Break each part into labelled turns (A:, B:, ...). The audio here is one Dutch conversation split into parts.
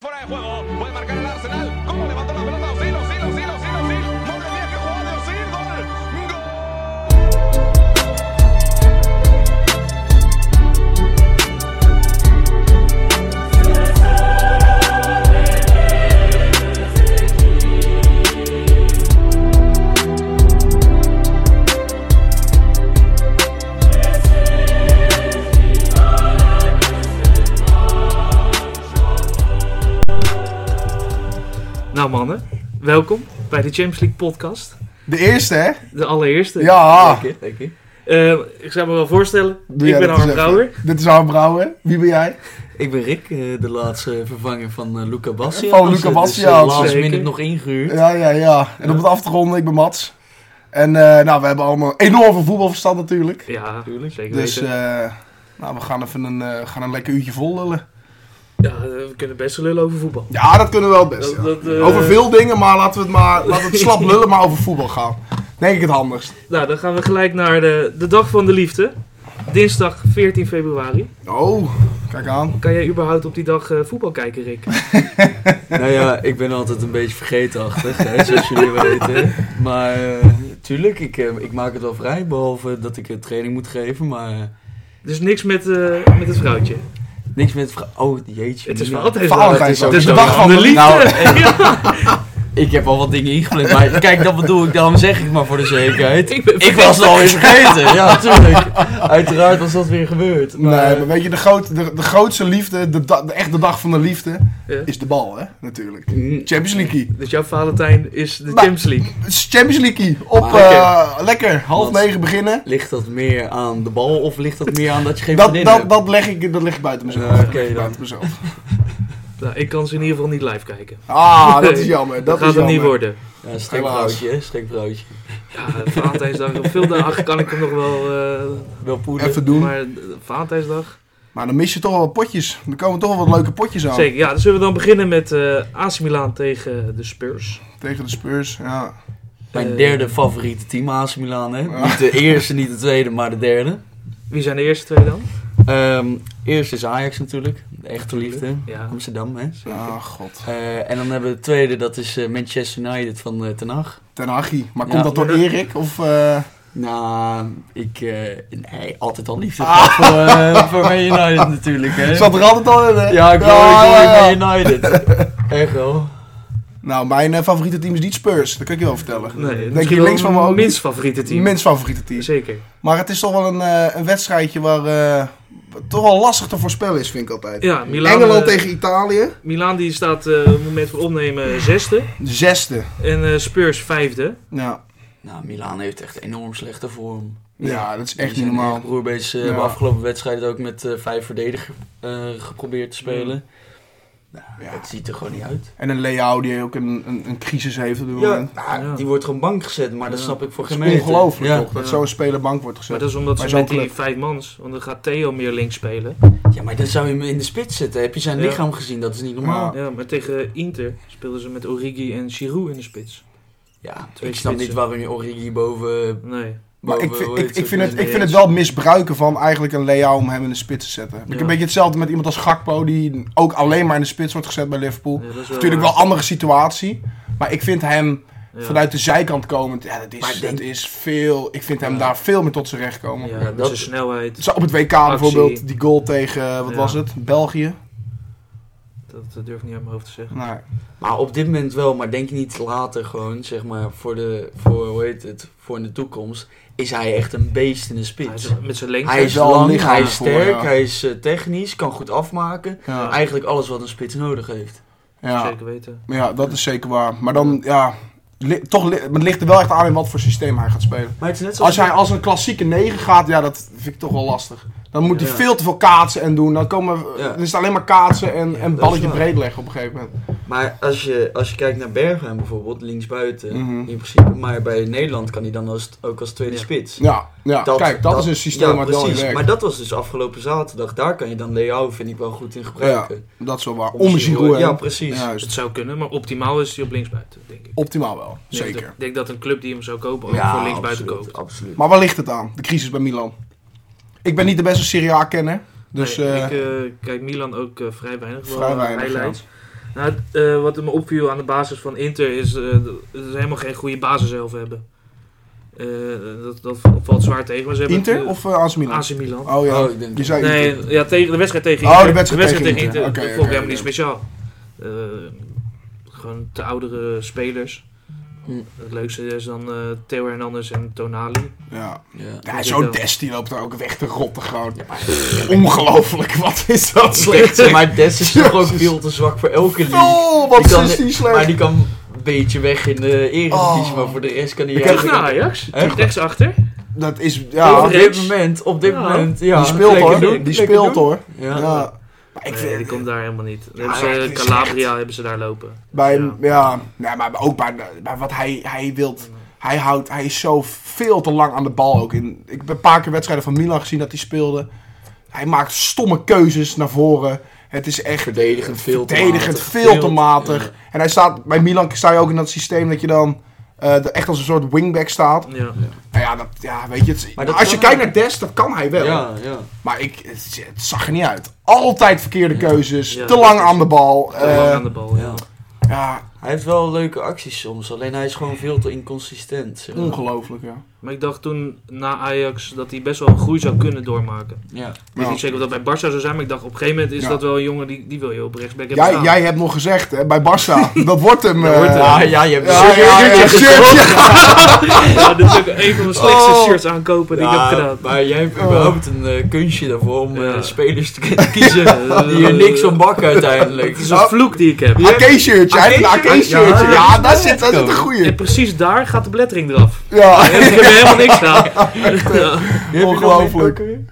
A: fuera de juego. Puede marcar el Arsenal. ¿Cómo levantó la pelota? Osil, Osil, Osil, Osil, Osil. No tenía que jugar de Osil. Gol. Gol.
B: Nou mannen, welkom bij de Champions League podcast.
C: De eerste, hè?
B: De allereerste.
C: Ja.
D: Dank je, dank je.
B: Eh, ik zou me wel voorstellen,
C: Doe
B: ik
C: jij
B: ben
C: dat eens
B: Harm
C: even.
B: Brouwer.
C: Dit is Harm Brouwer. Wie ben jij?
D: Ik ben Rick, eh, de laatste vervanger van eh, Luca Bassi.
C: Van Luca Bastiaan,
D: Laatst
B: zeker.
D: minute nog ingehuurd.
C: Ja, ja, ja. En om het af te ronden, ik ben Mats. En eh, nou, we hebben allemaal enorm veel voetbalverstand natuurlijk.
B: Ja,
D: Tuurlijk.
B: zeker
C: Dus
B: weten.
C: eh, nou, we gaan even een, eh, we gaan een lekker uurtje vol lullen.
B: ja, eh, we kunnen best wel lullen over voetbal.
C: Ja, dat kunnen we wel best. ja.
B: Dat- dat, eh,
C: Over veel dingen, maar laten we het maar laten we het slap lullen, maar over voetbal gaan. Denk ik het handigst.
B: Nou, dan gaan we gelijk naar de, de dag van de liefde. Dinsdag 14 februari.
C: Oh, kijk aan.
B: Kan jij überhaupt op die dag eh, voetbal kijken, Rick?
D: Nou ja, ik ben altijd een beetje vergeetachtig, hè, zoals jullie weten. Maar eh, tuurlijk, ik, eh, ik maak het wel vrij, behalve dat ik eh, training moet geven. Maar eh,
B: Dus niks met, eh, met het vrouwtje.
D: niks met... vra- Oh, jeetje.
B: Het is
D: Mina.
B: wel altijd wel.
C: Valentijn
D: is
C: is ook
B: Het is
C: de
B: de
C: dag van de
B: liefde.
C: Nou,
B: Ja,
D: Ik heb al wat dingen ingepland, maar kijk, dat bedoel ik. Daarom zeg ik maar voor de zekerheid.
B: ik ben
D: Ik was het alweer vergeten. Ja, tuurlijk. Uiteraard was dat weer gebeurd. Maar,
C: Nee,
B: eh,
C: maar weet je, de, groot, de, de grootste liefde, de, da- de echte dag van de liefde,
B: Ja.
C: is de bal, hè? Natuurlijk.
D: Mm,
C: Champions League.
B: Dus jouw Valentijn is de
C: Maar-
B: Champions League.
C: Het is Champions League. Op,
D: Ah,
C: eh,
D: oké.
C: lekker, half
D: Wat?
C: negen beginnen.
D: Ligt dat meer aan de bal of ligt dat meer aan dat je geen
C: Dat,
D: vriendin
C: dat,
D: hebt?
C: dat, leg ik, dat leg ik buiten mezelf.
D: Ja,
C: Dat leg
D: oké
C: ik
D: dan.
C: buiten mezelf.
B: Nou, ik kan ze in ieder geval niet live kijken.
C: Ah, dat is
B: Nee,
C: jammer.
B: Dat
C: Dat
B: gaat het
C: is jammer.
B: niet worden.
D: Ja, een schrikbroodje, hè, schrikbroodje.
B: Ja, Valentijnsdag. Op veel dagen kan ik hem nog wel eh,
D: Wel poeder.
C: Even doen. Maar...
B: Maar eh, Valentijnsdag.
C: dan mis je toch wel wat potjes. Er komen toch wel wat leuke potjes aan.
B: Zeker, ja. Dan zullen we dan beginnen met eh AC Milan tegen de Spurs.
C: Tegen de Spurs. Ja.
D: Mijn
B: Eh,
D: derde favoriete team, AC Milan, hè.
C: Ja.
D: Niet de eerste, niet de tweede, maar de derde.
B: Wie zijn de eerste twee dan?
D: Ehm, eerst is Ajax natuurlijk. De echte liefde.
B: Ja.
D: Amsterdam, hè.
C: Ah, god.
D: Eh, en dan hebben we de tweede, dat is eh, Manchester United van eh Ten Hag.
C: Ten Hagie. Maar
D: Ja.
C: komt dat door Erik? Of, eh,
D: Nou, ik... eh, nee, altijd al liefde gehad voor, eh, voor Man United natuurlijk, hè.
C: Zat er altijd al in, hè?
D: Ja, ik
C: Ja, ja, ja.
D: hoor ik Man United. Echt wel.
C: Nou, mijn eh, favoriete team is niet Spurs. Dat kan ik je wel vertellen.
B: Nee,
C: Denk
B: misschien
C: je
B: wel
C: links van me ook? niet?
B: minst favoriete team.
C: Minst favoriete team.
B: Zeker.
C: Maar het is toch wel een, eh, een wedstrijdje waar eh, wat toch wel lastig te voorspellen is, vind ik altijd.
B: Ja, Milan,
C: Engeland
B: eh,
C: tegen Italië.
B: Milan die staat eh, op het moment van opnemen zesde.
C: Zesde.
B: En eh, Spurs vijfde.
C: Ja,
D: Nou, Milaan heeft echt enorm slechte vorm.
C: ja dat is echt
D: Die
C: niet
D: zijn
C: normaal.
D: echt Roerbees eh,
C: Ja.
D: hebben afgelopen wedstrijd ook met eh, vijf verdedigers eh, geprobeerd te spelen. Nou,
C: Ja.
D: Het ziet er gewoon niet uit.
C: En een Leao die ook een, een, een crisis heeft op dit moment.
D: Nou,
B: Ja.
D: Die wordt gewoon bank gezet, maar dat
B: Ja.
D: snap ik voor
C: Het is
D: geen meter.
C: ongelooflijk
D: ja.
C: toch, dat
B: Ja.
C: zo'n speler bank wordt
B: Maar
C: gezet.
B: dat is omdat
C: Maar
B: ze
C: zo'n
B: met die
C: club.
B: vijf mans, want dan gaat Theo meer links spelen.
D: Ja, maar dan zou je hem in de spits zetten. Heb je zijn
B: Ja.
D: lichaam gezien? Dat is niet normaal. Ja,
B: Ja, maar tegen Inter speelden ze met Origi en Giroud in de spits. Twee
D: ik snap
B: spitsen.
D: niet waarom je Origi boven...
B: Nee.
C: Maar
D: boven
C: ik, vind-
D: hoe
C: ik,
D: heet
C: ik,
D: ze?
C: vind het, ik
B: Nee,
C: vind het
B: eens.
C: wel misbruiken van eigenlijk een Leao om hem in de spits te zetten. Heb Ik
B: Ja.
C: een beetje hetzelfde met iemand als Gakpo, die ook alleen maar in de spits wordt gezet bij Liverpool.
B: Ja, dat is
C: Natuurlijk wel een andere situatie, maar ik vind hem
B: ja.
C: vanuit de zijkant komend, ja, dat,
D: Maar
C: is,
D: ik denk-
C: dat is veel. Ik vind hem
B: Ja.
C: daar veel meer tot zijn recht komen.
B: Ja,
D: Ja,
B: met
D: dat-
B: zijn snelheid.
C: Zo Op het WK bijvoorbeeld, die goal tegen, eh, wat
B: Ja.
C: was het, België?
B: Dat eh, durf ik niet uit mijn hoofd te zeggen.
C: Nou,
D: Maar op dit moment wel, maar denk je niet later gewoon, zeg maar, voor de, voor, hoe heet het, voor in de toekomst, is hij echt een beest in de
B: Hij
D: spits.
B: is- met zijn lengte.
D: Hij is
C: wel een
D: lang,
C: lichaam
D: hij is
C: voor,
D: sterk,
C: ja.
D: hij is eh, technisch, kan goed afmaken.
C: ja.
D: Nou, Eigenlijk alles wat een spits nodig heeft.
C: ja.
B: Zeker weten.
C: Maar Ja, dat is zeker waar. Maar dan, ja, li- toch li- maar het ligt er wel echt aan in wat voor systeem hij gaat spelen.
D: Maar het is net zoals...
C: Als hij als een klassieke 9 gaat, ja, dat vind ik toch wel lastig. Dan moet hij
D: Ja.
C: veel te veel kaatsen en doen. Dan, komen, we-
D: Ja.
C: dan is het alleen maar kaatsen en, en
D: dat
C: balletje
D: is waar.
C: breed leggen op een gegeven moment.
D: Maar als je, als je kijkt naar Bergwijn bijvoorbeeld, linksbuiten,
C: Mhm.
D: in principe, maar bij Nederland kan hij dan als, ook als tweede
B: Ja.
D: spits.
C: Ja, ja. kijk, dat, is een systeem
D: ja,
C: waar het wel in
D: precies.
C: werkt.
D: Maar dat was dus afgelopen zaterdag. Daar kan je dan Leo, vind ik wel goed in gebruiken.
C: Dat is wel waar.
D: Om
C: Om Giroud heen.
D: Ja, precies.
B: Dus
C: Juist.
B: het zou kunnen, maar optimaal is hij op linksbuiten, denk ik.
C: Optimaal wel,
B: Ik denk dat-
C: zeker.
B: Ik denk dat een club die hem zou kopen ook
D: Ja,
B: voor linksbuiten
D: absoluut,
B: koopt.
D: Absoluut.
C: Maar waar ligt het aan, de crisis bij Milan? Ik ben niet de beste Serie A-kenner. Dus
B: Nee,
C: eh,
B: ik eh, kijk Milan ook eh, vrij weinig.
C: Vrij
B: wel, eh,
C: weinig,
B: highlights. Nou, eh, wat me opviel aan de basis van Inter is eh, dat ze helemaal geen goede basis zelf hebben. Eh, dat, dat valt zwaar tegen. Maar ze hebben
C: Inter
B: eh,
C: of eh AC Milan?
B: AC Milan?
C: Oh ja,
D: Oh, ik denk-
C: je zei
B: nee,
C: Inter.
B: ja, tegen, de wedstrijd tegen
C: Oh,
B: Inter.
C: de wedstrijd tegen Inter.
B: Inter.
C: Oké,
B: dat
C: oké,
B: vond ik helemaal niet
C: oké.
B: speciaal. Eh, gewoon te oudere spelers.
D: Hm.
B: Het leukste is dan eh Theo Hernandez en Tonali.
C: Ja.
D: Ja.
C: Ja,
B: Dat
C: zo'n
B: ik wel.
C: test die loopt daar ook weg te rotten gewoon. Ongelooflijk, wat is dat slecht.
D: Maar Des is toch ook
C: Jezus.
D: veel te zwak voor elke league.
C: Oh, wat
D: Die kan-
C: is die slecht.
D: Maar die kan een beetje weg in de eredivisie,
C: Oh.
D: maar voor de rest kan hij
C: Ik
B: Terug
C: heb-
B: naar Ajax.
D: Echt?
B: Rechtsachter.
C: Dat is, ja,
D: op
B: Overigens.
D: dit moment, op dit
B: Ja.
D: moment, ja.
C: die speelt
D: lekker
C: hoor.
D: doen,
C: Die
D: lekker
C: speelt
D: doen.
C: hoor.
D: Ja.
C: Ja. Maar ik
B: Nee, die
C: vind,
B: komt daar helemaal niet. Dan
C: Ja,
B: hebben
C: het
B: ze
C: is
B: Calabria hebben ze daar lopen.
C: bij,
B: Ja.
C: ja. Nee, maar ook bij, bij wat hij, hij wilt. Hij, houdt, hij is zo veel te lang aan de bal ook. In, ik heb een paar keer wedstrijden van Milan gezien dat hij speelde. Hij maakt stomme keuzes naar voren. Het is echt
D: Verdedigend veel te
C: verdedigend
D: matig.
C: veel te matig.
D: Ja.
C: En hij staat, bij Milan sta je ook in dat systeem dat je dan eh, er echt als een soort wingback staat.
B: Ja.
C: Nou ja, dat, ja weet je, het is-
D: Maar dat
C: als je
D: kan
C: kijkt
D: hij.
C: naar Des, dat kan hij wel.
D: Ja, ja.
C: Maar ik, het, het zag er niet uit. Altijd verkeerde
D: Ja.
C: keuzes,
B: Ja,
C: te
B: dat
C: lang
B: is-
C: aan de bal.
B: Te lang
C: eh,
B: aan de bal, ja.
D: ja.
C: ja,
D: Hij heeft wel leuke acties soms, alleen hij is gewoon veel te inconsistent. zeg maar.
C: ongelooflijk ja.
B: Maar ik dacht toen na Ajax dat hij best wel een groei zou kunnen doormaken.
D: Ja.
B: Ik weet
C: Ja.
B: niet zeker of dat bij Barca zou zijn, maar ik dacht op een gegeven moment is
C: Ja.
B: dat wel een jongen die, die wil je op rechtsback hebben
C: Jij,
B: staan.
C: jij hebt nog gezegd hè, bij Barça, dat wordt hem.
B: Dat
C: eh,
B: wordt hem.
D: Ja, ja, je hebt
C: Ja, ja, ja, ja,
D: shirtje
C: shirtje.
D: gekocht.
B: Ja, dit is ook een van de slechtste
D: Oh.
B: shirts aankopen die ik
D: Ja,
B: heb gedaan.
D: Maar
C: Oh.
D: jij hebt überhaupt een eh, kunstje daarvoor om eh,
B: Ja.
D: spelers te kunnen kiezen die er niks van bakken uiteindelijk.
B: Het is een vloek die ik heb.
C: AK-shirtje, hij heeft een
B: AK-shirtje?
C: AK-shirtje.
B: Ja,
C: Ja,
D: ja,
C: daar
D: ja.
C: zit, daar zit een
B: En
C: goeie.
B: precies daar gaat de blettering eraf.
C: Ja,
B: Ik heb er helemaal niks aan.
C: eh.
B: Ja.
D: Wie heb je nog
C: Ongelooflijk.
D: meer pakken?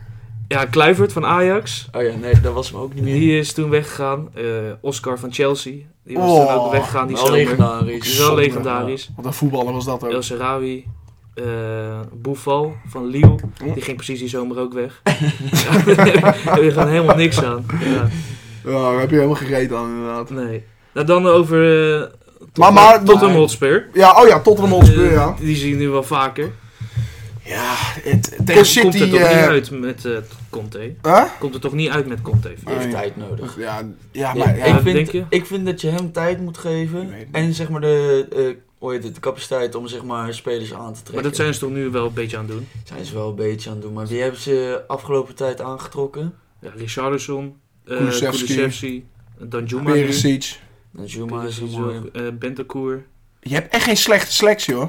B: Ja, Kluivert van Ajax.
D: Oh ja, nee, dat was hem ook niet meer.
B: Die is toen weggegaan. Eh, Oscar van Chelsea. Die was
C: Oh,
B: toen ook weggegaan. Die
D: Wel
B: zomer.
D: legendarisch.
B: Die is wel legendarisch.
C: wat een voetballer was dat
B: El
C: ook.
B: Sarawi. eh Boufal van Lille. Die ging precies die zomer ook weg. Ja, Daar heb je gewoon helemaal niks aan. Ja,
C: Ja, daar heb je helemaal gereden aan inderdaad.
B: nee. Nou, dan over eh,
C: Maar, maar,
B: tot een
D: maar-
B: Hotspur.
C: ja, oh ja, Tottenham Hotspur,
B: Eh,
C: ja.
B: Die zie je nu wel vaker.
C: Ja, het, tegen
B: komt
C: City...
B: er toch
C: eh,
B: niet uit met eh, Conte?
C: hè?
B: Komt er toch niet uit met Conte?
D: Die heeft
C: Nee.
D: tijd nodig.
C: Ja, ja,
D: Ik-
C: maar... Ja,
D: ik,
B: denk je?
D: vind, ik vind dat je hem tijd moet geven.
C: Ik weet het
D: En zeg maar de, eh, hoe heet het, de capaciteit om zeg maar spelers aan te trekken.
B: Maar dat zijn ze toch nu wel een beetje aan het doen.
D: Zijn ze wel een beetje aan het doen. Maar wie hebben ze afgelopen tijd aangetrokken?
B: Ja, Richarlison, eh,
C: Kulusevski.
B: Kulusevski, Danjuma, nu.
C: Perisic.
D: Najuma Nou, is een
B: Kulusevski,
D: mooie.
B: eh, Bentancur.
C: Je hebt echt geen slechte selectie, hoor.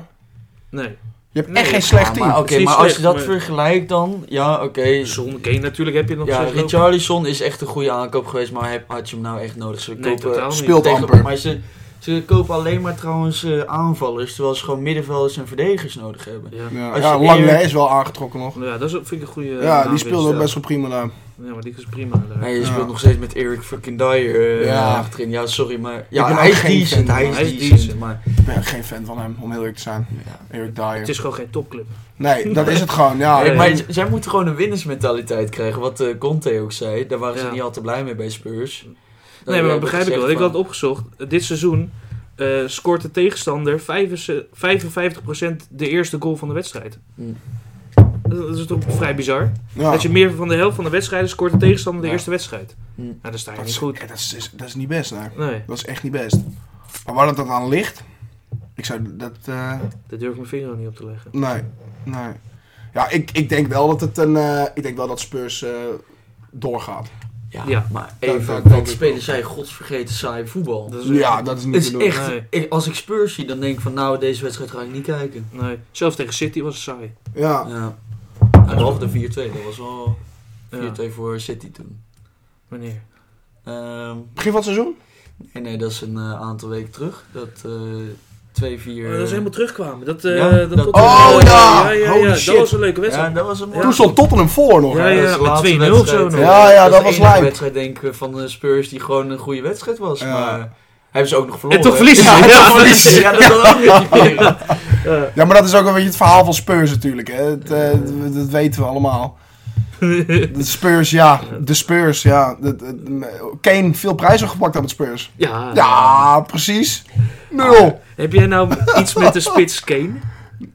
B: Nee,
C: Je hebt
B: Nee,
C: echt geen
B: ja,
C: slecht
D: Ja, maar
C: team.
D: oké,
B: Het is niet
D: maar als je
B: slecht,
D: dat
B: maar-
D: vergelijkt dan... Ja, oké.
B: Son, Kane natuurlijk heb je nog
D: Ja,
B: steeds lopen.
D: Richarlison is echt een goede aankoop geweest. Maar heb- had je hem nou echt nodig? Ze
B: Nee,
D: kopen
B: totaal niet.
C: speelt
D: tegen-
C: amper.
D: Maar ze, ze kopen alleen maar trouwens eh, aanvallers. Terwijl ze gewoon middenvelders en verdedigers nodig hebben.
B: Ja.
C: Ja,
D: als
C: ja
D: je
C: Langley
D: eer-
C: is wel aangetrokken nog.
B: Nou ja, dat is, ook- vind ik een goede
C: Ja, die
B: aanwinst,
C: speelde ook
B: ja.
C: best wel prima daar.
B: Ja, maar die is prima. daar.
D: Nee, je
C: Ja.
D: speelt nog steeds met Eric fucking Dyer eh
C: Ja.
D: achterin. Ja, sorry, maar...
C: ben
D: Ja,
C: ook
D: hij is
C: geen
D: decent.
C: fan.
D: Hij
B: Hij is
D: is decent,
B: decent.
D: maar...
C: Ik ben geen fan van hem, om heel eerlijk te zijn.
D: Ja.
C: Eric
B: Het
C: Dyer.
B: is gewoon geen topclub.
C: Nee, dat is het gewoon, ja.
D: Nee,
B: Ja,
D: maar
B: ja.
D: z- zij moeten gewoon een winnersmentaliteit krijgen. Wat eh, Conte ook zei. Daar waren ze
B: Ja.
D: niet al te blij mee bij Spurs. Eh, Dan
B: nee, maar
D: hebben
B: dat
D: we
B: begrijp ik wel.
D: Oh,
B: Ik
D: gezegd
B: had
D: van,
B: het opgezocht. Eh, Dit seizoen eh, scoort de tegenstander 55% de eerste goal van de wedstrijd.
D: Hm.
B: Dat dat is toch vrij bizar?
C: Ja.
B: Dat je meer van de helft van de wedstrijden scoort de tegenstander de
D: Ja.
B: eerste wedstrijd.
D: Hm.
B: Nou, dat sta je
C: Dat
B: niet
C: is,
B: goed.
C: ja, dat, is, is- dat is niet best, nee.
B: Nee,
C: Dat is echt niet best. Maar waar dat dan aan ligt, ik zou dat... eh,
B: daar durf ik mijn vinger ook niet op te leggen.
C: nee, nee. Ja, ik, ik denk wel dat het een... eh, ik denk wel dat Spurs eh, doorgaat.
D: Ja,
B: Ja.
D: maar
C: Dat-
D: even,
C: dat-
D: dat,
C: dat-
D: spelen zij godsvergeten saai voetbal.
B: Dat is
C: Ja, dat is niet
D: Het
C: te
D: is
C: doen.
D: echt,
B: Nee.
D: ik- als ik Spurs zie, dan denk ik van nou, deze wedstrijd ga ik niet kijken.
B: Nee, zelfs tegen City was het saai.
C: Ja,
D: Ja. Nou, behalve de 4-2, dat was wel 4-2
B: Ja,
D: voor City toen.
B: wanneer?
D: Ehm,
C: begin van het seizoen?
D: nee, nee, dat is een eh, aantal weken terug. Dat eh 2-4...
B: Oh, dat ze helemaal terugkwamen. Dat, eh,
D: Ja,
B: dat
D: dat-
B: tot-
C: Oh, ja.
B: ja, ja,
C: Holy
B: ja,
C: shit.
B: Dat was een leuke
D: ja,
B: wedstrijd.
D: dat was een mooie-
C: Toen stond Tottenham voor nog.
B: Ja,
C: hè?
D: dat
B: ja,
D: is de
B: eh, met
D: laatste
B: 2-0 of zo
D: wedstrijd. eh,
B: nog.
C: Ja, ja, dat
D: de
C: was
D: enige
C: lijp.
D: wedstrijd denk ik van de Spurs die gewoon een goede wedstrijd was.
C: Ja.
D: Maar hebben ze ook nog verloren.
B: En toch verliezen ze.
D: Oh, Ja,
B: Ja,
D: toch verliezen ze. Ja, dat kan ook niet.
C: Ja, maar dat is ook een beetje het verhaal van Spurs natuurlijk. Hè. Dat, eh, dat- dat weten we allemaal. De Spurs, ja. De Spurs, ja. Dat- dat- Kane veel prijzen gepakt aan het Spurs.
B: Ja.
C: Ja, precies. Nul.
B: Heb jij nou iets met de spits Kane?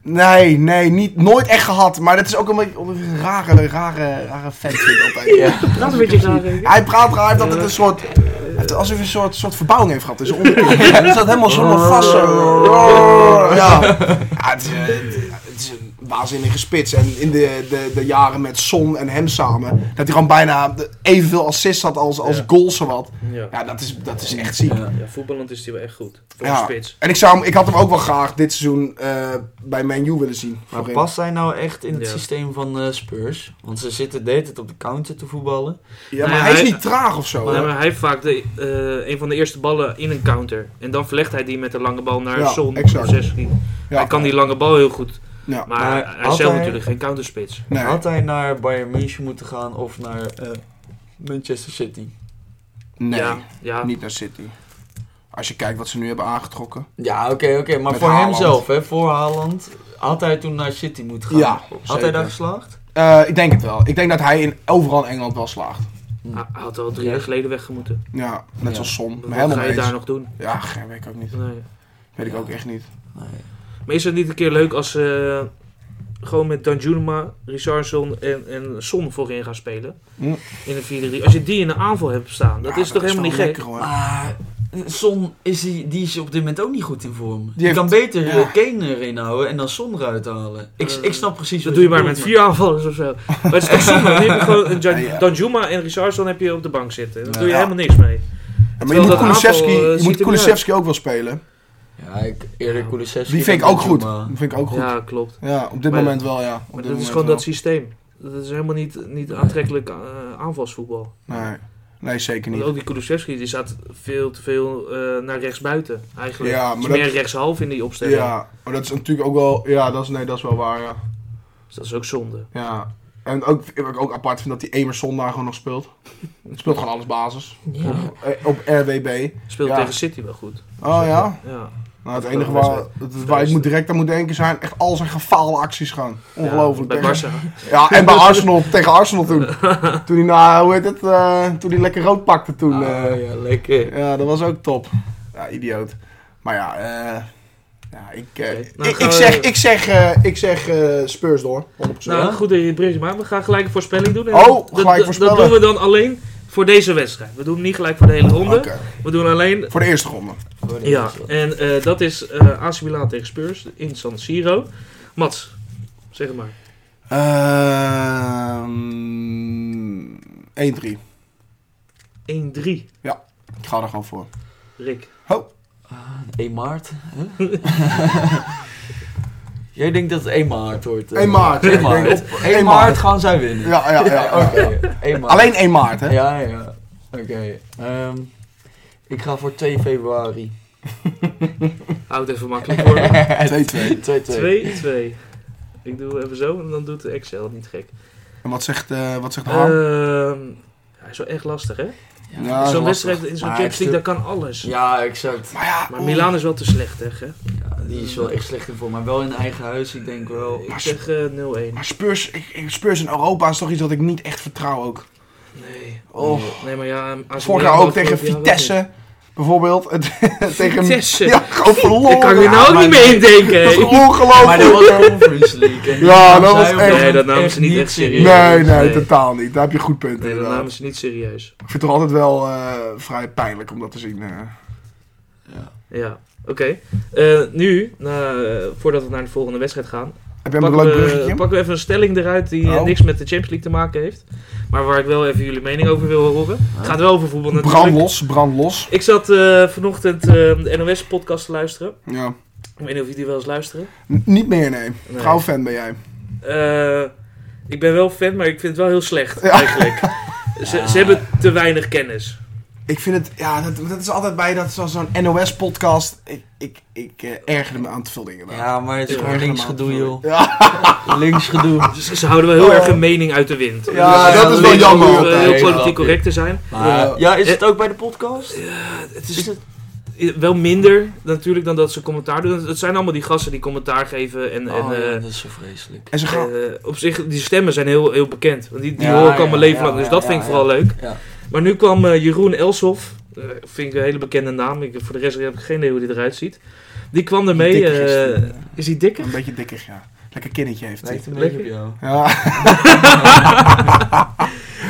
C: Nee, nee, niet, nooit echt gehad. Maar dat is ook een beetje omdat ik een rare, rare, rare fan vind altijd.
D: Ja.
B: Praat een beetje graag.
C: Hij praat raar, hij heeft altijd een soort... Hij heeft het alsof hij een soort, soort verbouwing heeft gehad. Dus onderkant. Het zat helemaal zomaar vast. Zo. Ja. ja het, is, eh, het is een waanzinnige spits. En in de, de, de jaren met Son en hem samen, dat hij gewoon bijna evenveel assists had als, als
B: Ja.
C: goals zowat.
B: Ja.
C: Ja, dat is, dat is echt ziek.
B: Ja, voetballend is hij wel echt goed. Voor
C: Ja.
B: een spits.
C: En ik, zou hem, ik had hem ook wel graag dit seizoen eh, bij Man U willen zien.
D: Maar
C: Voorin.
D: past hij nou echt in het
B: Ja.
D: systeem van eh, Spurs? Want ze zitten de hele tijd op de counter te voetballen.
C: Ja, maar
B: Nou ja,
C: hij is
B: hij-
C: niet traag of zo.
B: Maar
C: hè?
B: hij- hij heeft vaak de, eh, een van de eerste ballen in een counter. En dan verlegt hij die met de lange bal naar
C: Ja,
B: Son.
C: exact.
B: of zes. Hij
C: Ja.
B: kan die lange bal heel goed.
C: Ja.
B: Maar
D: Maar
B: hij
D: had
B: is zelf
D: hij-
B: natuurlijk geen counterspits.
C: Nee.
D: Had hij naar Bayern München moeten gaan of naar eh, Manchester City?
C: Nee,
B: Ja, ja.
C: niet naar City. Als je kijkt wat ze nu hebben aangetrokken.
D: Ja, oké, oké. Maar
C: Met
D: voor
C: Haaland.
D: hemzelf, hè, voor Haaland, had hij toen naar City moeten gaan?
C: Ja,
D: Had
C: zeker.
D: hij daar geslaagd?
C: Eh, ik denk het wel. Ik denk dat hij in, overal in Engeland wel slaagt.
B: Hij hij had al drie jaar geleden weg moeten.
C: Ja, net
D: Ja.
C: zoals Son. Maar
B: Wat
C: helemaal
B: ga je
C: mee eens.
B: daar nog doen?
C: Ja, geen weet ik ook niet.
B: Nee.
C: Weet ik
D: Ja.
C: ook echt niet.
D: Nee.
B: Maar is het niet een keer leuk als ze gewoon met Danjuma, Richardson en, en Son voorin gaan spelen?
C: Hm.
B: In een 4-3. Als je die in de aanval hebt staan, dat
C: Ja,
B: is toch helemaal niet
C: wel
B: gek?
C: lekker, hoor.
D: Maar eh, Son is die, die is op dit moment ook niet goed in vorm. Die
C: heeft-
D: kan beter
C: ja.
D: eh, Kane erin houden en dan Son eruit halen. Ik,
B: Eh,
D: ik snap precies
B: Dat
D: wat
B: doe je
D: je
B: maar met
D: bedoelt,
B: vier aanvallers of zo. Maar het is toch zonde. Nu heb je gewoon een Jan-
C: Ja, ja.
B: Danjuma en Richardson heb je op de bank zitten. Daar doe je
C: Ja.
B: helemaal niks mee.
C: Ja, maar je
B: Terwijl
C: moet
B: dat
C: Kulusevski,
B: aanval, eh,
C: je
B: ziet
C: moet
B: er niet
C: Kulusevski ook wel spelen.
D: Ja, ik, eerder Kulusevski.
C: Die
D: dan
C: vind ik ook goed.
D: Danjuma.
C: Die vind ik ook goed. Ja,
B: Ja, klopt.
C: op dit
B: Maar-
C: moment wel, ja. Op
B: Maar
C: dit
B: dat is
C: moment
B: gewoon
C: wel.
B: dat systeem. Dat is helemaal niet, niet aantrekkelijk eh, aanvalsvoetbal.
C: Nee. nee, zeker
B: Want
C: niet.
B: ook die Kulusevski die staat veel te veel eh, naar rechtsbuiten eigenlijk.
C: Ja,
B: Het is
C: maar
B: meer
C: dat-
B: rechtshalf in die opstelling.
C: Ja, maar dat is natuurlijk ook wel... Ja, dat is, nee, dat is wel waar, ja.
B: Dus dat is ook zonde.
C: ja. En ook, wat ik ook apart vind dat die Emerson daar gewoon nog speelt. Het speelt gewoon alles basis.
B: Ja.
C: Eh, Op RWB.
B: Speelt
C: Ja.
B: tegen City wel goed.
C: Oh ja?
B: Dus, Ja.
C: Nou, het
B: Dat
C: enige
B: is wel
C: waar, het- waar ik moet direct aan moet denken zijn echt al zijn gefaalde acties gaan. Ongelooflijk.
B: Ja, bij
C: Tegen-
B: Barca.
C: Ja, en bij Arsenal, tegen Arsenal toen. Toen hij, nou, hoe heet het, eh, toen hij lekker rood pakte toen. eh.
D: Ah, ja, lekker.
C: ja, dat was ook top. Ja, idioot. Maar ja, eh, ja ik, eh,
B: Oké, nou
C: ik,
B: gaan
C: ik
B: we-
C: zeg, ik zeg, eh, ik zeg eh, Spurs door, 100%.
B: Nou, goed dat je het berichtje maakt. We gaan gelijk een voorspelling doen. En
C: Oh,
B: dat-
C: gelijk
B: dat-
C: voorspellen.
B: Dat doen we dan alleen voor deze wedstrijd. We doen hem niet gelijk voor de hele ronde.
C: Oké,
B: We doen alleen...
C: voor de eerste ronde.
B: Ja, en eh, dat is eh AC Milan tegen Spurs in San Siro. Mats, zeg het maar.
C: Ehm 1-3.
B: 1-3,
C: Ik ga er gewoon voor.
B: Rick.
D: 1 maart. Hè? Jij denkt dat het 1 maart wordt. eh.
C: 1 maart, ja,
D: 1
C: ik denk
D: maart.
C: op-
D: 1 maart gaan zij winnen.
C: Ja, ja, ja.
D: Ja,
C: ja.
D: oké. 1 maart.
C: Alleen 1 maart, hè?
D: Ja, ja. Oké. ehm, ik ga voor 2 februari.
B: Houd even makkelijk voor me.
C: 2-2.
D: 2-2.
B: 2-2. Ik doe even zo en dan doet de Excel niet gek.
C: En wat zegt, eh wat zegt Harm?
B: Ehm, hij is wel echt lastig, hè?
C: Ja,
B: zo'n
C: lastig.
B: wedstrijd in zo'n
D: Maar
B: Champions
D: hij
B: League,
D: heeft
B: daar kan alles.
D: Ja, exact.
C: maar ja,
B: Maar
C: oeh.
B: Milan is wel te slecht, hè?
D: Ja, die is wel echt slecht in vorm, maar wel in eigen huis. Ik denk wel.
B: Ik zeg eh, 0-1.
C: Maar Spurs, ik, ik- Spurs in Europa is toch iets dat ik niet echt vertrouw ook.
B: Nee.
C: Oh.
B: Nee, maar ja... ehm, AC Milan
C: Vorig jaar ook
B: afgelopen
C: tegen
B: jaar wel
C: Vitesse, bijvoorbeeld. tegen
B: Vitesse?
C: Ja, gewoon verloren.
B: Ik kan je nou ook niet meer
C: Dat is
B: indenken.
C: ongelooflijk.
D: Maar dat was Conference League. en die
C: Oh, Ja,
D: namen
C: dat was
D: zij op
C: echt-
D: dat
B: Nee, dat
D: moment
B: namen ze niet echt serieus.
C: Nee, nee,
B: Nee.
C: totaal niet. Daar heb je goed punt
B: Nee, dat
C: inderdaad.
B: namen ze niet serieus.
C: Ik vind het altijd wel eh, vrij pijnlijk om dat te zien. eh.
B: Ja, oké. Eh, nu, na, eh, voordat we naar de volgende wedstrijd gaan,
C: Heb jij nog een
B: pakken
C: leuk
B: we,
C: bruggetje?
B: pakken we even een stelling eruit die eh,
C: Oh.
B: niks met de Champions League te maken heeft. Maar waar ik wel even jullie mening over wil horen. Het gaat wel over voetbal natuurlijk.
C: Brand los, brand los.
B: Ik zat eh, vanochtend eh, de NOS-podcast te luisteren.
C: Ja.
B: Ik weet niet of jullie die wel eens luisteren.
C: N- niet meer, nee.
B: Nee.
C: Trouw fan ben jij.
B: Eh, ik ben wel fan, maar ik vind het wel heel slecht
C: Ja.
B: eigenlijk. Ze,
D: Ja.
B: ze hebben te weinig kennis.
C: Ik vind het, ja, dat, dat is altijd bij dat zo'n zo'n NOS-podcast. Ik, ik, ik eh, ergerde me aan te veel dingen. daar.
D: Ja, maar het is
B: Ja,
D: gewoon
C: Ergerde me
D: links
C: aan te
D: gedoe,
C: veel
D: joh.
C: dingen. Ja,
D: Links gedoe.
B: Ze, ze houden wel heel
C: Oh.
B: erg hun mening uit de wind.
C: Ja,
B: Dus,
C: dat
B: eh,
C: is wel
D: oh,
B: alleen
C: jammer
B: om, eh,
C: altijd.
B: heel politiek correct te zijn.
D: Maar, ja, is het ook bij de podcast?
B: Het is, wel minder natuurlijk dan dat ze commentaar doen. Het zijn allemaal die gasten die commentaar geven. En,
D: Oh,
B: en,
D: ja,
B: eh,
D: dat is zo vreselijk.
C: en ze gaan,
B: eh, op zich, die stemmen zijn heel, heel bekend. Want die, die
D: Ja,
B: hoor ik al
D: ja,
B: mijn leven
D: ja,
B: lang. Dus
D: ja,
B: dat
D: ja,
B: vind ik
D: ja.
B: vooral leuk.
D: Ja.
B: Maar nu kwam eh, Jeroen Elshoff. eh, vind ik een hele bekende naam. Ik, voor de rest heb ik geen idee hoe die eruit ziet. Die kwam ermee.
C: Dikker
B: eh,
C: gisteren.
B: is hij dikker?
C: Een beetje dikker, ja. Lekker kindertje heeft hij.
D: Lijkt een beetje op jou.
C: Ja.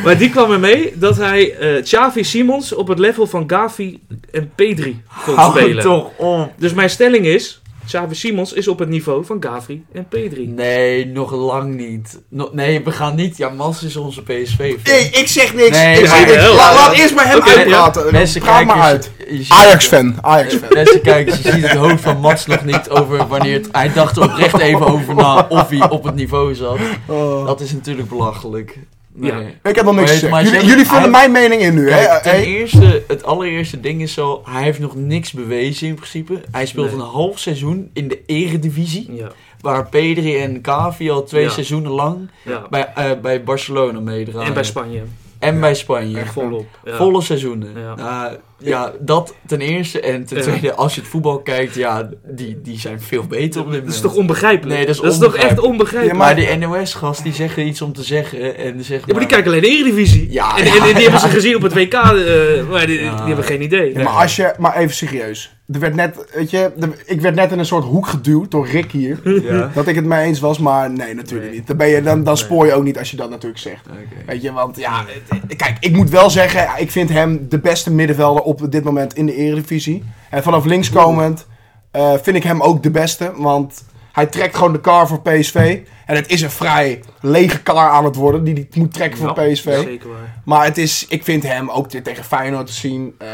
B: Maar die kwam er mee dat hij eh Xavi Simons op het level van Gavi en Pedri kon
D: Hou
B: spelen.
D: toch op.
B: Dus mijn stelling is, Xavi Simons is op het niveau van Gavi en Pedri.
D: Nee, nog lang niet. No- nee, we gaan niet. Ja, Mas is onze PSV. fan.
C: Nee, ik zeg niks.
D: Nee,
C: ik
D: ja,
C: zeg niks.
B: wel.
C: Laat, laat eerst maar hem
B: Oké,
C: uitpraten.
D: Mensen
C: Praat maar uit.
D: kijkers, je ziet-
C: Ajax-fan. Ajax-fan.
D: Mensen kijkers, je ziet het hoofd van Mats nog niet over wanneer het, hij dacht er oprecht even over na of hij op het niveau zat.
C: Oh.
D: Dat is natuurlijk belachelijk. Nee.
B: Ja.
C: Ik heb nog niks gezegd.
D: Weet, maar
C: Jullie,
D: zeg-
C: jullie vullen
D: hij-
C: mijn mening in nu. hè?
D: Kijk, ten
C: Hey,
D: eerste, het allereerste ding is al, hij heeft nog niks bewezen in principe. Hij speelt
B: Nee.
D: een half seizoen in de eredivisie,
B: Ja,
D: waar Pedri en Cavi al twee
B: Ja.
D: seizoenen lang
B: ja.
D: bij, eh, bij Barcelona meedraaien.
B: En bij Spanje,
D: En bij Spanje.
B: volop. Ja.
D: Volle seizoenen.
B: Ja.
D: Ja. ja, dat ten eerste. En ten
B: Ja.
D: tweede, als je het voetbal kijkt, ja, die, die zijn veel beter op
B: Dat
D: dit moment.
B: is toch onbegrijpelijk?
D: Nee, dat is
B: toch echt onbegrijpelijk?
C: Ja,
D: Maar die NOS-gast, die zeggen iets om te zeggen. En zeg
B: Ja, maar die kijken alleen de Eredivisie.
D: Ja,
B: en, en-
D: ja,
B: en die hebben ze
D: ja.
B: gezien op het WK, eh, maar die,
D: Ja.
B: die hebben geen idee.
C: Ja, maar, als je, maar even serieus. Er werd net, weet je, er- ik werd net in een soort hoek geduwd door Rick hier.
D: Ja.
C: Dat ik het mee eens was, maar nee, natuurlijk
B: Nee.
C: niet. Dan, ben je, dan, dan
B: Nee.
C: spoor je ook niet als je dat natuurlijk zegt.
D: Oké.
C: Weet je, want ja, het- het- kijk, ik moet wel zeggen, ik vind hem de beste middenvelder op dit moment in de Eredivisie. En vanaf links komend eh, vind ik hem ook de beste, want hij trekt gewoon de car voor PSV. En het is een vrij lege car aan het worden die hij moet trekken voor
B: Ja,
C: PSV.
B: Zeker waar.
C: Maar het is, ik vind hem ook te- tegen Feyenoord te zien. eh,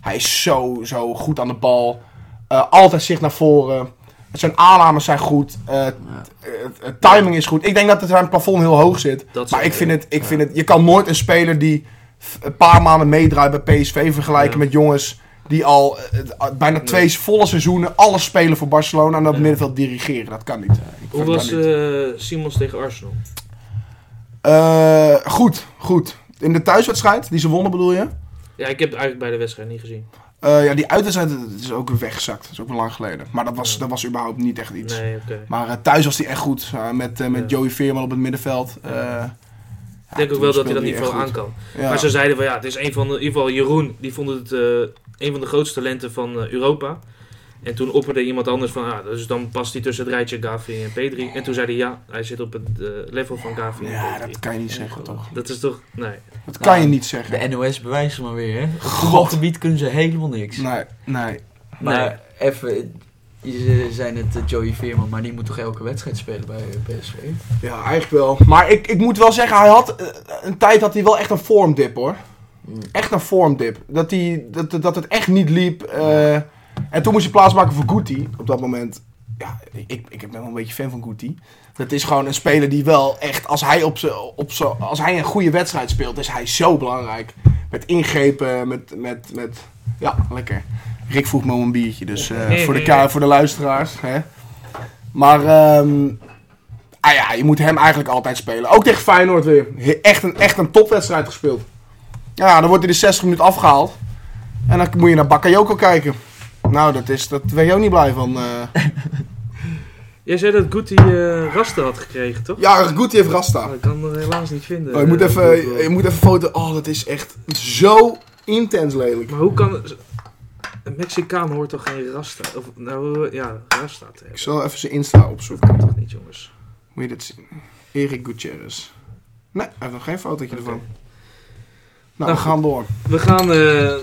C: hij is zo, zo goed aan de bal. Eh, altijd zicht naar voren. Zijn aannames zijn goed. Eh, t- eh, eh, timing is goed. Ik denk dat het zijn plafond heel hoog zit.
B: Dat is
C: maar ik
B: wel-
C: vind, het, ik vind het... Je kan nooit een speler die f- een paar maanden meedraait bij PSV vergelijken
B: Ja.
C: met jongens... Die al eh, het- eh, bijna
B: Nee.
C: twee volle seizoenen alles spelen voor Barcelona en dat
B: Ja.
C: middenveld dirigeren. Dat kan niet. Ik
B: Hoe
C: vind
B: was
C: dat niet.
B: eh, Simons tegen Arsenal?
C: Eh, goed, goed. In de thuiswedstrijd die ze wonnen bedoel je?
B: Ja, ik heb het eigenlijk bij de wedstrijd niet gezien.
C: Eh, ja, die uitwedstrijd dat is ook weggezakt. Dat is ook wel lang geleden. Maar dat was,
B: Ja.
C: dat was überhaupt niet echt iets.
B: Nee, oké.
C: Maar eh, thuis was hij echt goed. eh, met eh, met
B: Ja.
C: Joey Veerman op het middenveld. Eh, ja,
B: Ik denk
C: toen
B: ook wel dat
C: speelde
B: hij dat
C: echt
B: niveau
C: goed.
B: aan kan.
C: Ja.
B: Maar ze zeiden van ja, het is een van de, in ieder geval Jeroen, die vond het eh, een van de grootste talenten van eh, Europa. En toen opperde iemand anders van, ah, dus dan past hij tussen het rijtje Gavi en Pedri. En toen zei hij ja, hij zit op het eh, level van Gavi en
C: ja,
B: Pedri.
C: dat kan je niet zeggen toch?
B: Dat is toch, nee.
C: Dat kan
D: Nou,
C: je niet zeggen.
D: De NOS bewijst het maar weer, hè. Op voetbalgebied kunnen ze helemaal niks.
C: Nee, nee.
D: Maar even, je zijn het eh, Joey Veerman, maar die moet toch elke wedstrijd spelen bij eh, PSV?
C: Ja, eigenlijk wel. Maar ik, ik moet wel zeggen, hij had eh, een tijd had hij wel echt een vormdip hoor.
D: Mm.
C: Echt een vormdip. Dat, hij, dat, dat het echt niet liep. eh, en toen moest je plaatsmaken voor Guti op dat moment. Ja, ik, ik ben wel een beetje fan van Guti. Dat is gewoon een speler die wel echt, als hij, op z'n- op z'n- als hij een goede wedstrijd speelt, is hij zo belangrijk. Met ingrepen, met, met, met ja, lekker. Rick vroeg me om een biertje, dus eh,
B: Nee,
C: voor, de
B: nee,
C: ka-
B: nee.
C: voor de luisteraars. Hè. Maar ehm, ah ja, je moet hem eigenlijk altijd spelen. Ook tegen Feyenoord weer. He- Echt een, echt een topwedstrijd gespeeld. Ja, dan wordt hij de 60 minuten afgehaald. En dan moet je naar Bakayoko kijken. Nou, dat is, dat ben je ook niet blij van. eh.
B: Jij zei dat Guti eh rasten had gekregen, toch?
C: Ja, Guti heeft Rasta.
B: Maar ik kan hem helaas niet vinden.
C: Oh, je, moet
B: eh,
C: even,
B: op Google.
C: je moet even foto... Oh, dat is echt zo intens lelijk.
B: Maar hoe kan... Een Mexicaan hoort toch geen rasta? Of, nou, ja, rasta te
C: Ik
B: hebben.
C: zal even zijn Insta
B: Dat
C: opzoeken.
B: kan toch niet, jongens?
C: Moet je dit zien? Erik Gutierrez. Nee, hij heeft nog geen fotootje
B: Oké.
C: ervan. Nou,
B: Nou,
C: we gaan door.
B: We gaan eh,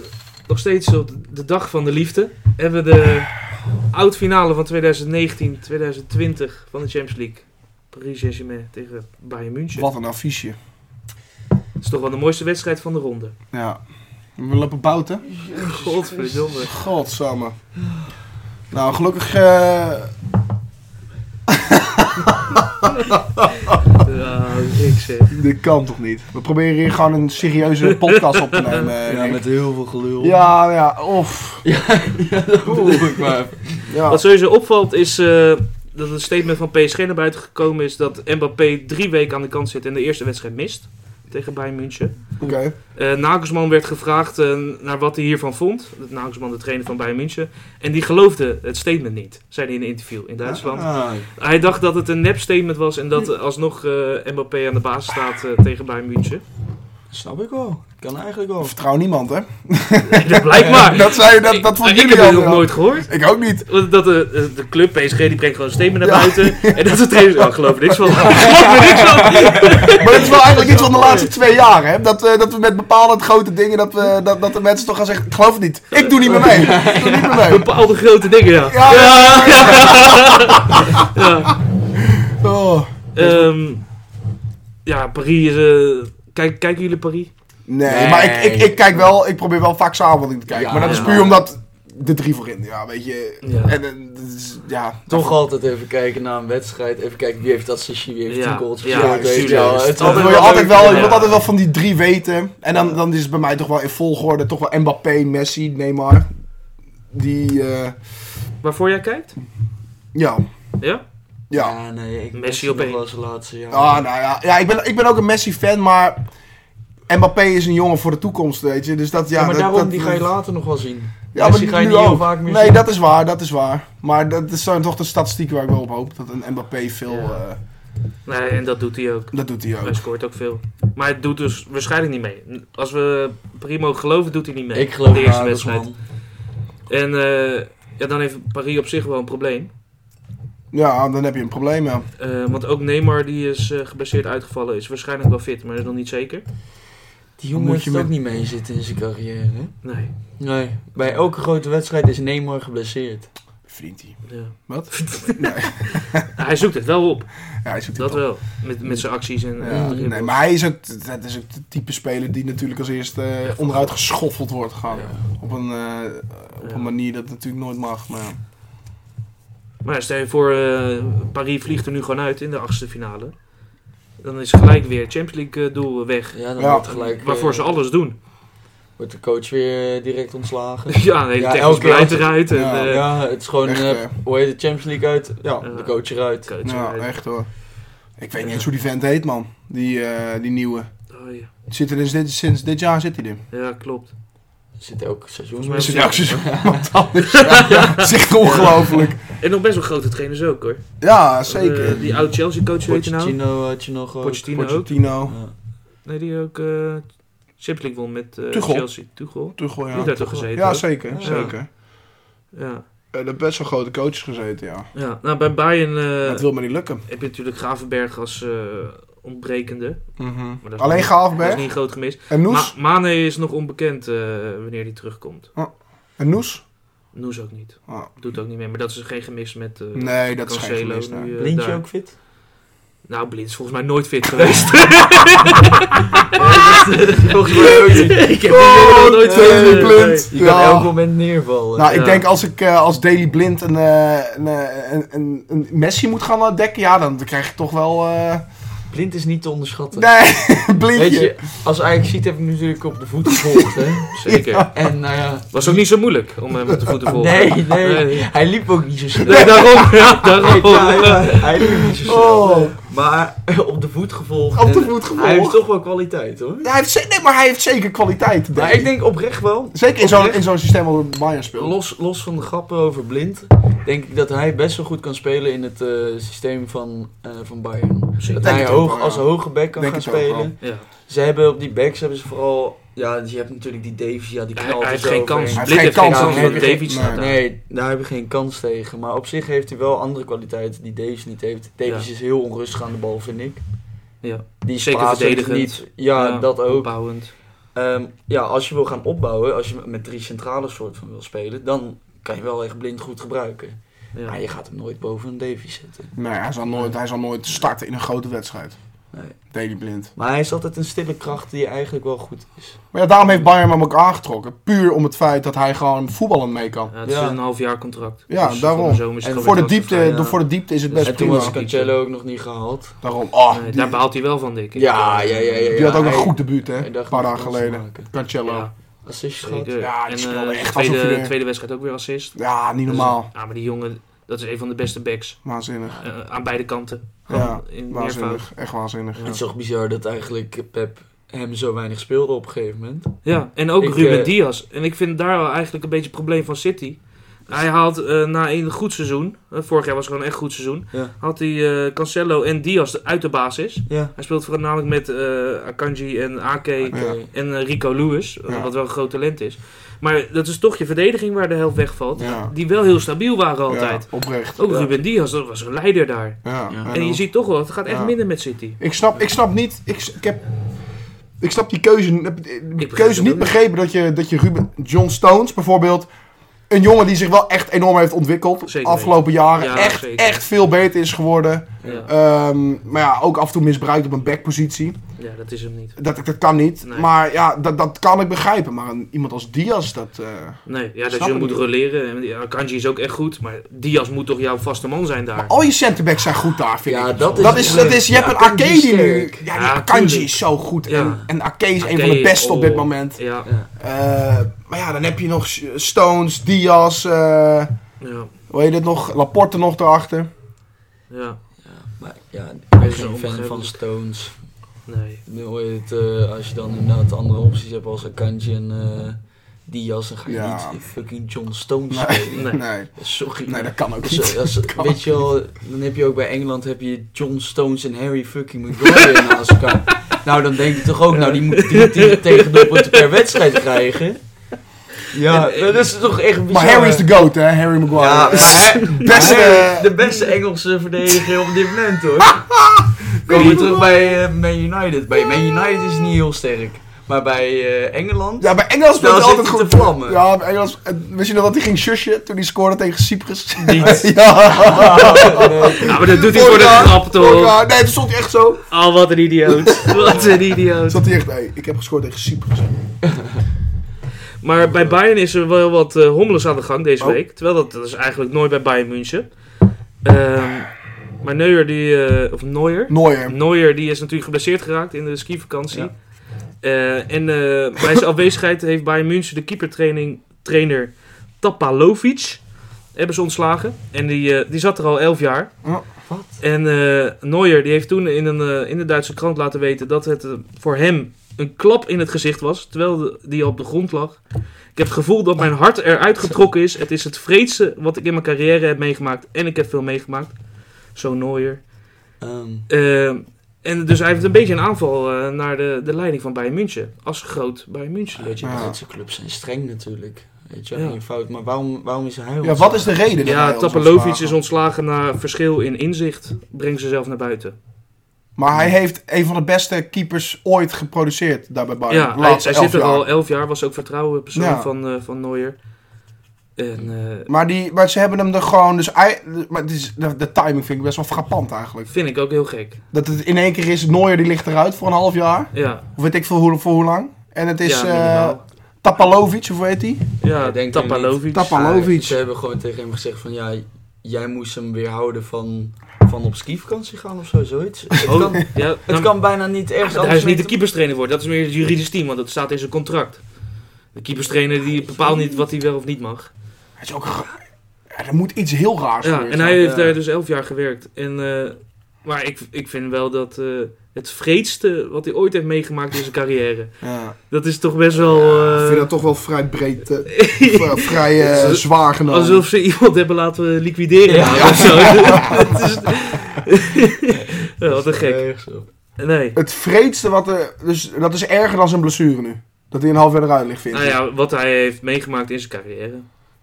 B: nog steeds op de dag van de liefde. Hebben we de oud-finale van 2019-2020 van de Champions League. Paris Saint-Germain tegen Bayern München.
C: Wat een affiche.
B: Dat is toch wel de mooiste wedstrijd van de ronde.
C: Ja. We lopen bouten.
B: Godverdomme.
C: Godsamme. Nou, gelukkig... eh,
B: Ja, ik zeg.
C: dit kan toch niet? We proberen hier gewoon een serieuze podcast op te nemen. eh, Erik.
D: heel veel gelul.
C: Ja, ja, of...
D: Ja, dat bedoel ik maar.
C: Ja.
B: Wat sowieso opvalt is eh, dat het statement van PSG naar buiten gekomen is dat Mbappé drie weken aan de kant zit en de eerste wedstrijd mist tegen Bayern München.
C: Oké.
B: Eh, Nagelsman werd gevraagd eh, naar wat hij hiervan vond. Dat Nagelsman, de trainer van Bayern München. En die geloofde het statement niet, zei hij in een interview in Duitsland.
D: Ah,
B: Hij dacht dat het een nep statement was en dat eh, alsnog eh Mbappé aan de basis staat eh, tegen Bayern München.
D: Snap ik wel. Kan eigenlijk wel.
C: Vertrouw niemand, hè?
B: dat blijkbaar.
C: Dat, zei, dat,
B: Ik-
C: dat vond
B: ik
C: jullie
B: heb het
C: al.
B: nog
C: wel.
B: nooit gehoord.
C: Ik ook niet.
B: Want Dat de, de club PSG die brengt gewoon statement naar
C: Ja.
B: buiten. En dat de trainers. Oh, geloof er niks van. Geloof er niks van.
C: Maar dat is wel eigenlijk iets van de laatste twee jaar, hè? Dat, eh, dat we met bepaalde grote dingen, dat, we, dat, dat de mensen toch gaan zeggen, ik geloof het niet. Ik doe niet meer mee. Ik doe niet meer mee.
B: Bepaalde grote dingen, ja.
C: Ja, ja,
B: ja. ja.
C: Oh.
B: Ehm, ja, Paris is... eh, kijk, kijken jullie Paris?
C: Nee,
D: Nee.
C: maar ik, ik, ik kijk wel, ik probeer wel vaak samenvatting te kijken.
D: Ja,
C: maar dat is
B: ja.
C: puur omdat de drie voorin, ja, weet je.
B: Ja.
C: En, eh, dat is- ja.
D: Toch altijd even kijken naar een wedstrijd. Even kijken wie heeft dat sessie, wie heeft
B: Ja.
D: die goals
B: Ja,
D: gescoord. weet je
B: tuurlijk.
D: wel. Het is
B: Dat
C: Dat wil
D: altijd
C: je
D: wel
C: altijd
D: leuk.
C: wel, je
B: ja.
C: wilt altijd wel van die drie weten. En dan, dan is het bij mij toch wel in volgorde toch wel Mbappé, Messi, Neymar. Die, eh,
B: Waarvoor jij kijkt?
C: ja,
B: Ja?
C: ja.
D: Ja, nee, ik
B: Messi
D: Messi
B: op
D: op nog
B: één.
D: wel zijn laatste jaar.
C: Ah, nou ja, ja ik, ben, ik ben ook een Messi-fan, maar Mbappé is een jongen voor de toekomst, weet je. Dus dat, ja,
D: ja, maar
C: dat-
D: daarom,
C: dat-
D: die ga je later nog wel zien.
C: Ja,
D: Messi
C: maar
D: ga je
C: nu
D: niet heel
C: ook.
D: vaak meer
C: Nee,
D: zien.
C: dat is waar, dat is waar. Maar dat is dan toch de statistieken waar ik wel op hoop. Dat een Mbappé veel,
B: Ja.
C: eh,
B: Nee, en dat doet hij ook.
C: dat doet hij ook.
B: Hij scoort ook veel. Maar het doet dus waarschijnlijk niet mee. Als we Primo geloven, doet hij niet mee.
D: Ik geloof
B: De
D: de
B: eerste wedstrijd. En eh, ja, dan heeft Paris op zich wel een probleem.
C: Ja, dan heb je een probleem, ja.
B: Eh, want ook Neymar, die is eh, geblesseerd uitgevallen, is waarschijnlijk wel fit, maar is nog niet zeker.
D: Die
C: Moet
D: jongen heeft
C: je
D: er
C: met-
D: ook niet mee zitten in zijn carrière. hè?
B: Nee.
D: Nee, bij elke grote wedstrijd is Neymar geblesseerd.
C: Vriendie.
B: Ja.
C: Wat?
B: Hij zoekt het wel op,
C: Ja, hij zoekt
B: dat
C: het op.
B: wel. Met, met zijn acties en...
C: Ja,
B: en dribbels.
C: nee, maar hij is ook, dat is ook de type speler die natuurlijk als eerste eh, onderuit geschoffeld wordt gegaan. Op, een, eh, op
B: Ja.
C: een manier dat natuurlijk nooit mag, maar ja.
B: Maar stel je voor, eh, Paris vliegt er nu gewoon uit in de achtste finale. Dan is gelijk weer Champions League eh, doel weg.
D: Ja, dan
C: Ja.
D: wordt gelijk... eh,
B: Waarvoor ze alles doen.
D: Wordt de coach weer eh, direct ontslagen.
B: Ja, nee,
D: Ja,
B: de technisch
D: elke
B: beleid
D: keer.
B: eruit. En,
C: Ja,
B: eh,
D: ja, het is gewoon...
C: Echt,
D: eh,
C: eh.
D: hoe heet het? Champions League uit? Ja,
B: Ja.
D: de coach eruit.
B: coach Eh,
C: Ja,
B: eruit.
C: Nou, echt hoor. Ik weet niet eens hoe die vent heet, man. Die, eh, die nieuwe.
B: Oh, ja.
C: Zit er dus dit, sinds dit jaar zit hij er.
B: ja, klopt.
D: Zit elk seizoen
B: Volgens
C: Is
D: mee.
C: het elk seizoen wat anders? Ja, ja, dat is echt ongelooflijk.
B: En nog best wel grote trainers ook hoor.
C: Ja, zeker.
B: Eh, die oud Chelsea coach, weet je nou?
D: Pochettino eh, had je nog... ook.
B: Pochettino ook.
C: Pochettino.
D: Ja.
B: Nee, die ook eh Champions League won met eh,
C: Tuchel.
B: Chelsea. Tuchel.
C: Tuchel,
B: die
C: ja.
B: daar toch gezeten?
C: Ja,
B: ook?
C: zeker.
D: Ja.
C: zeker.
B: Ja.
C: Eh, er best wel grote coaches gezeten, ja.
B: ja. Nou, bij Bayern eh,
C: dat wil maar niet lukken.
B: heb je natuurlijk Gravenberg als eh, ontbrekende. Maar dat is niet-
C: Alleen
B: Dat is
C: Gaafberg
B: niet groot gemist.
C: en Noes.
B: Ma Mane is nog onbekend eh, wanneer die terugkomt.
C: En Noes?
B: Noes ook niet.
C: Ah,
B: Doet ook niet meer. Maar dat is geen gemis met eh
C: nee, dat is geen
B: Cancelo.
C: verlies. nee.
B: nu, eh,
D: Lintje
B: daar.
D: ook fit?
B: Nou, Blind is volgens mij nooit fit geweest.
D: Volgens mij ook niet.
B: ik heb oh, nog nooit
C: Daily
B: gezien.
C: Blind.
D: Je kan
C: Ja.
D: elk moment neervallen.
C: Nou, ik
B: Ja.
C: denk als ik eh, als Daily Blind een, eh, een, eh, een, een, een Messi moet gaan eh, dekken, ja, dan krijg ik toch wel... eh,
D: Blind is niet te onderschatten.
C: Nee,
D: Weet
C: Blindje.
D: je, als Ajax ziet heb ik hem natuurlijk op de voet gevolgd, hè.
B: Nee, Zeker.
D: En nou ja...
B: Was ook niet zo moeilijk om hem op de voeten te volgen.
D: Nee, nee.
B: Nee.
D: Hij liep ook niet zo snel.
B: Nee, daarom. Ja, daarom.
D: Ja, ja, hij liep niet zo snel.
C: Oh.
D: Maar eh, op de voet gevolgd.
C: Op de
D: en
C: voet gevolgd.
D: Hij heeft toch wel kwaliteit, hoor.
C: Ja, hij heeft, ze- nee, maar hij heeft zeker kwaliteit.
D: Maar ik denk oprecht wel...
C: zeker in zo'n in zo'n systeem waar Bayern speelt.
D: Los, los van de grappen over Blind, denk ik dat hij best wel goed kan spelen in het eh, systeem van, eh, van Bayern.
B: Zeker.
D: Dat
C: Denk
D: hij
C: het ook
D: hoog,
C: wel, ja.
D: als hoge back kan
C: Denk
D: gaan
C: het ook wel.
D: spelen.
B: Ja.
D: Ze hebben op die backs hebben ze vooral. Ja, dus je hebt natuurlijk die Davies, ja, die
B: Hij, hij
D: knalt er
B: heeft
D: zo
B: geen kans.
D: overheen.
C: Hij
B: Blind
C: heeft geen
B: heeft geen
C: kans,
B: kans.
D: hij heeft
B: want
D: geen-
B: Davies staat daar.
D: Nee, daar hebben we geen kans tegen. Maar op zich heeft hij wel andere kwaliteiten die Davies niet heeft. Davies is heel onrustig aan de bal, vind ik.
B: Ja.
D: Die is
B: Zeker
D: pasend
B: verdedigend.
D: Niet. Ja, dat ook.
B: Opbouwend.
D: Ehm, ja, als je wil gaan opbouwen, als je met drie centrale soort van wil spelen, dan kan je wel echt blind goed gebruiken.
B: Ja.
D: Maar je gaat hem nooit boven een Davies zetten.
C: Nee, hij zal, nooit, hij zal nooit starten in een grote wedstrijd.
D: Nee.
C: Daily Blind.
D: Maar hij is altijd een stille kracht die eigenlijk wel goed is.
C: Maar ja, daarom heeft Bayern hem ook aangetrokken. Puur om het feit dat hij gewoon voetballend mee kan.
B: Ja, het is
D: Ja.
B: een half jaar contract. Dus
C: Ja, daarom.
B: Voor de, zomer is
D: En
B: het
C: Voor
B: gewoon
C: de,
B: weer
C: diepte,
B: transfervrij.
C: de- voor de diepte is het best
D: en toen
C: prima.
D: was Cancelo ook nog niet gehaald.
C: Daarom. Oh,
B: Nee,
C: die,
B: daar baalt hij wel van, denk ik.
D: Ja, ja, ja, ja.
C: die had ook een
D: Hij-
C: goed debuut, hè?
D: hij
C: Een
D: dacht
C: paar
D: nog
C: dagen
D: kans te
C: geleden.
D: maken.
C: Cancelo. Ja,
B: Ja,
D: Assist gehad.
B: zeker.
C: Ja, die
B: en
C: speelde
B: eh,
C: echt alsof hij
B: tweede,
C: er-
B: tweede wedstrijd ook weer assist.
C: niet normaal.
B: Dus, ja, maar die jongen, dat is een van de beste backs.
C: Waanzinnig.
B: Eh, aan beide kanten.
C: Ja,
B: Gewoon in meervoud.
C: waanzinnig. Echt waanzinnig.
D: Het is
C: Ja.
D: toch bizar dat eigenlijk Pep hem zo weinig speelde op een gegeven moment.
B: Ja, en ook
D: Ik,
B: Ruben
D: eh,
B: Diaz. En ik vind daar wel eigenlijk een beetje het probleem van City. Hij haalt eh, na een goed seizoen, eh, vorig jaar was het gewoon een echt goed seizoen,
D: Ja.
B: had hij eh, Cancelo en Diaz uit de basis.
D: Ja.
B: Hij speelt voornamelijk met eh, Akanji en Ake
C: Ja.
B: en eh, Rico Lewis, eh,
C: Ja.
B: wat wel een groot talent is. Maar dat is toch je verdediging waar de helft wegvalt,
C: Ja.
B: die wel heel stabiel waren altijd.
C: Ja, oprecht.
B: Ook
D: Ja.
B: Ruben Diaz, dat was een leider daar.
C: Ja.
D: Ja.
B: En je ziet toch wel, het gaat echt
C: Ja.
B: minder met City.
C: Ik snap, ik snap niet. Ik, s- ik heb. Ik snap die keuze, heb- de
B: begrijp het
C: keuze
B: ook
C: niet
B: niet.
C: begrepen dat je, dat je Ruben John Stones bijvoorbeeld. Een jongen die zich wel echt enorm heeft ontwikkeld.
B: Zeker
C: afgelopen jaren.
B: Ja,
C: echt,
B: zeker.
C: echt veel beter is geworden.
B: Ja.
C: Ehm, maar ja, ook af en toe misbruikt op een backpositie.
B: ja, dat is hem niet.
C: Dat, dat kan niet.
B: Nee.
C: Maar ja, dat, dat kan ik begrijpen. Maar een- iemand als Diaz, dat. eh,
B: Nee, ja, dat
C: Snap
B: je
C: ik
B: moet
C: niet.
B: roleren. En die Akanji is ook echt goed, maar Diaz moet toch jouw vaste man zijn daar.
C: al je centerbacks zijn goed daar, vind
D: Ja,
C: ik.
D: dat is-
C: dat is, dat is je
D: Ja,
C: hebt een
D: Akanji is
C: Arcadie nu.
D: sterk.
C: Ja, die
B: Ja,
C: Akanji
B: tuurlijk.
C: is zo goed.
B: Ja.
C: En, en Arcade is een
B: Ake,
C: van de beste op dit
B: oh.
C: moment.
B: Ja,
C: Eh, maar ja, dan heb je nog S- Stones, Diaz, eh
B: ja,
C: hoe heet het nog? Laporte nog erachter.
B: ja.
D: Maar ja, ik ben
B: is
D: geen fan
B: onbegrijpelijk.
D: van Stones.
B: Nee.
D: Nu hoor je het, eh, als je dan inderdaad andere opties hebt als Akanji en eh Diaz, dan ga je
C: Ja.
D: niet fucking John Stones
C: Nee.
D: spelen.
B: Nee.
C: Nee.
D: Sorry.
C: nee, dat kan ook
D: Zo,
C: niet.
D: als-
C: kan
D: weet je wel, dan heb je ook bij Engeland heb je John Stones en Harry fucking Maguire naast elkaar. Nou, dan denk je toch ook, nou die moet drie tegen tegendoelpunten per wedstrijd krijgen. Ja,
B: En, eh,
D: dat is toch echt bizar.
C: Maar Harry is de goat, hè? Harry Maguire.
D: Ja,
C: Eh, hè? beste...
D: Harry, de beste Engelse verdediger op dit moment hoor. Komen we terug bij eh, Man United. Bij Man United is het niet heel sterk. Maar bij eh, Engeland...
C: Ja, bij Engeland speelt
D: Dan
C: hij altijd
D: zit hij
C: goed.
D: te vlammen.
C: Ja, bij Engeland... eh, Wist je nog dat hij ging shushen toen hij scoorde tegen Cyprus?
D: Niet.
C: ja.
B: Ja, maar dat doet hij voor de
C: Vorig jaar,
B: grap
C: vorig
B: toch?
C: jaar. Nee, toen stond hij echt zo.
B: Oh, wat een idioot. Wat een idioot.
C: Zat hij echt... Hey, ik heb gescoord tegen Cyprus.
B: Maar bij Bayern is er wel wat eh hommeles aan de gang deze
C: Oh.
B: week. Terwijl dat, dat is eigenlijk nooit bij Bayern München. Ehm, maar Neuer die... eh, of Neuer?
C: Neuer.
B: Neuer die is natuurlijk geblesseerd geraakt in de skivakantie.
D: Ja.
B: Eh, en eh, bij zijn afwezigheid heeft Bayern München de keepertraining trainer Tapalovic hebben ze ontslagen. En die, eh, die zat er al 11 jaar.
C: Ja.
D: Wat?
B: En eh, Neuer die heeft toen in, een, eh, in de Duitse krant laten weten dat het eh, voor hem een klap in het gezicht was, terwijl de- die al op de grond lag. Ik heb het gevoel dat mijn hart eruit getrokken is. Het is het vreedste wat ik in mijn carrière heb meegemaakt. En ik heb veel meegemaakt. Zo Neuer.
D: Ehm,
B: Eh, en dus hij heeft een beetje een aanval eh, naar de, de leiding van Bayern München. Als groot Bayern München.
D: weet je,
C: Ja.
D: Duitse clubs zijn streng natuurlijk. Weet je,
B: Ja.
D: geen fout. Maar waarom, waarom is hij
C: Ja, wat is de reden? dat hij
B: Ja,
C: ons
B: Tapalovic
C: ontslagen?
B: is ontslagen na verschil in inzicht. Brengt ze zelf naar buiten.
C: Maar hij heeft een van de beste keepers ooit geproduceerd daar bij Bayern.
B: ja,
C: De
B: hij,
C: laatste
B: hij zit
C: elf
B: er
C: jaar.
B: al elf jaar. Was ook vertrouwen persoon
C: Ja.
B: van, eh, van Neuer. En, eh,
C: Maar, die, maar ze hebben hem er gewoon... Dus hij, maar het is, de, de timing vind ik best wel frappant eigenlijk.
B: vind ik ook heel gek.
C: Dat het in één keer is... Neuer die ligt eruit voor een half jaar.
B: Ja,
C: Of weet ik veel hoe, voor hoe lang. En het
B: ja,
C: is eh,
B: minimaal.
C: Tapalovic, of hoe heet die?
B: ja
D: Ik denk er
B: Tapalovic.
C: Tapa- Pavlovic.
D: Ze hebben gewoon tegen hem gezegd van ja, jij moest hem weerhouden van, van op skivakantie gaan of zo, zoiets. Het
B: Oh,
D: kan,
B: ja,
D: het
B: nou,
D: kan bijna niet ergens
B: hij
D: anders
B: is niet de
D: mee te-
B: keeperstrainer voor. Dat is meer het juridisch team, want dat staat in zijn contract. De keeperstrainer die bepaalt niet wat hij wel of niet mag.
C: Hij is ook... een ge- Ja, er moet iets heel raars
B: Ja,
C: gebeuren.
B: en hij
D: ja.
B: heeft daar dus elf jaar gewerkt. En, eh, maar ik, ik vind wel dat eh, het vreedste wat hij ooit heeft meegemaakt in zijn carrière.
C: Ja.
B: Dat is toch best wel. eh,
C: Ik vind dat toch wel vrij breed... eh, v- vrij eh,
B: Het is-
C: zwaar genomen.
B: alsof ze iemand hebben laten liquideren.
D: Ja.
B: of zo. Het is, Ja, wat een gek.
D: Ergens op.
B: Nee.
C: Het vreedste wat er... Dus dat is erger dan zijn blessure nu. Dat hij een half jaar eruit ligt, vind
B: Nou
C: ik.
B: ja, wat hij heeft meegemaakt in zijn carrière.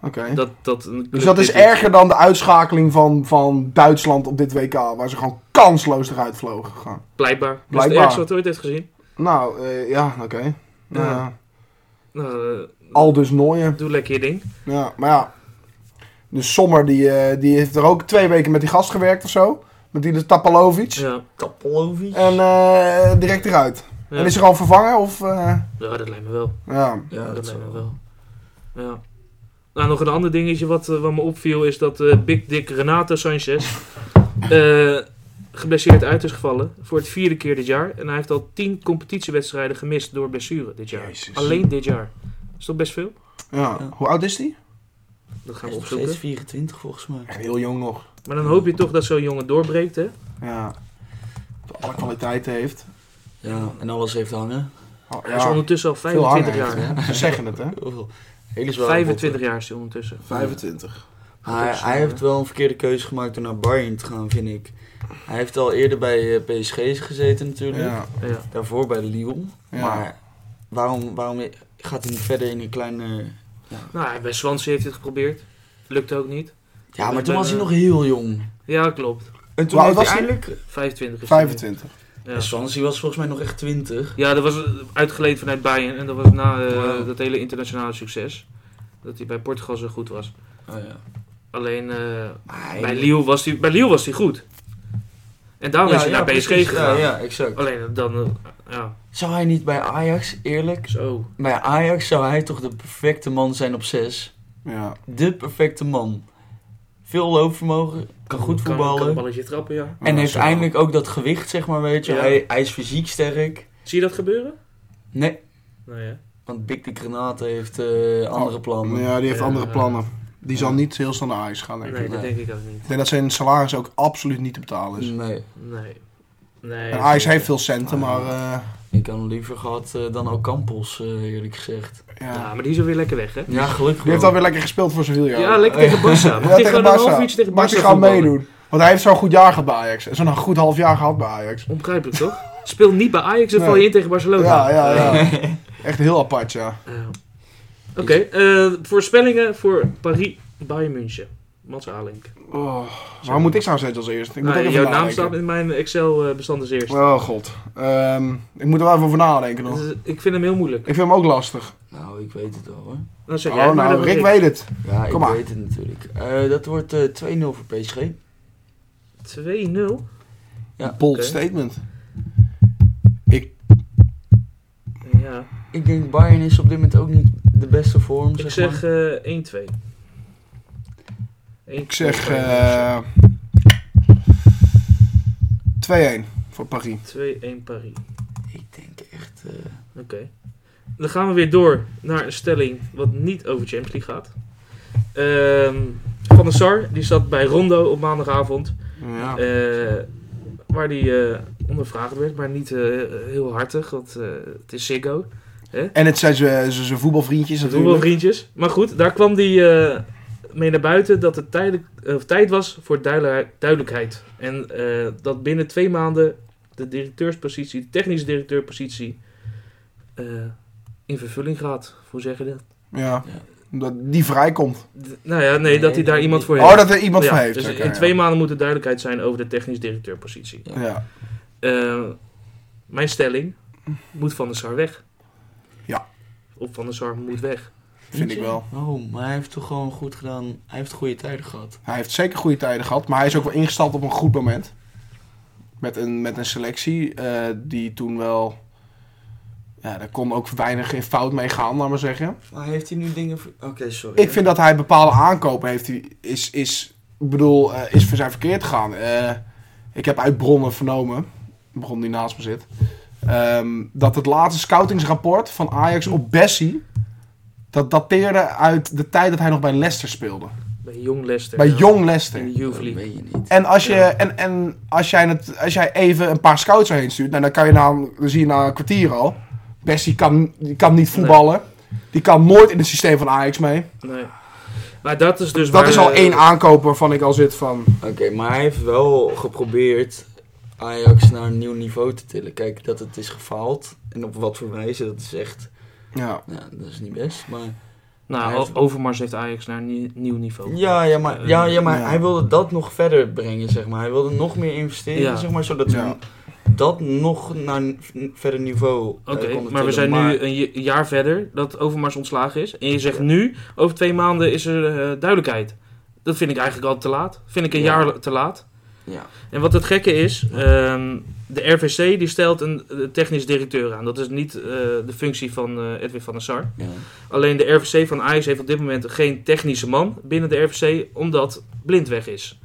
C: Oké.
B: Dat, dat een club
C: Dus dat is
B: dit doet.
C: erger dan de uitschakeling van, van Duitsland op dit WK, waar ze gewoon kansloos eruit vlogen. Gewoon.
B: Blijkbaar. Dat is het
C: Blijkbaar.
B: ergste wat hij ooit heeft gezien.
C: Nou, eh, ja, oké. Nou,
B: Ja.
C: ja.
B: Nou, eh,
C: al dus Nooien.
B: doe lekker je ding.
C: Ja, maar ja. Dus Sommer, die, eh, die heeft er ook twee weken met die gast gewerkt of zo. Met die de Tapalovic.
B: Ja.
D: Tapalovic.
C: En eh, direct eruit.
B: Ja.
C: En is er al vervangen of... eh,
B: ja, dat lijkt me wel.
C: ja.
D: ja,
B: dat
D: dat
B: lijkt me
D: zou wel.
B: wel. Ja. Nou, nog een ander dingetje wat, eh, wat me opviel is dat eh, Big Dick Renato Sanchez eh, geblesseerd uit is gevallen voor het vierde keer dit jaar. En hij heeft al tien competitiewedstrijden gemist door blessure dit jaar.
C: Jezus.
B: Alleen dit jaar. Is toch best veel?
C: ja.
D: Ja.
C: Hoe oud is die?
B: Dat gaan
D: Hij
B: we
D: is nog
B: opzoeken.
D: steeds 24 volgens mij.
C: Echt heel jong nog.
B: Maar dan hoop je toch dat zo'n jongen doorbreekt, hè?
C: Ja. Dat alle kwaliteiten heeft.
D: Ja, en alles heeft hangen.
C: Oh,
B: Hij is
C: ja.
B: ondertussen al
C: Veel hangen
B: 25 jaar.
C: heeft, hè. Ze zeggen het, hè.
D: Heel veel. Hele zware
B: 25 jaar is hij ondertussen.
C: 25.
D: botten. Hij, hij heeft wel een verkeerde keuze gemaakt door naar Bayern te gaan, vind ik. Hij heeft al eerder bij eh, PSG gezeten natuurlijk.
C: Ja.
B: Ja.
D: Daarvoor bij Lyon.
C: Ja.
D: Maar waarom, waarom gaat hij niet verder in een kleine...
B: Nou, bij Swansea heeft hij het geprobeerd. Lukte ook niet.
D: Ja, maar
B: Ik
D: toen
B: ben,
D: was hij
B: eh,
D: nog heel jong.
B: Ja, klopt.
D: En toen
C: Hoe oud
D: heeft hij
C: was hij?
D: eindelijk...
B: 25 is hij nu.
C: 25.
B: Ja.
D: En Swansea was volgens mij nog echt 20.
B: Ja, dat was uitgeleend vanuit Bayern. En dat was na eh,
D: Wow.
B: dat hele internationale succes. Dat hij bij Portugal zo goed was.
D: Oh,
B: Alleen eh,
D: Hij-
B: bij Lille was hij, bij Lille was hij goed. En daarom
D: Ja,
B: is hij
D: ja,
B: naar PSG
D: precies.
B: gegaan.
D: Ja, ja, exact.
B: Alleen dan, eh, ja,
D: Zou hij niet bij Ajax, eerlijk?
B: zo.
D: Bij Ajax zou hij toch de perfecte man zijn op 6.
C: Ja.
D: De perfecte man. Veel loopvermogen, kan goed voetballen.
B: Kan een balletje trappen, ja.
D: en heeft
C: Ja.
D: eindelijk ook dat gewicht, zeg maar, weet je.
B: Ja.
D: Hij, hij is fysiek sterk.
B: Zie je dat gebeuren?
D: Nee,
B: Nou ja.
D: want Big de Granate heeft eh, andere plannen.
C: Ja, die heeft
B: Ja.
C: andere plannen. Die zal niet heel snel naar Ajax gaan, denk ik.
B: Nee, dat
D: nee.
B: denk ik ook niet.
C: Ik denk dat zijn salaris ook absoluut niet te betalen is.
D: Nee,
B: Nee. Nee.
C: En Ajax heeft veel centen, maar eh,
D: ik had hem liever gehad eh, dan Ocampos, eh eerlijk gezegd.
C: ja.
B: Ja, maar die is alweer lekker weg, hè?
D: Ja, gelukkig
C: Die heeft alweer lekker gespeeld voor Sevilla.
B: Ja, lekker tegen Barca.
C: Ja,
B: Mag hij
C: tegen
B: gewoon een
C: Barca.
B: half uurtje tegen
C: Mag hij
B: Barca
C: gewoon
B: voetballen?
C: meedoen. Want hij heeft zo'n goed jaar gehad bij Ajax. Zo'n goed half jaar gehad bij Ajax.
B: Onbegrijpelijk, toch? Speel niet bij Ajax en
C: Nee.
B: val je in tegen Barcelona.
C: Ja, ja, ja. Echt heel apart, ja.
B: Eh, Oké, eh, voorspellingen voor Paris Bayern München. Mats Alink.
C: Oh, waar moet ik nou zetten als eerst? Ik moet
B: Nou,
C: ook even
B: jouw naam
C: nadenken.
B: staat in mijn eh, Excel-bestand als eerst.
C: Oh god. Ehm, ik moet er wel even over nadenken nog.
B: Dus, eh, ik vind hem heel moeilijk.
C: Ik vind hem ook lastig.
D: Nou, ik weet het al hoor.
B: Dan zeg jij
C: Oh,
B: maar
C: nou,
B: dan
C: Rick
B: weet
C: weet het.
D: Ja,
C: Kom
D: ik
C: maar.
D: weet het natuurlijk. Eh, dat wordt eh, 2-0 voor PSG.
B: ik. 2-0.
D: Ja,
C: Bold
B: oké.
C: statement.
B: Ja.
D: Ik denk Bayern is op dit moment ook niet de beste vorm.
B: Ik
D: zeg
B: zeg
D: maar.
B: eh 1-2.
C: Ik zeg eh, 2-1 voor Paris.
B: 2-1 Paris.
D: Ik denk echt. eh,
B: Oké. Dan gaan we weer door naar een stelling wat niet over Champions League gaat. Ehm, Van der Sar, die zat bij Rondo op maandagavond.
C: Ja.
B: eh, waar die eh, ondervraagd werd, maar niet eh, heel hartig, want eh, het is Ziggo.
C: En het zijn ze- ze- zijn voetbalvriendjes
B: Dat doen wel
C: natuurlijk.
B: vriendjes. Maar goed, daar kwam die eh, mee naar buiten dat het tijdelijk, of tijd was voor duidelijk- duidelijkheid. En eh, dat binnen twee maanden de directeurspositie, de technische directeurpositie, eh, in vervulling gaat. Hoe zeg je dat?
C: Ja. Dat die vrijkomt.
B: D- nou ja, nee, dat hij daar iemand voor heeft.
C: Oh, dat er iemand
B: Ja,
C: van heeft.
B: Dus
C: Oké,
B: in
C: ja.
B: twee maanden moet er duidelijkheid zijn over de technisch directeurpositie.
C: Ja.
B: Eh, mijn stelling moet Van der Sar weg.
C: Ja.
B: Of Van der Sar moet weg.
C: Vind ik
D: je?
C: wel.
D: Waarom? Maar hij heeft toch gewoon goed gedaan. Hij heeft goede tijden gehad.
C: Hij heeft zeker goede tijden gehad, maar hij is ook wel ingestapt op een goed moment. Met een, met een selectie eh, die toen wel... Ja, daar kon ook weinig in fout mee gaan, laat maar zeggen.
D: Maar heeft hij nu dingen. ver- Oké, sorry.
C: Ik vind dat hij bepaalde aankopen heeft. Die is, is, ik bedoel, eh, is voor zijn verkeerd gegaan. Eh, ik heb uit bronnen vernomen, een bron die naast me zit, ehm, dat het laatste scoutingsrapport van Ajax op Bessie, dat dateerde uit de tijd dat hij nog bij Leicester speelde.
B: Bij Jong Leicester.
C: Bij
B: Ja.
C: jong
B: In
C: Leicester.
B: de
D: dat
B: Youth League.
D: weet je niet.
C: En als, je,
B: Ja.
C: en, en als, jij het, als jij even een paar scouts erheen stuurt, nou, dan, kan je na, een- dan zie je na een kwartier al. Bessie kan, die kan niet voetballen. Die kan nooit in het systeem van Ajax mee.
B: Nee. Maar dat is dus
C: Dat
B: waar,
C: is al
B: eh,
C: één aankoop waarvan ik al zit van...
D: Oké, maar hij heeft wel geprobeerd Ajax naar een nieuw niveau te tillen. Kijk, dat het is gefaald. En op wat voor wijze, dat is echt.
C: Ja,
D: Nou, dat is niet best. Maar
B: Nou,
D: Hij heeft-
B: O- Overmars heeft Ajax naar een nie- nieuw niveau.
D: Ja, ja, maar,
B: eh,
D: ja, ja, maar
C: Ja.
D: hij wilde dat nog verder brengen, zeg maar. Hij wilde nog meer investeren,
B: Ja.
D: zeg maar, zodat
C: Ja.
D: we dat nog naar een v- verder niveau eh,
B: Oké,
D: konden
B: maar we zijn
D: tillen.
B: nu eh, een j- jaar verder dat Overmars ontslagen is. En je zegt nu, over twee maanden is er eh, duidelijkheid. Dat vind ik eigenlijk al te laat. Vind ik een
D: Ja.
B: jaar te laat.
D: Ja.
B: En wat het gekke is, ehm, de RVC die stelt een eh, technisch directeur aan. Dat is niet eh, de functie van eh, Edwin van der Sar.
D: Ja.
B: Alleen de RVC van Ajax heeft op dit moment geen technische man binnen de RVC, omdat Blind weg is.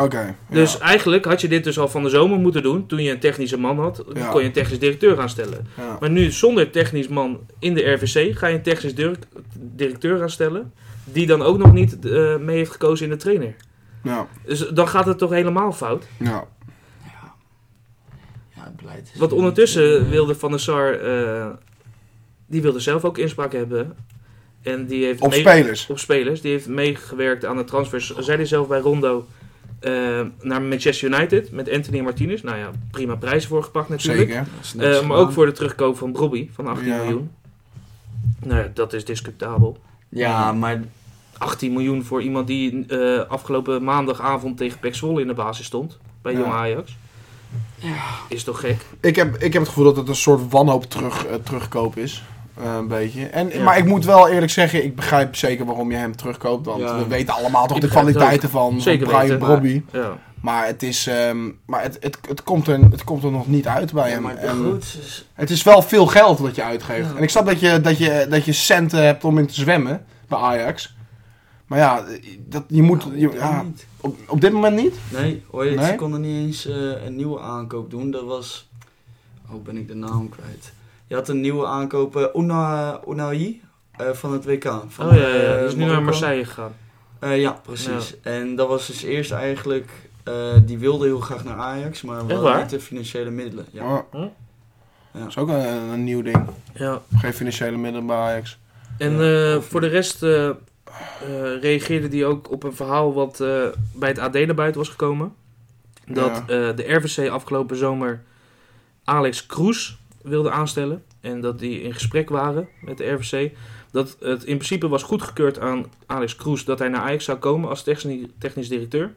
C: oké. ja.
B: Dus eigenlijk had je dit dus al van de zomer moeten doen. Toen je een technische man had,
C: Ja.
B: kon je een technisch directeur aanstellen.
C: ja.
B: Maar nu zonder technisch man in de RVC ga je een technisch dir- directeur aanstellen. Die dan ook nog niet eh, mee heeft gekozen in de trainer.
C: Ja,
B: Dus dan gaat het toch helemaal fout.
C: ja.
D: Ja, het beleid is
B: Want
D: niet,
B: Dus ondertussen
D: eh,
B: wilde Van der Sar, eh, die wilde zelf ook inspraak hebben. En die heeft
C: Op
B: mee-
C: spelers.
B: op spelers. Die heeft meegewerkt aan de transfers. Zij hij zelf bij Rondo eh, naar Manchester United met Anthony Martinez. Nou ja, prima prijs voor gepakt natuurlijk.
C: Zeker.
B: Eh, maar ook voor de terugkoop van Bobby van 18
C: Ja.
B: miljoen. Nou ja, dat is discutabel.
D: Ja, maar
B: 18 miljoen voor iemand die eh, afgelopen maandagavond tegen Pek Zwolle in de basis stond. Bij
C: Ja.
B: Jong Ajax. Is toch gek?
C: Ik heb, ik heb het gevoel dat het een soort wanhoop terug, eh, terugkoop is. Eh, een beetje. En,
B: Ja.
C: Maar ik moet wel eerlijk zeggen, ik begrijp zeker waarom je hem terugkoopt. Want
D: Ja.
C: we weten allemaal toch
B: Ik
C: de
B: begrijp het
C: kwaliteiten van, van
B: Zeker
C: Brian
B: weten, maar-
C: Brobby.
B: Ja.
C: Maar, het, is, ehm, maar het, het, het, komt er, het komt er nog niet uit bij
D: ja,
C: hem.
D: maar de
C: En
D: groots is-
C: het is wel veel geld wat je uitgeeft.
B: Ja.
C: En ik snap dat je, dat, je, dat je centen hebt om in te zwemmen bij Ajax. Maar ja, dat, je moet,
D: Nou,
C: je-
D: ik
C: ja,
D: weet niet.
C: op, op dit moment niet.
D: Nee, hoor je,
C: Nee?
D: ze konden niet eens eh, een nieuwe aankoop doen. Dat was... Oh, ben ik de naam kwijt. Je had een nieuwe aankoop, eh, Una, Unai, eh, van het WK. Van,
B: Oh ja, ja, ja.
D: eh,
B: die is nu naar
D: Marokko.
B: Marseille gegaan.
D: Eh, ja, precies. En dat was dus eerst eigenlijk... eh, die wilde heel graag naar Ajax, maar we
B: Echt
D: hadden
B: waar?
D: niet de financiële middelen. Ja.
C: Oh,
B: Hm?
C: Dat is ook een, een nieuw ding.
B: Ja.
C: Geen financiële middelen bij Ajax.
B: En eh, voor de rest eh, eh, reageerde hij ook op een verhaal wat eh, bij het AD naar buiten was gekomen. Dat eh, de RVC afgelopen zomer Alex Kroes wilde aanstellen. En dat die in gesprek waren met de RVC. Dat het in principe was goedgekeurd aan Alex Kroes dat hij naar Ajax zou komen als techni- technisch directeur.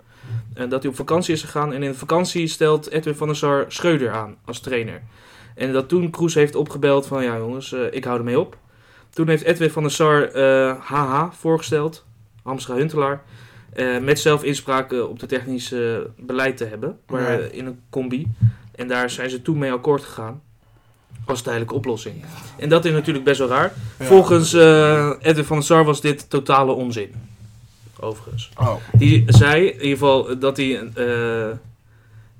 B: En dat hij op vakantie is gegaan. En in de vakantie stelt Edwin van der Sar Schreuder aan als trainer. En dat toen Kroes heeft opgebeld van ja jongens, eh, ik hou ermee op. Toen heeft Edwin van der Sar eh HH voorgesteld, Hamstra Huntelaar, eh, met zelf inspraak eh, op de technische eh, beleid te hebben, maar,
C: Ja.
B: eh, in een combi. En daar zijn ze toen mee akkoord gegaan, als tijdelijke oplossing. En dat is natuurlijk best wel raar.
C: Ja.
B: Volgens eh, Edwin van der Sar was dit totale onzin, overigens.
C: Oh.
B: Die zei in ieder geval dat hij, eh,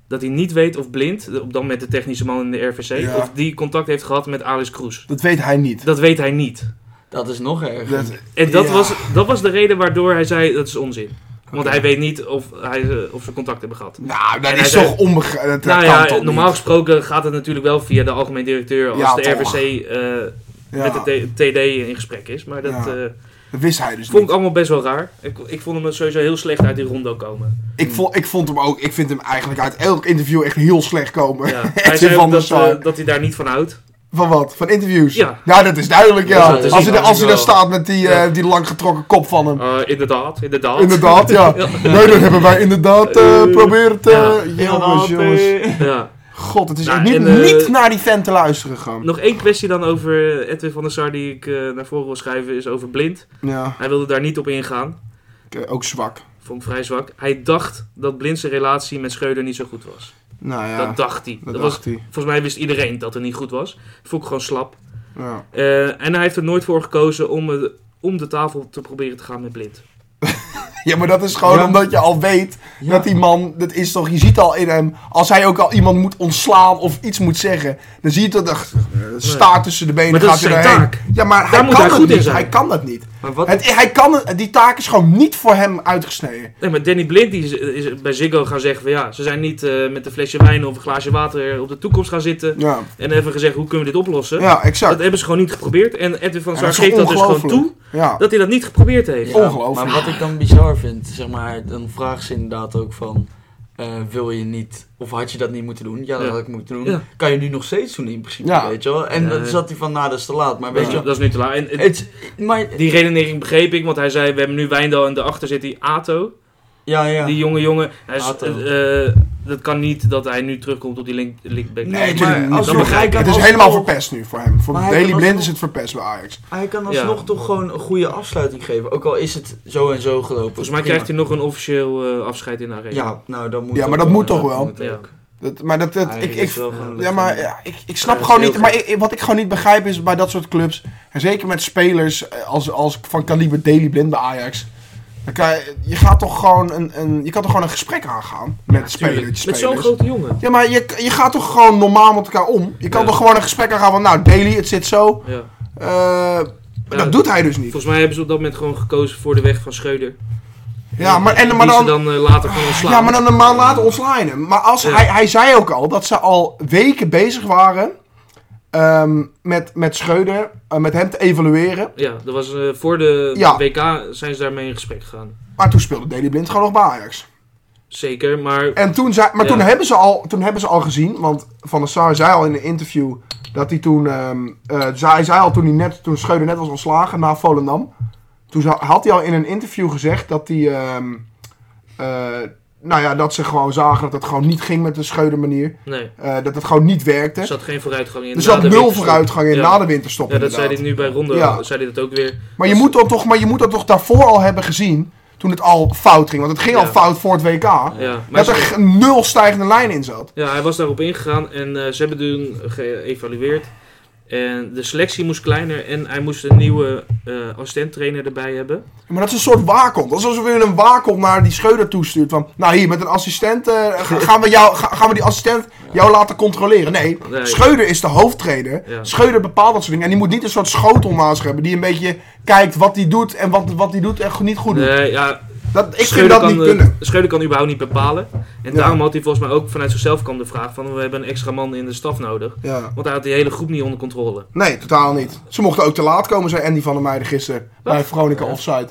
B: dat hij niet weet of Blind, op dan met de technische man in de RVC,
C: Ja.
B: of die contact heeft gehad met Alice Kroes.
C: Dat weet hij niet.
B: Dat weet hij niet.
D: Dat is nog erger.
C: Dat,
B: En dat,
C: Ja.
B: was, dat was de reden waardoor hij zei dat is onzin. Want
C: Oké.
B: hij weet niet of, hij, eh, of ze contact hebben gehad.
C: nou, dat
B: En
C: is
B: hij
C: toch onbegrijpelijk.
B: nou ja, normaal gesproken gaat het natuurlijk wel via de algemeen directeur als
C: Ja,
B: de
C: toch.
B: RVC eh, met de T- TD in gesprek is. Maar dat
C: Ja,
B: eh,
C: Dat wist hij dus
B: vond ik
C: niet.
B: allemaal best wel raar. Ik, ik vond hem sowieso heel slecht uit die rondo komen.
C: Ik vond, ik vond hem ook... Ik vind hem eigenlijk uit elk interview echt heel slecht komen.
B: Ja. Hij
C: Edwin
B: zei
C: van
B: ook
C: der
B: dat,
C: Sar.
B: eh, dat hij daar niet van houdt.
C: Van wat? Van interviews?
B: Ja.
C: Nou, dat is duidelijk, ja.
B: Ja, dat is
C: als hij, daar-
B: duidelijk
C: als hij daar
B: wel.
C: staat met die, eh
B: Ja.
C: die langgetrokken kop van hem.
B: Eh, inderdaad, inderdaad.
C: Inderdaad, ja. Nee, dat hebben wij inderdaad eh
B: Eh,
C: proberen te...
B: ja.
C: Jongens, jongens.
B: Ja.
C: God, het is
B: Nou,
C: echt niet,
B: en, eh,
C: niet naar die vent te luisteren gewoon.
B: Nog één kwestie dan over Edwin van der Sar die ik eh, naar voren wil schrijven is over Blind.
C: Ja,
B: Hij wilde daar niet op ingaan.
C: ik, eh, ook zwak.
B: Vond ik vrij zwak. Hij dacht dat Blind zijn relatie met Schreuder niet zo goed was.
C: Nou ja,
B: dat dacht hij.
C: dat
B: Dat was,
C: dacht hij.
B: volgens mij wist iedereen dat het niet goed was. Vond ik gewoon slap.
C: Ja.
B: Eh, en hij heeft er nooit voor gekozen om, eh, om de tafel te proberen te gaan met Blind.
C: Ja, maar dat is gewoon
D: Ja.
C: omdat je al weet
D: Ja.
C: dat die man, dat is toch, je ziet al in hem, als hij ook al iemand moet ontslaan of iets moet zeggen, dan zie je dat er staart tussen de benen
B: Maar dat
C: gaat
B: is
C: hij
B: zijn
C: erheen.
B: taak.
C: Ja, maar hij
B: moet
C: kan
B: hij
C: dat
B: goed in
C: niet.
B: zijn.
C: Hij kan dat niet.
D: Maar wat...
C: Het, hij kan het, die taak is gewoon niet voor hem uitgesneden.
B: Nee, maar Danny Blind die is, is bij Ziggo gaan zeggen van ja, ze zijn niet eh, met een flesje wijn of een glaasje water op de toekomst gaan zitten.
C: Ja,
B: En hebben gezegd hoe kunnen we dit oplossen.
C: ja
B: Dat
C: exact.
B: hebben ze gewoon niet geprobeerd. En Edwin van der Sar
C: Ja, dat is
B: geeft dat dus gewoon toe
C: ongelooflijk. Ja.
B: dat hij dat niet geprobeerd heeft.
C: Ja. Ongelooflijk.
D: Maar wat ik dan bizar vind, zeg maar, dan vragen ze inderdaad ook van... eh, wil je niet, of had je dat niet moeten doen? Ja, dat
B: Ja.
D: had ik moeten doen.
B: Ja.
D: Kan je nu nog steeds doen in principe,
C: Ja.
D: weet je wel? En dan
B: Nee.
D: zat hij van, nou dat is te laat, maar weet
B: Dat is-
D: je wel...
B: Dat is nu te laat. En- en-
D: Het, maar,
B: Die redenering begreep ik, want hij zei: We hebben nu Wijndal en daarachter zit die Ato.
D: ja, ja.
B: Die jonge jongen. Hij is-
D: Ato.
B: eh, eh, dat kan niet dat hij nu terugkomt op die link, linkback.
D: Nee,
C: tuurlijk
D: maar
C: niet.
D: als
B: Dan begrijp
D: hij
B: ik
D: kan
C: Het is
D: alsnog-
C: helemaal verpest nu voor hem. Voor
D: Maar hij kan
C: Daily
D: alsnog-
C: Blind is het verpest bij Ajax.
D: Hij kan alsnog
B: Ja.
D: toch gewoon een goede afsluiting geven. Ook al is het zo en zo gelopen.
B: Volgens mij krijgt hij nog een officieel eh, afscheid in de arena.
D: Ja, nou dat moet
C: Ja,
D: ook
C: maar dat moet toch wel?
D: moet
B: Ja.
D: ook.
C: Dat, maar dat, dat, ik,
D: Eigenlijk
C: ik,
D: is wel gewoon
C: ja,
D: leuk,
C: maar
D: hè?
C: ja, ik, ik snap
B: Ja,
C: gewoon
B: heel
C: niet. Maar ik- wat ik gewoon niet begrijp is bij dat soort clubs. En zeker met spelers eh, als, als van kaliber Daily Blind bij Ajax. Dan kan je, je gaat toch gewoon een, een, je kan toch gewoon een gesprek aangaan met spelers.
B: Tuurlijk. Met zo'n
C: spelers.
B: grote jongen.
C: Ja, maar je, je gaat toch gewoon normaal met elkaar om. Je kan
B: Ja.
C: toch gewoon een gesprek aangaan van, nou, Daily, het zit zo.
B: Ja.
C: Eh, maar dat
B: Ja.
C: doet hij dus niet.
B: Volgens mij hebben ze op dat moment gewoon gekozen voor de weg van Schreuder.
C: Ja, maar, en,
B: Die
C: maar
B: ze
C: dan,
B: dan eh, later gaan ontslaan.
C: ja, maar dan een maand later ontslaan je hem. Maar als,
B: Ja.
C: hij, hij zei ook al dat ze al weken bezig waren eh, ehm, met, met Schreuder, eh, met hem te evalueren.
B: Ja, dat was, eh, voor de
C: Ja.
B: WK zijn ze daarmee in gesprek gegaan.
C: Maar toen speelde Daley Blind gewoon nog bij Ajax.
B: Zeker, maar
C: En toen zei, maar
B: Ja.
C: toen, hebben ze al, toen hebben ze al gezien, want Van der Sar zei al in een interview dat hij toen, ehm eh, zei, zei al toen, hij net, toen Schreuder net was ontslagen na Volendam. Toen za- had hij al in een interview gezegd dat hij, ehm, eh, nou ja, dat ze gewoon zagen dat het gewoon niet ging met de Schreuder manier.
B: nee,
C: Eh, dat het gewoon niet werkte.
B: er zat geen vooruitgang in.
C: er
B: na
C: zat
B: de
C: nul
B: winterstop.
C: vooruitgang in
B: Ja.
C: na de winterstop.
B: Ja, dat zei hij
C: inderdaad.
B: nu bij Ronde,
C: Ja.
B: zei hij dat ook weer.
C: maar, je moet dan toch, maar je moet dat toch daarvoor al hebben gezien toen het al fout ging. Want het ging al
B: Ja.
C: fout voor het WK.
B: Ja, maar
C: dat er g- nul stijgende lijn in zat.
B: Ja, hij was daarop ingegaan en eh, ze hebben toen geëvalueerd. En de selectie moest kleiner en hij moest een nieuwe eh assistenttrainer erbij hebben.
C: Maar dat is een soort waakhond. Dat is alsof je een waakhond naar die scheuder toestuurt. Van, nou hier, met een assistent eh, ga- gaan, we jou, ga- gaan we die assistent jou laten controleren. Nee,
B: Nee.
C: Scheuder is de hoofdtrainer.
B: Ja.
C: Scheuder bepaalt dat soort dingen. En die moet niet een soort schotel naast zich hebben. Die een beetje kijkt wat hij doet en wat hij doet en niet goed doet.
B: Nee, ja,
C: Dat, ik vind
B: Schreuder
C: dat niet
B: eh,
C: kunnen.
B: Schreuder kan überhaupt niet bepalen. En
C: Ja.
B: daarom had hij volgens mij ook vanuit zichzelf kwam de vraag van we hebben een extra man in de staf nodig.
C: Ja.
B: Want hij had die hele groep niet onder controle.
C: Nee, totaal niet. Ze mochten ook te laat komen, zei Andy van der Meijden gisteren. Bij Veronica Offside.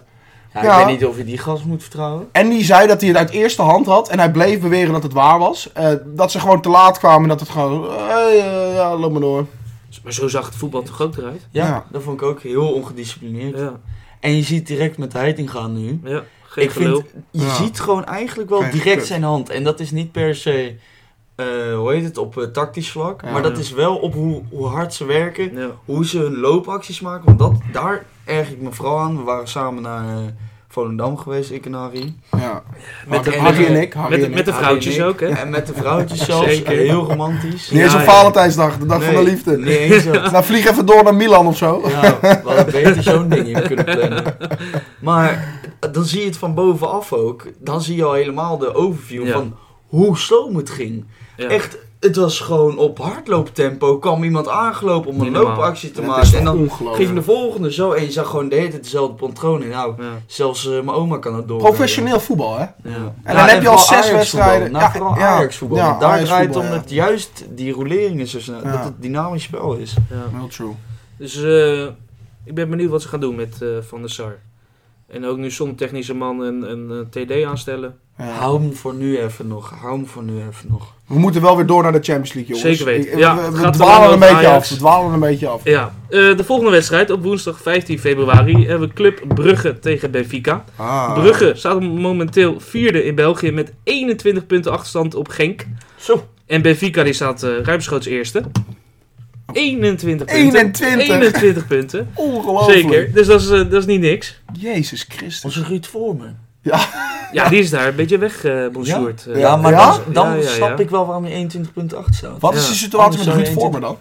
D: Ja,
C: Ja.
D: Ik weet niet of je die gas moet vertrouwen.
C: Andy zei dat hij het uit eerste hand had. En hij bleef beweren dat het waar was. Eh, dat ze gewoon te laat kwamen. En dat het gewoon... eh, eh, ja, loop maar door.
B: Maar zo zag het voetbal toch ook eruit.
D: Ja,
C: Ja.
D: dat vond ik ook heel ongedisciplineerd.
B: Ja,
D: En je ziet direct met Heiting gaan nu.
B: ja geen
D: ik
B: gelul.
D: vind, je
C: Ja.
D: ziet gewoon eigenlijk wel
C: Geen
D: direct
C: gekut.
D: zijn hand. En dat is niet per se, eh, hoe heet het, op eh, tactisch vlak.
C: Ja.
D: maar dat
B: Ja.
D: is wel op hoe, hoe hard ze werken.
B: Ja.
D: Hoe ze hun loopacties maken. Want dat, daar erg ik me vooral aan. We waren samen naar eh, Volendam geweest, ik en Harry.
C: Ja.
B: Met de-
C: Harry, Harry en
D: met-
C: ik. Harry
B: Met, de-
C: en
B: met de
D: Harry
B: vrouwtjes
D: en ik.
B: ook, hè?
D: En met de vrouwtjes zelfs.
B: Zeker.
D: Heel romantisch.
C: ik. Niet eens
B: Ja,
C: op
B: ja.
C: Valentijnsdag. De dag
D: Nee,
C: van de liefde.
D: niet eens zo.
C: Nou, vlieg even door naar Milan of zo.
D: Ja, we hadden beter zo'n ding in kunnen plannen. Maar dan zie je het van bovenaf ook. Dan zie je al helemaal de overview
B: Ja.
D: van hoe sloom het ging.
B: Ja.
D: Echt, het was gewoon op hardlooptempo. kwam iemand aangelopen om
B: Niet
D: een
B: normaal.
D: loopactie te
C: Het is eh,
D: maken. En dan
C: ongelooflijk.
D: ging de volgende zo. En je zag gewoon de hele tijd dezelfde patroon in. Nou,
B: Ja.
D: zelfs eh, mijn oma kan het door.
C: Professioneel voetbal, hè?
D: Ja.
C: dan
D: Nou,
C: heb je al
D: vooral
C: zes
D: Ajax-voetbal.
C: wedstrijden.
D: Nou,
C: Ja,
D: vooral
C: ja.
D: Ajax-voetbal.
C: Ja,
D: Want Daar
C: Ajax-voetbal,
D: draait het om
C: ja.
D: dat juist die roleringen zo snel.
C: Ja.
D: Dat het dynamisch spel is.
B: Ja.
C: Heel true.
B: Dus eh, ik ben benieuwd wat ze gaan doen met eh, Van der Sar. En ook nu zonder technische man een, een, eh, TD aanstellen.
C: Ja.
D: Hou hem voor nu even nog. Hou hem voor nu even nog.
C: We moeten wel weer door naar de Champions League, jongens.
B: Zeker weten.
C: Ik-
B: Ja,
C: we
B: het
C: we
B: gaat
C: dwalen
B: wel
C: een
B: over
C: beetje
B: Ajax.
C: af. We dwalen een beetje af.
B: Ja, eh, de volgende wedstrijd op woensdag 15 februari hebben we Club Brugge tegen Benfica.
C: Ah.
B: Brugge staat momenteel vierde in België met 21 punten achterstand op Genk.
D: Zo.
B: En Benfica die staat eh, ruimschoots eerste. 21 punten.
C: 21.
B: 21 punten.
C: Ongelooflijk.
B: Zeker. Dus dat is, eh, dat is niet niks.
C: Jezus Christus.
D: Onze Ruud Vormen.
B: Ja, die is daar een beetje weggebonjourd.
D: Ja,
C: Ja,
D: maar
C: ja?
D: dan, dan
B: Eh, Ja, ja, ja.
D: snap ik wel waarom je 21.8 staat.
C: Wat is
B: Ja.
C: de situatie met
D: Anders
C: Ruud
D: zou je
C: Vormer dan?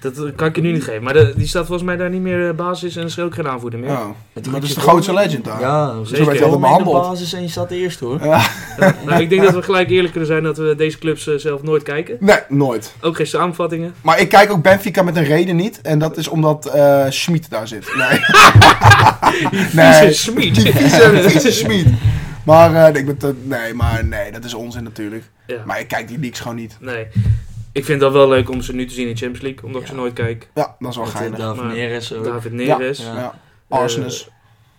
B: Dat eh, kan ik je nu niet geven. Maar de- die staat volgens mij daar niet meer eh, basis en is er ook geen aanvoerder meer.
C: Ja. Maar dat is de
D: Ruudje
C: grootste
D: Vormen.
C: legend daar.
D: Ja,
B: Zo werd
D: zeker.
B: hij
D: Wel
C: altijd
D: in de
C: behandeld.
D: basis en je staat eerst hoor.
B: Nou, ik denk dat we gelijk eerlijk kunnen zijn dat we deze clubs eh, zelf nooit kijken.
C: Nee, nooit.
B: Ook geen samenvattingen.
C: Maar ik kijk ook Benfica met een reden niet. En dat is omdat eh Schmid daar zit. Nee.
B: Vieze
C: nee. Die
B: Schmid.
C: vieze, vieze Schmid. Maar, eh, ik ben te- nee, maar nee, dat is onzin natuurlijk.
B: Ja,
C: Maar ik kijk die leaks gewoon niet.
B: nee. Ik vind dat wel leuk om ze nu te zien in de Champions League, omdat ik
D: Ja.
B: ze nooit kijk.
C: Ja, dat is wel
D: Met, eh,
C: geinig.
D: David
B: Maar-
D: Neres ook.
B: David Neres.
D: Ja.
C: Ja. Arsenes.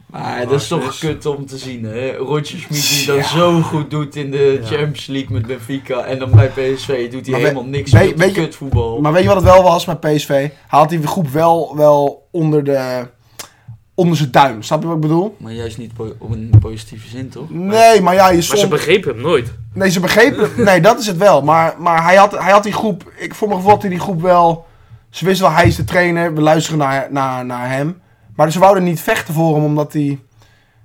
D: Maar dat is toch
B: Arsenis.
D: kut om te zien hè. Roger Schmid die
C: Ja.
D: dat zo goed doet in de
B: Ja.
D: Champions League met Benfica. En dan bij PSV doet hij
C: Maar we-
D: helemaal niks
C: weet-
D: met
C: weet je-
D: kut voetbal.
C: Maar weet je wat het wel was met PSV? Haalt die groep wel, wel onder, de, onder zijn duim. Snap je wat ik bedoel?
D: Maar juist niet po- op een positieve zin toch?
C: Nee, maar ja, je
B: Maar ze
C: soms...
B: begrepen hem nooit.
C: Nee, ze begrepen... Nee, dat is het wel. Maar, maar hij, had, hij had die groep... Ik, voor mijn gevoel had hij die groep wel... Ze wisten wel, hij is de trainer. We luisteren naar, naar, naar hem. Maar ze wouden niet vechten voor hem, omdat hij...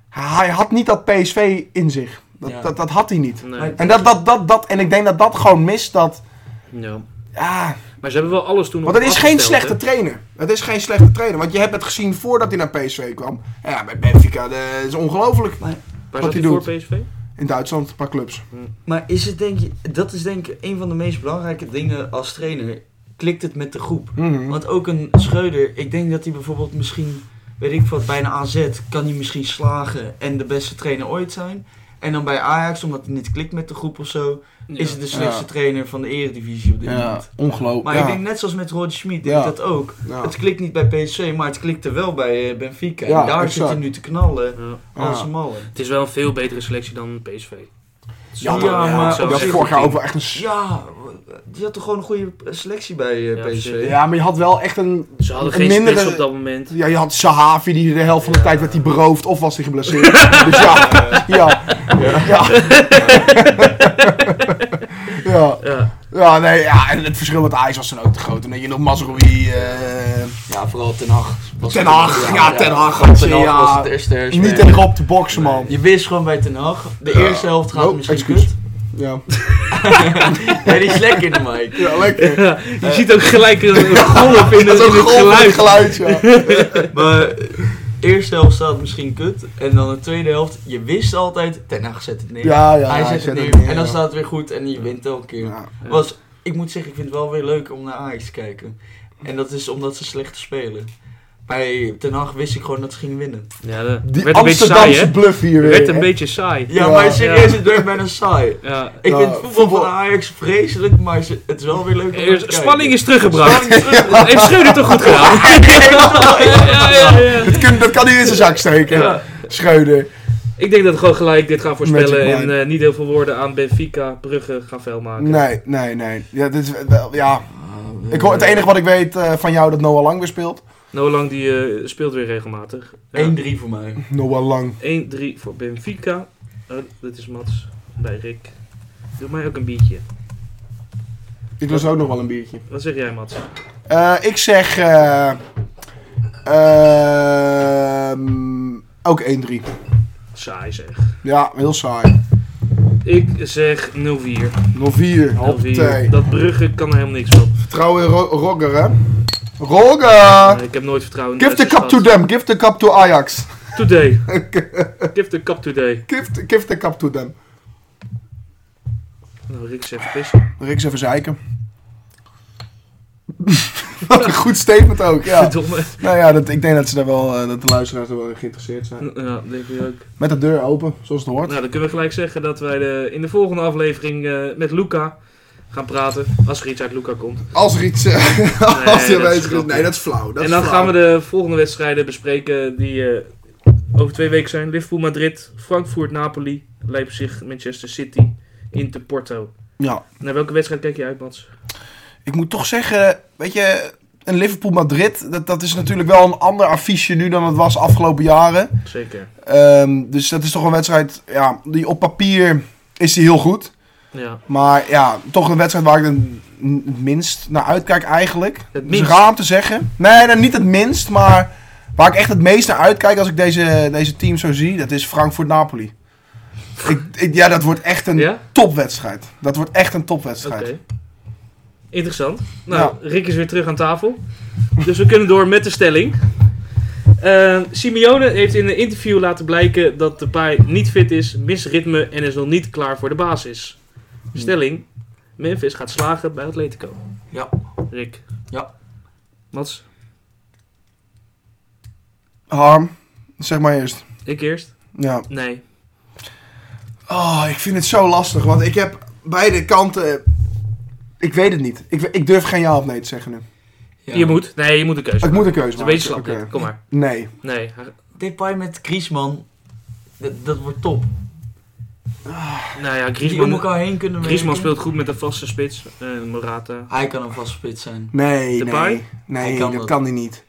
C: Hij had niet dat PSV in zich. Dat,
D: Ja.
C: dat, dat had hij niet.
B: Nee.
D: Maar-
C: En, dat, dat, dat, dat, en ik denk dat dat gewoon mist. Dat,
B: Ja.
C: ja,
B: Maar ze hebben wel alles toen
C: want
B: op
C: het is geen
B: afgesteld,
C: slechte
B: hè.
C: trainer. Het is geen slechte trainer. Want je hebt het gezien voordat hij naar PSV kwam. En ja, bij Benfica dat is ongelooflijk.
B: Waar
C: wat
B: zat hij
C: hij
B: voor
C: doet.
B: PSV?
C: In Duitsland een paar clubs.
D: Maar is het denk je, dat is denk ik een van de meest belangrijke dingen als trainer. Klikt het met de groep?
C: Mhm.
D: Want ook een Schreuder, ik denk dat hij bijvoorbeeld misschien, weet ik wat, bij een AZ kan hij misschien slagen en de beste trainer ooit zijn. En dan bij Ajax, omdat hij niet klikt met de groep of zo, is het de slechtste
C: Ja.
D: trainer van de eredivisie op dit
C: Ja,
D: moment.
C: ongelooflijk.
D: Maar
C: ja.
D: ik denk net zoals met Roger Schmid, denk
C: Ja.
D: ik dat ook.
C: Ja.
D: Het klikt niet bij PSV, maar het klikte wel bij eh, Benfica.
C: Ja,
D: en daar zit
C: exact.
D: hij nu te knallen.
B: Ja.
D: Als
C: Ja.
D: een mallen.
B: Het is wel een veel betere selectie dan PSV.
C: Jammer,
D: Ja,
C: ja. eh,
D: maar
C: Je
D: op
C: had
D: zich-
C: vorig jaar ook wel echt een... s-
D: Ja, die had toch gewoon een goede selectie bij eh,
B: Ja,
D: PSV.
B: precies.
C: Ja, maar je had wel echt een...
B: Ze hadden
C: Een
B: geen
C: mindere-
B: spits op dat moment.
C: Ja, je had Sahavi die de helft van de
B: Ja.
C: tijd werd die beroofd of was hij geblesseerd. dus ja, ja, ja. ja.
B: Ja,
C: Ja, nee, ja, en het verschil met Ajax was dan ook te groot. En dat je nog Mazraoui, eh
D: Ja, vooral Ten Hag. was-
C: Ten Hag, ja, Ten Hag.
D: Ten Hag
C: Ja.
D: was het eerste hersen.
C: niet tegen op te boksen, man.
D: Je wist gewoon bij Ten Hag, de
C: Ja.
D: eerste helft gaat
C: Oh,
D: misschien
C: excuus.
D: kut.
C: Ja,
D: Nee, die is lekker in de mic.
C: ja lekker.
B: je ziet ook gelijk een een golf in,
C: Dat
B: het-
C: is ook
B: in het
C: een geluid.
B: geluid.
C: geluid ja.
D: Maar eh, de eerste helft staat misschien kut. En dan de tweede helft, je wist altijd, Ten Hag zet het neer.
C: Ja, ja,
D: hij zet, het neer. En dan
C: ja.
D: staat het weer goed en je wint elke keer.
C: Ja.
D: Was, ik moet zeggen, ik vind het wel weer leuk om naar Ajax te kijken. En dat is omdat ze slechter spelen. Bij Ten Hag wist ik gewoon dat ze gingen winnen.
B: Ja, dat
C: Die
B: werd een beetje saai,
C: Amsterdamse
B: hè?
C: bluff hier weer.
B: Werd een
C: hè?
B: beetje saai.
D: Ja,
C: Ja.
D: maar serieus,
B: Ja.
D: het werd bijna saai.
B: Ja.
D: Ik
C: Ja,
D: vind voetbal,
C: voetbal-
D: van Ajax vreselijk, maar ze- het is wel weer leuk om naar
B: Er-
D: te
B: Eh, Spanning
D: kijken.
B: is teruggebracht.
D: Spanning is terug.
B: Dat heeft Schreuder toch goed gedaan? Ja, ja, ja.
C: Dat, kun- dat kan hij in zijn zak steken.
B: Ja.
C: Schreuder.
B: Ik denk dat we gewoon gelijk dit gaan voorspellen
C: Magic
B: en
C: mind.
B: eh, niet heel veel woorden aan Benfica, Brugge gaan vuil maken.
C: Nee, nee, nee. Ja, dit is wel, ja.
D: Ah,
C: Ik hoor, het
D: eh,
C: enige wat ik weet eh, van jou dat Noah Lang weer speelt.
B: Noah Lang die eh, speelt weer regelmatig. Ja.
D: 1-3 voor mij.
C: Noah Lang.
B: 1-3 voor Benfica. Oh, dit is Mats bij Rick. Doe mij ook een biertje.
C: Ik lust ook nog wel een biertje.
B: Wat zeg jij, Mats?
C: Eh, ik zeg. eh, ehm, ook 1-3.
B: Saai zeg.
C: Ja, heel saai.
B: Ik zeg 0-4.
C: 0-4.
B: 0-4.
C: Hoppatee.
B: Dat Brugge kan er helemaal niks op.
C: Vertrouwen in Ro- Rogger, hè? Rogger!
B: Eh, ik heb nooit vertrouwen in
C: Give the
B: Duitse
C: cup to
B: stad.
C: them. Give the cup to Ajax.
B: Today. Give the cup today.
C: Give, the- give the cup to them.
B: Nou, Rick is even pissen.
C: Riks even zeiken. Wat een goed statement ook, ja.
B: Verdomme.
C: Nou ja, dat, ik denk dat, ze daar wel, eh, dat de luisteraars er wel in geïnteresseerd zijn.
B: Ja, denk ik ook.
C: Met de deur open, zoals het hoort.
B: Nou, dan kunnen we gelijk zeggen dat wij de, in de volgende aflevering eh, met Luca gaan praten. Als er iets uit Luca komt.
C: Als er iets... eh,
B: dat
C: als
B: is
C: er bezig is...
B: grappig.
C: Nee, dat is flauw. Dat
B: en
C: is
B: dan
C: flauw.
B: gaan we de volgende wedstrijden bespreken die eh, over twee weken zijn. Liverpool, Madrid, Frankfurt, Napoli, Leipzig, Manchester City, Inter, Porto.
C: Ja.
B: Naar welke wedstrijd kijk je uit, Mats?
C: Ik moet toch zeggen, weet je, een Liverpool-Madrid, dat, dat is natuurlijk wel een ander affiche nu dan het was afgelopen jaren.
B: Zeker.
C: Ehm, dus dat is toch een wedstrijd, ja, die op papier is die heel goed.
B: Ja.
C: Maar ja, toch een wedstrijd waar ik dan het minst naar uitkijk eigenlijk. Het is
B: minst?
C: raar om te zeggen. Nee, nou, niet het minst, maar waar ik echt het meest naar uitkijk als ik deze, deze team zo zie, dat is Frankfurt-Napoli. Ik, ik- ja, dat wordt echt een
B: Ja?
C: topwedstrijd. Dat wordt echt een
B: Oké.
C: topwedstrijd.
B: Interessant. Nou, Rick is weer terug aan tafel. Dus we kunnen door met de stelling. Eh, Simeone heeft in een interview laten blijken dat de paai niet fit is, mist ritme en is nog niet klaar voor de basis. Stelling: Memphis gaat slagen bij Atletico.
D: Ja.
B: Rick.
D: Ja.
B: Mats,
C: Harm, zeg maar eerst.
B: ik eerst?
C: Ja.
B: Nee.
C: Oh, ik vind het zo lastig, want ik heb beide kanten. Ik weet het niet. Ik, ik durf geen ja of nee te zeggen nu.
D: Ja.
B: Je moet. Nee, je moet een keuze.
C: Ik moet een keuze
B: Het is een
C: maken.
B: beetje slap.
C: Oké.
B: Rick. Kom maar.
C: Nee.
B: Nee. hij-
D: Depay met Griezmann, dat, dat wordt top.
B: Nou ja,
D: Die om
B: Griezmann,
D: elkaar heen kunnen werken.
B: Griezmann speelt goed met een vaste spits. Eh, Morata.
D: Hij kan een vast spits zijn.
C: Nee,
B: Depay?
C: nee. Nee,
D: Hij kan
C: dat
D: dat.
C: kan hij niet.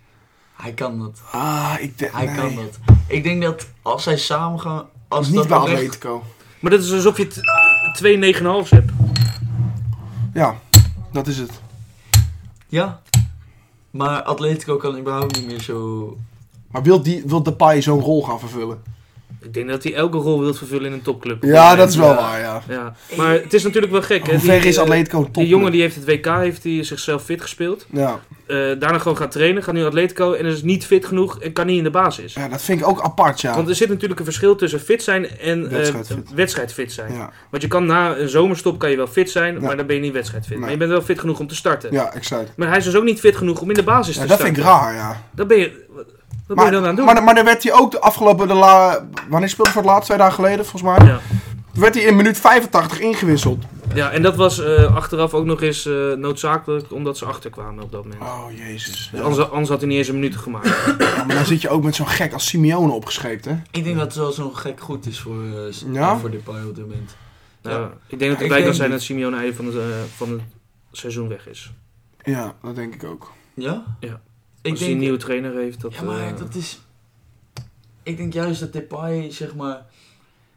D: Hij kan dat.
C: Ah, ik denk.
D: Hij
C: nee.
D: kan dat. Ik denk dat als zij samen gaan... Als
C: Niet
D: dat
C: bij
D: oprecht-
C: Atletico.
B: Maar dat is alsof je t- twee 9,5's hebt.
C: Ja, dat is het.
D: Ja. Maar Atletico kan überhaupt niet meer zo...
C: Maar wil, die, wil Depay zo'n rol gaan vervullen?
B: Ik denk dat hij elke rol wil vervullen in een topclub.
C: Ja, dat is wel
D: ja.
C: waar, ja.
B: Ja. Maar het is natuurlijk wel gek, hè?
C: Hoe eh, ver
B: Die,
C: is
B: eh,
C: Atletico top?
B: Die jongen die heeft het WK, heeft hij zichzelf fit gespeeld.
C: Ja.
B: Eh, daarna gewoon gaan trainen, gaat nu Atletico en is niet fit genoeg en kan niet in de basis.
C: ja, dat vind ik ook apart, ja.
B: Want er zit natuurlijk een verschil tussen fit zijn en eh,
C: Wedstrijdfit.
B: wedstrijdfit zijn.
C: Ja,
B: Want je kan na een zomerstop kan je wel fit zijn,
C: Ja.
B: maar dan ben je niet wedstrijdfit.
C: Nee.
B: Maar je bent wel fit genoeg om te starten.
C: ja exact.
B: Maar hij is dus ook niet fit genoeg om in de basis
C: Ja,
B: te
C: dat
B: starten.
C: vind ik raar, ja.
B: Dat ben je, wat wat ben je dan aan het doen?
C: Maar, maar dan werd hij ook de afgelopen... De la, wanneer speelde hij voor het laatst? Twee dagen geleden, volgens mij.
B: Ja.
C: werd hij in minuut 85 ingewisseld.
B: Ja, en dat was eh, achteraf ook nog eens eh, noodzakelijk omdat ze achterkwamen op dat moment.
C: Oh, jezus.
B: Dus Anders, anders had hij niet eens een minuut gemaakt.
C: Ja, maar dan zit je ook met zo'n gek als Simeone opgescheept, hè?
D: Ik denk dat het wel zo'n gek goed is voor, eh s-
C: Ja?
D: voor Depay op dit moment.
B: Nou, Ik denk dat
D: Ik
B: het bij
D: denk
B: kan zijn
D: niet.
B: dat Simeone einde van het, eh, van het seizoen weg is.
C: Ja, dat denk ik ook.
D: Ja?
B: Ja.
D: Ik
B: Als hij een
D: denk,
B: nieuwe trainer heeft, dat...
D: ja, maar
B: eh,
D: dat is... Ik denk juist dat Depay, zeg maar...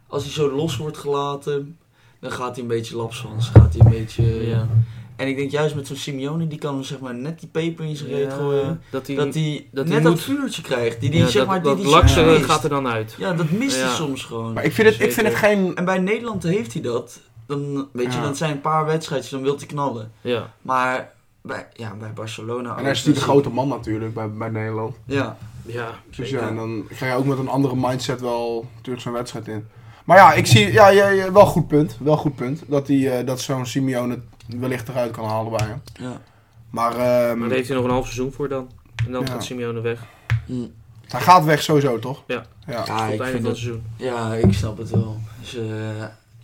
D: Als hij zo los wordt gelaten, dan gaat hij een beetje laps van. Gaat hij een beetje...
B: Ja.
D: En ik denk juist met zo'n Simeone, die kan hem zeg maar net die peper in zijn reet
B: Ja,
D: gooien.
B: dat hij...
D: Dat hij
B: dat
D: net
B: hij
D: dat
B: moet-
D: vuurtje krijgt. Die, die,
B: ja,
D: zeg
B: dat,
D: maar, die,
B: dat
D: die
B: lakse
D: mist.
B: gaat er dan uit.
D: Ja, dat mist hij
B: Ja.
D: soms gewoon.
C: Maar ik vind het, ik vind
B: Zeker.
C: het geen...
D: En bij Nederland heeft hij dat. Dan, weet je,
C: Ja.
D: dan zijn een paar wedstrijdjes, dan wil hij knallen.
B: Ja.
D: Maar bij, ja, bij Barcelona...
C: En hij is
D: ook,
C: niet de grote man natuurlijk bij, bij Nederland.
D: Ja,
B: Ja.
C: Dus
D: Zeker.
C: ja, en dan ga je ook met een andere mindset wel natuurlijk zo'n wedstrijd in. Maar ja, ik zie ja, ja, ja, wel goed punt. Wel goed punt. Dat, die, eh, dat zo'n Simeone het wellicht eruit kan halen bij hem.
D: ja.
C: Maar, ehm,
B: Maar daar heeft hij nog een half seizoen voor dan. En dan
C: Ja.
B: gaat Simeone weg. Tot
D: Hm.
C: hij gaat weg sowieso, toch?
B: Ja.
C: ja.
D: Ja,
B: het
D: ik
B: einde
D: vind
B: van het
D: dat,
B: seizoen.
D: ja, ik snap het wel. Dus, eh,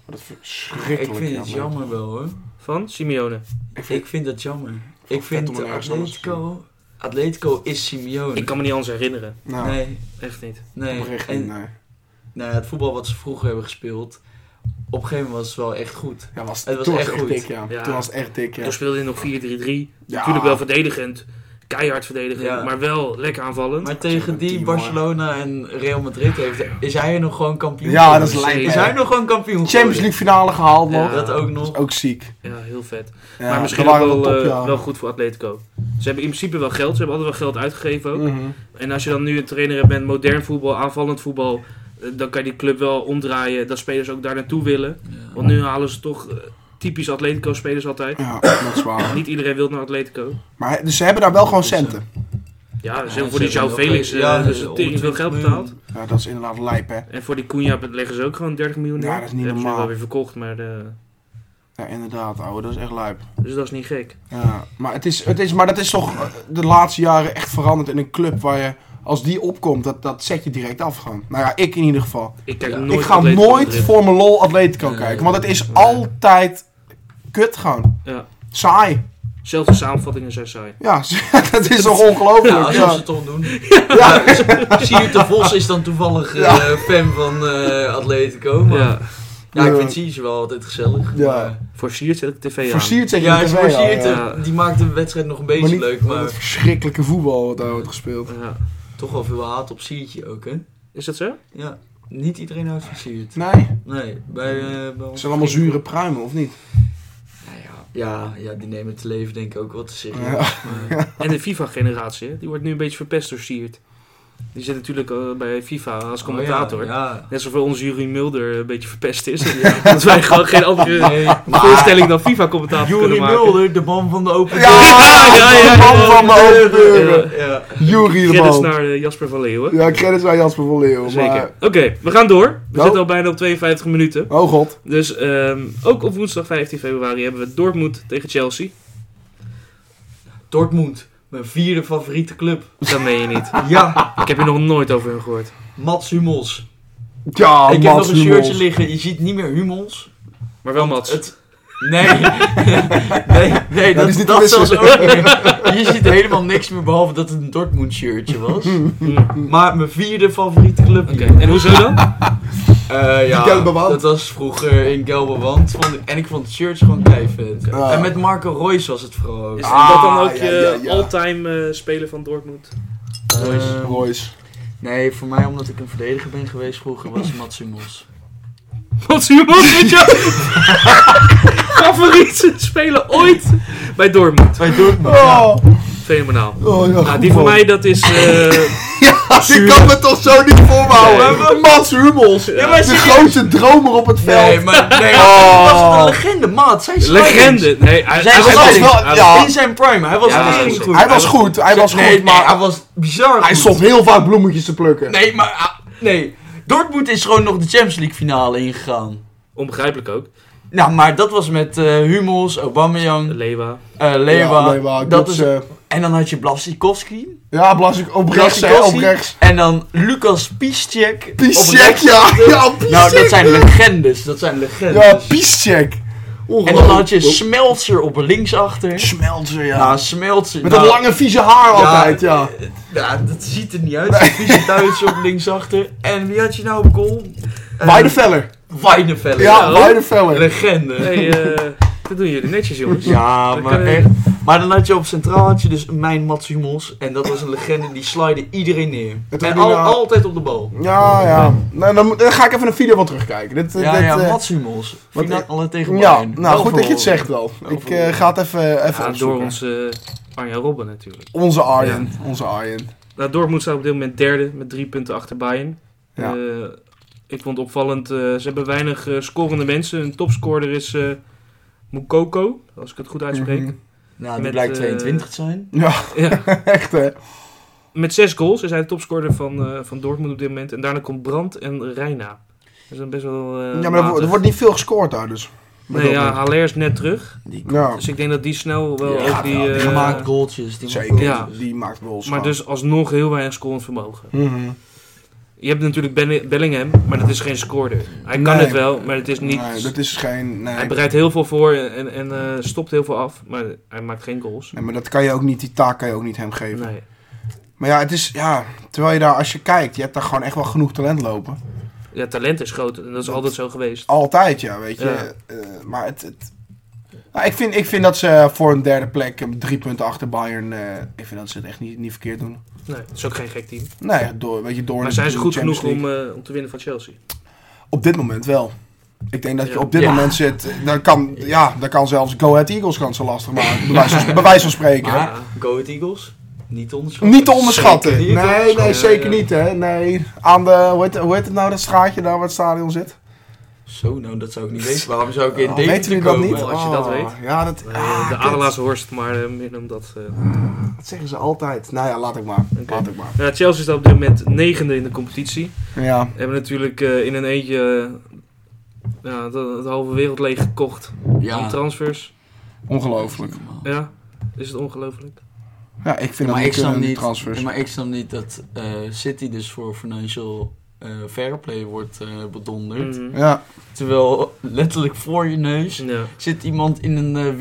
C: Dat is
D: ik
C: verschrikkelijk
D: vind het
C: jammer.
D: jammer wel hoor.
B: Van Simeone.
C: Ik vind-
D: Ik vind dat jammer. Ik
C: vet
D: vind
C: om er ergens anders te
D: Atletico... Atletico is Simeone.
B: Ik kan me niet anders herinneren.
C: nou,
D: Nee,
B: Echt niet.
D: nee.
C: oprecht
D: En
C: niet, nee.
D: nou, ja, het voetbal wat ze vroeger hebben gespeeld... Op een gegeven moment was het wel echt goed.
C: Ja, was,
D: Het was
C: toen
D: echt
C: was
D: goed. Dus
C: het echt dik, ja.
B: Ja.
C: Toen was het echt dik, ja.
B: Toen speelde hij nog 4-3-3.
C: Ja.
B: Natuurlijk wel verdedigend. Keihard verdedigend.
D: Ja.
B: Maar wel lekker aanvallend.
D: Maar
C: Zo'n
D: tegen
C: team,
D: die
C: hoor.
D: Barcelona en Real Madrid heeft, is hij nog gewoon kampioen.
C: Ja, dat is
D: geworden.
C: lijp.
B: Is
D: Is
C: hè.
D: hij nog gewoon kampioen?
C: Champions League finale gehaald nog.
B: Ja.
D: geworden? Dat ook nog.
C: Ook ziek.
B: Ja, heel vet.
C: Ja,
B: maar misschien
C: dat
B: ook
C: waren
B: wel,
C: top,
B: eh,
C: ja.
B: wel goed voor Atletico. Ze hebben in principe wel geld. Ze hebben altijd wel geld uitgegeven ook.
C: Mhm.
B: En als je dan nu een trainer hebt met modern voetbal, aanvallend voetbal... eh, Dan kan je die club wel omdraaien. Dat spelers ook daar naartoe willen.
D: Ja.
B: Want nu halen ze toch eh, typisch Atletico-spelers altijd.
C: Ja, dat is waar.
B: Niet iedereen wil naar Atletico.
C: Maar dus ze hebben daar wel gewoon centen.
B: Ja, dus
D: Ja,
B: voor die
D: ze
B: João
D: hebben
B: Felix
D: ook-
B: eh,
D: ja,
B: dus
D: eh,
B: tering veel
D: 120
B: geld
D: miljoen.
B: betaald.
C: Ja, dat is inderdaad lijp, hè.
B: En voor die Cunha leggen ze ook gewoon 30 miljoen
C: Ja,
B: neer.
C: dat is niet
B: hebben ze nu
C: normaal.
B: wel weer verkocht, maar eh,
C: Ja, inderdaad, ouwe. Dat is echt lijp.
B: dus dat is niet gek.
C: Ja, maar, het is, het is, maar dat is toch eh, de laatste jaren echt veranderd in een club waar je, als die opkomt, dat, dat zet je direct af gewoon. Nou ja, ik in ieder geval.
B: Ik kijk
D: Ja.
B: nooit
C: ik ga
B: Atletico
C: nooit
B: Madrid.
C: voor mijn lol Atletico
D: Nee.
C: kijken, want het is altijd kut gewoon.
B: Ja.
C: Saai.
B: Zelfs de samenvattingen zijn saai.
C: Ja, dat is toch
D: Ja,
C: ongelooflijk.
D: als
C: Ja,
D: ze het toch doen. Ja. Siert de Vos is dan toevallig eh, fan van eh, Atletico. Maar, ja.
B: Ja.
D: ik
C: Ja.
D: vind Siert wel altijd gezellig.
C: Ja.
D: maar-
B: Voor Siert zet ik tv aan.
C: Versierd zeg je
D: ja,
C: op
D: is
C: tv
D: voor
C: al,
D: Siert,
C: ja.
B: ja.
D: eh, die maakt de wedstrijd nog een beetje
C: Maar niet
D: leuk.
C: van dat
D: Maar
C: verschrikkelijke voetbal wat daar wordt gespeeld.
B: Ja.
D: toch wel veel haat op Siertje ook, hè?
B: Is dat zo?
D: Ja, niet iedereen houdt van Siert.
C: Nee,
D: Nee, bij, eh bij ons...
C: het zijn allemaal zure pruimen, of niet?
D: Nou ja, ja, ja, die nemen het leven denk ik ook wel te serieus.
C: Ja.
D: maar- Oh,
B: En de FIFA-generatie, hè, die wordt nu een beetje verpest door Siert. Die zit natuurlijk eh, bij FIFA als commentator.
D: Oh, ja,
B: Net zoals onze Jurie Mulder een beetje verpest is. Dat wij gewoon geen andere
D: ja. Nee,
B: voorstelling dan FIFA-commentator kunnen
D: Jurie
B: maken.
D: Mulder, de man van de open
C: Ja,
B: ja, ja,
C: de man
B: ja,
C: van mijn open deuren.
D: deur. Ja.
C: Jury de
B: Credits
C: man.
B: naar eh, Jasper van Leeuwen.
C: Ja, credits aan Jasper van Leeuwen.
B: Zeker.
C: Maar...
B: Oké, we gaan door. We
C: Nou.
B: zitten al bijna op 52 minuten.
C: Oh god.
B: Dus ehm, ook op woensdag 15 februari hebben we Dortmund tegen Chelsea.
D: Dortmund, mijn vierde favoriete club.
B: Dat meen je niet.
D: Ja,
B: Ik heb hier nog nooit over hun gehoord.
D: Mats Hummels.
C: Ja,
D: ik heb nog
C: Mats
D: een shirtje
C: Hummels.
D: liggen, je ziet niet meer Hummels.
B: Maar wel Mats.
D: Het... Nee, nee, nee,
C: Dat
D: dat,
C: is
D: dat,
C: niet te
D: zelfs
C: missen.
D: ook niet. Je ziet helemaal niks meer behalve dat het een Dortmund shirtje was.
B: Mm.
D: Maar mijn vierde favoriete club.
B: Oké,
D: hier.
B: en hoezo dan?
D: Eh, ja,
C: Die Gelderland.
D: dat was vroeger in Gelderland. Vond- En ik vond de shirts gewoon keihard
C: Ja.
D: En met Marco Royce was het vooral ook.
B: Is
C: Ah,
B: dat dan ook je
C: ja, ja, ja.
B: all-time eh, speler van Dortmund?
D: Royce.
C: Eh, Royce.
D: Nee, voor mij omdat ik een verdediger ben geweest vroeger was Mats Hummels.
B: Mats Hummels is jouw favoriete speler ooit bij Dortmund.
D: Bij Dortmund.
C: Oh,
B: Fenomenaal.
C: oh ja,
B: Nou,
C: goed,
B: die voor
C: man.
B: mij dat is... eh,
C: Ja, die kan me toch zo niet voor me houden. Mats Hummels.
D: maar
C: de grootste dromer op het veld.
D: Nee, maar nee,
C: Oh.
D: dat was een legende, maat. Zij is
B: legende. Nee, hij,
D: Zij
B: hij
D: was
B: was
C: wel-
B: hij was-
C: ja.
D: In zijn prime, hij was
B: Ja,
D: heel
B: hij was-
D: goed.
C: Hij was goed, hij was
D: nee,
C: goed,
D: nee, hij
C: maar
D: was bizar
C: hij
D: goed.
C: stond heel vaak bloemetjes te plukken.
D: Nee, maar... ah, nee, Dortmund is gewoon nog de Champions League finale ingegaan.
B: Onbegrijpelijk ook.
D: Nou, maar dat was met eh Hummels, Aubameyang,
B: Lewa.
D: eh Lewa.
C: Ja, Lewa,
D: dat is
C: Götze.
D: En dan had je Blasikowski.
C: eh, Ja, Blasik op rechts, hè, op
D: Blasikowski.
C: rechts.
D: En dan Lucas Piszczek. op
C: Piszczek,
D: rechts.
C: ja. Ja, Piszczek.
D: Nou, dat zijn legendes. Dat zijn legendes.
C: Ja, Piszczek.
D: en dan had je Smeltzer op linksachter.
C: Smeltzer, ja.
D: Ja, Smeltzer.
C: Met
D: nou,
C: dat lange vieze haar altijd, ja.
D: Ja, dat ziet er niet uit. Vieze Duits op linksachter. En wie had je nou op goal? Eh,
C: Weideveller.
D: Weideveller.
C: Ja,
B: oh.
C: Weideveller.
D: Legende.
B: Hey, eh, dat doen jullie netjes, jongens.
D: Ja,
B: Dat
D: maar
B: kan-
D: echt. Maar dan had je op centraal had je dus mijn Mats Hummels. En dat was een legende, die slide iedereen neer.
C: Het
D: en
C: is nu,
D: al,
C: eh,
D: altijd op de bal.
C: Ja, ja. Nou, dan, moet- dan ga ik even een video van terugkijken. Dit,
D: Ja,
C: dit,
D: ja,
C: eh,
D: Mats Hummels.
C: wat-
D: Finale tegen
C: ja,
D: Bayern.
C: nou goed dat je het
D: Overal.
C: zegt wel. Ik
D: Overal.
C: eh, ga het even, even
B: Ja, door
C: opzoeken.
B: onze eh, Arjen Robben natuurlijk.
C: Onze Arjen. Onze Arjen.
B: Nou, Dortmund staat op dit moment derde met drie punten achter Bayern.
C: Ja.
B: Eh, ik vond het opvallend, eh, ze hebben weinig eh, scorende mensen. Een topscorer is eh Mukoko, als ik het goed uitspreek.
C: Mhm.
D: Nou, die
B: Met,
D: blijkt
B: eh,
D: 22 te zijn.
C: Ja,
B: Ja.
C: echt
B: Eh,
C: hè.
B: Met zes goals is hij de topscorer van, eh, van Dortmund op dit moment. En daarna komt Brandt en Reina. Dat is dan best wel eh
C: ja, maar er, wo- er
B: matig.
C: wordt niet veel gescoord daar dus.
B: Nee, ja, Haller is net terug.
C: Ja,
B: Dus ik denk dat die snel wel
D: Ja,
B: ook die...
C: wel, die
B: eh,
D: gemaakt goaltjes. Die
C: zeker.
B: Ja.
C: Die maakt goals.
B: maar dus alsnog heel weinig scorend vermogen.
C: Mhm.
B: Je hebt natuurlijk Benne- Bellingham, maar dat is geen scoorder. Hij kan
C: Nee.
B: het wel, maar het is niet...
C: Nee, dat is geen... Nee.
B: Hij bereidt heel veel voor en, en eh, stopt heel veel af, maar hij maakt geen goals.
C: nee, maar dat kan je ook niet, die taak kan je ook niet hem geven.
B: Nee.
C: Maar ja, het is, ja, terwijl je daar, als je kijkt, je hebt daar gewoon echt wel genoeg talent lopen.
B: Ja, talent is groot en dat is altijd zo geweest.
C: Altijd, ja, weet je. Eh, maar het... het nou, ik, vind, ik vind dat ze voor een derde plek eh, drie punten achter Bayern, eh, ik vind dat ze het echt niet, niet verkeerd doen.
B: Nee, dat is ook geen gek team.
C: Nee, door, weet je, door
B: Maar
C: de-
B: zijn ze
C: de
B: goed
C: Champions
B: genoeg
C: League.
B: om, eh, om te winnen van Chelsea?
C: Op dit moment wel. Ik denk dat je
B: Ja.
C: op dit
D: Ja.
C: moment zit. eh, Dan kan, ja, dan kan zelfs Go Ahead Eagles kan ze lastig maken. Bij wijze van, bij wijze van spreken.
D: Maar Go Ahead Eagles, niet te onderschatten.
C: Niet te onderschatten.
D: Zeker niet te
C: nee, nee,
D: onderschatten.
C: zeker
B: ja.
C: niet. Hè. Nee. Aan de, hoe, heet, hoe heet het nou, dat straatje daar waar het stadion zit?
D: Zo, nou dat zou ik niet weten. Waarom zou ik in
C: Oh,
D: Deventer
C: weten jullie dat
D: komen?
C: niet?
B: als je dat
C: Oh,
B: weet.
C: Ja, dat,
B: Eh,
C: ah,
B: de
C: kut.
B: Adelaarshorst, maar eh, meer dan dat. eh.
C: dat zeggen ze altijd. Nou ja, laat ik maar.
B: Oké.
C: Laat ik maar.
B: Nou, Chelsea staat op dit moment negende in de competitie.
C: Ja.
B: Hebben natuurlijk eh, in een eentje eh, ja, de, de halve wereld leeg gekocht. Aan
D: Ja.
B: transfers.
C: Ongelooflijk.
B: Ja, is het ongelooflijk.
C: Ja, ik vind dat
D: maar ik
C: niet
D: snap
C: kunnen, die
D: niet,
C: transfers.
D: maar ik snap niet dat eh, City dus voor financial eh, fair play wordt eh, bedonderd.
B: Mhm.
C: Ja,
D: Terwijl letterlijk voor je neus
B: Ja.
D: zit iemand in een eh,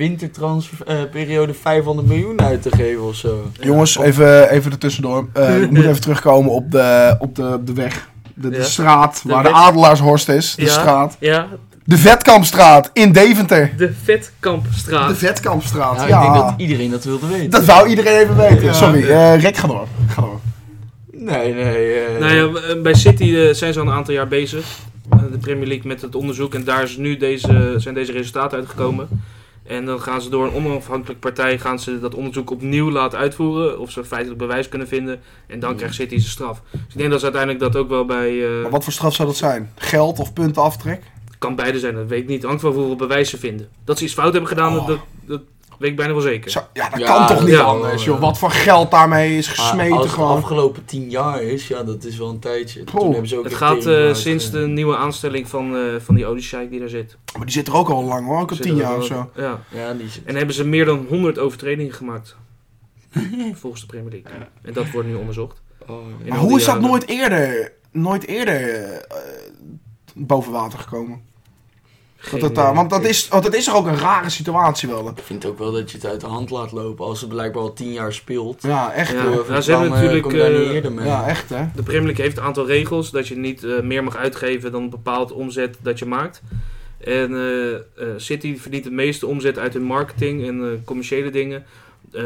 D: wintertransferperiode 500 miljoen uit te geven of zo.
C: jongens, even, even ertussendoor. Eh ik moet even terugkomen op de, op de, op de weg. De, de
B: Ja.
C: straat
B: De
C: waar de
B: weg.
C: Adelaarshorst is. De
B: Ja.
C: straat.
B: ja,
C: De Vetkampstraat in Deventer.
B: de Vetkampstraat.
C: De Vetkampstraat.
D: Nou,
C: ja.
D: Ik denk dat iedereen dat wilde weten.
C: Dat wou iedereen even weten.
D: Ja.
C: Sorry, eh, Rick, ga door. Ga door.
D: Nee, nee. eh,
B: Nou ja, eh, bij City eh, zijn ze al een aantal jaar bezig. eh, De Premier League met het onderzoek. En daar is nu deze, zijn deze resultaten uitgekomen. En dan gaan ze door een onafhankelijke partij gaan ze dat onderzoek opnieuw laten uitvoeren. Of ze feitelijk bewijs kunnen vinden. En dan krijgt City zijn straf. Dus ik denk dat ze uiteindelijk dat ook wel bij... eh,
C: Maar wat voor straf zou dat zijn? Geld of puntenaftrek?
B: kan beide zijn, dat weet ik niet. Het hangt van hoeveel bewijs ze vinden. Dat ze iets fout hebben gedaan,
C: Oh.
B: dat, dat weet ik bijna wel zeker.
C: Zo, ja, dat
D: Ja,
C: kan toch
D: dat
C: niet
B: kan
C: anders,
D: wel,
C: joh.
D: ja.
C: Wat voor geld daarmee is
D: maar
C: gesmeten
D: als het
C: gewoon.
D: afgelopen 10 jaar is, ja, dat is wel een tijdje.
C: Goh.
D: Toen hebben ze ook
B: Het
D: echt
B: gaat
D: tering
B: eh,
D: uit,
B: sinds
D: eh.
B: de nieuwe aanstelling van, eh, van die Odysseik die daar zit.
C: Maar die zit er ook al lang hoor, ook al
B: Zit
C: tien
B: er
C: jaar
B: wel-
C: of zo.
B: Ja.
D: Ja, die is...
B: En hebben ze meer dan 100 overtredingen gemaakt. Volgens de Premier League. En dat wordt nu onderzocht.
D: Oh,
B: In
C: Maar
B: al die
C: hoe is dat
B: jaren.
C: nooit eerder, nooit eerder eh, boven water gekomen? Dat
B: Geen eh,
C: het daar,
B: idee.
C: want, dat is, want dat is toch ook een rare situatie wel. hè?
D: Ik vind ook wel dat je het uit de hand laat lopen als het blijkbaar al 10 jaar speelt.
C: Ja, echt.
B: Ja.
C: hoor.
D: Door-
B: ze hebben
D: dan, eh,
B: natuurlijk,
D: Kom je daar
B: eh,
D: niet eerder mee.
C: ja echt hè.
B: De Premier League heeft een aantal regels. Dat je niet eh, meer mag uitgeven dan een bepaald omzet dat je maakt. En eh, eh, City verdient het meeste omzet uit hun marketing en eh, commerciële dingen. Eh,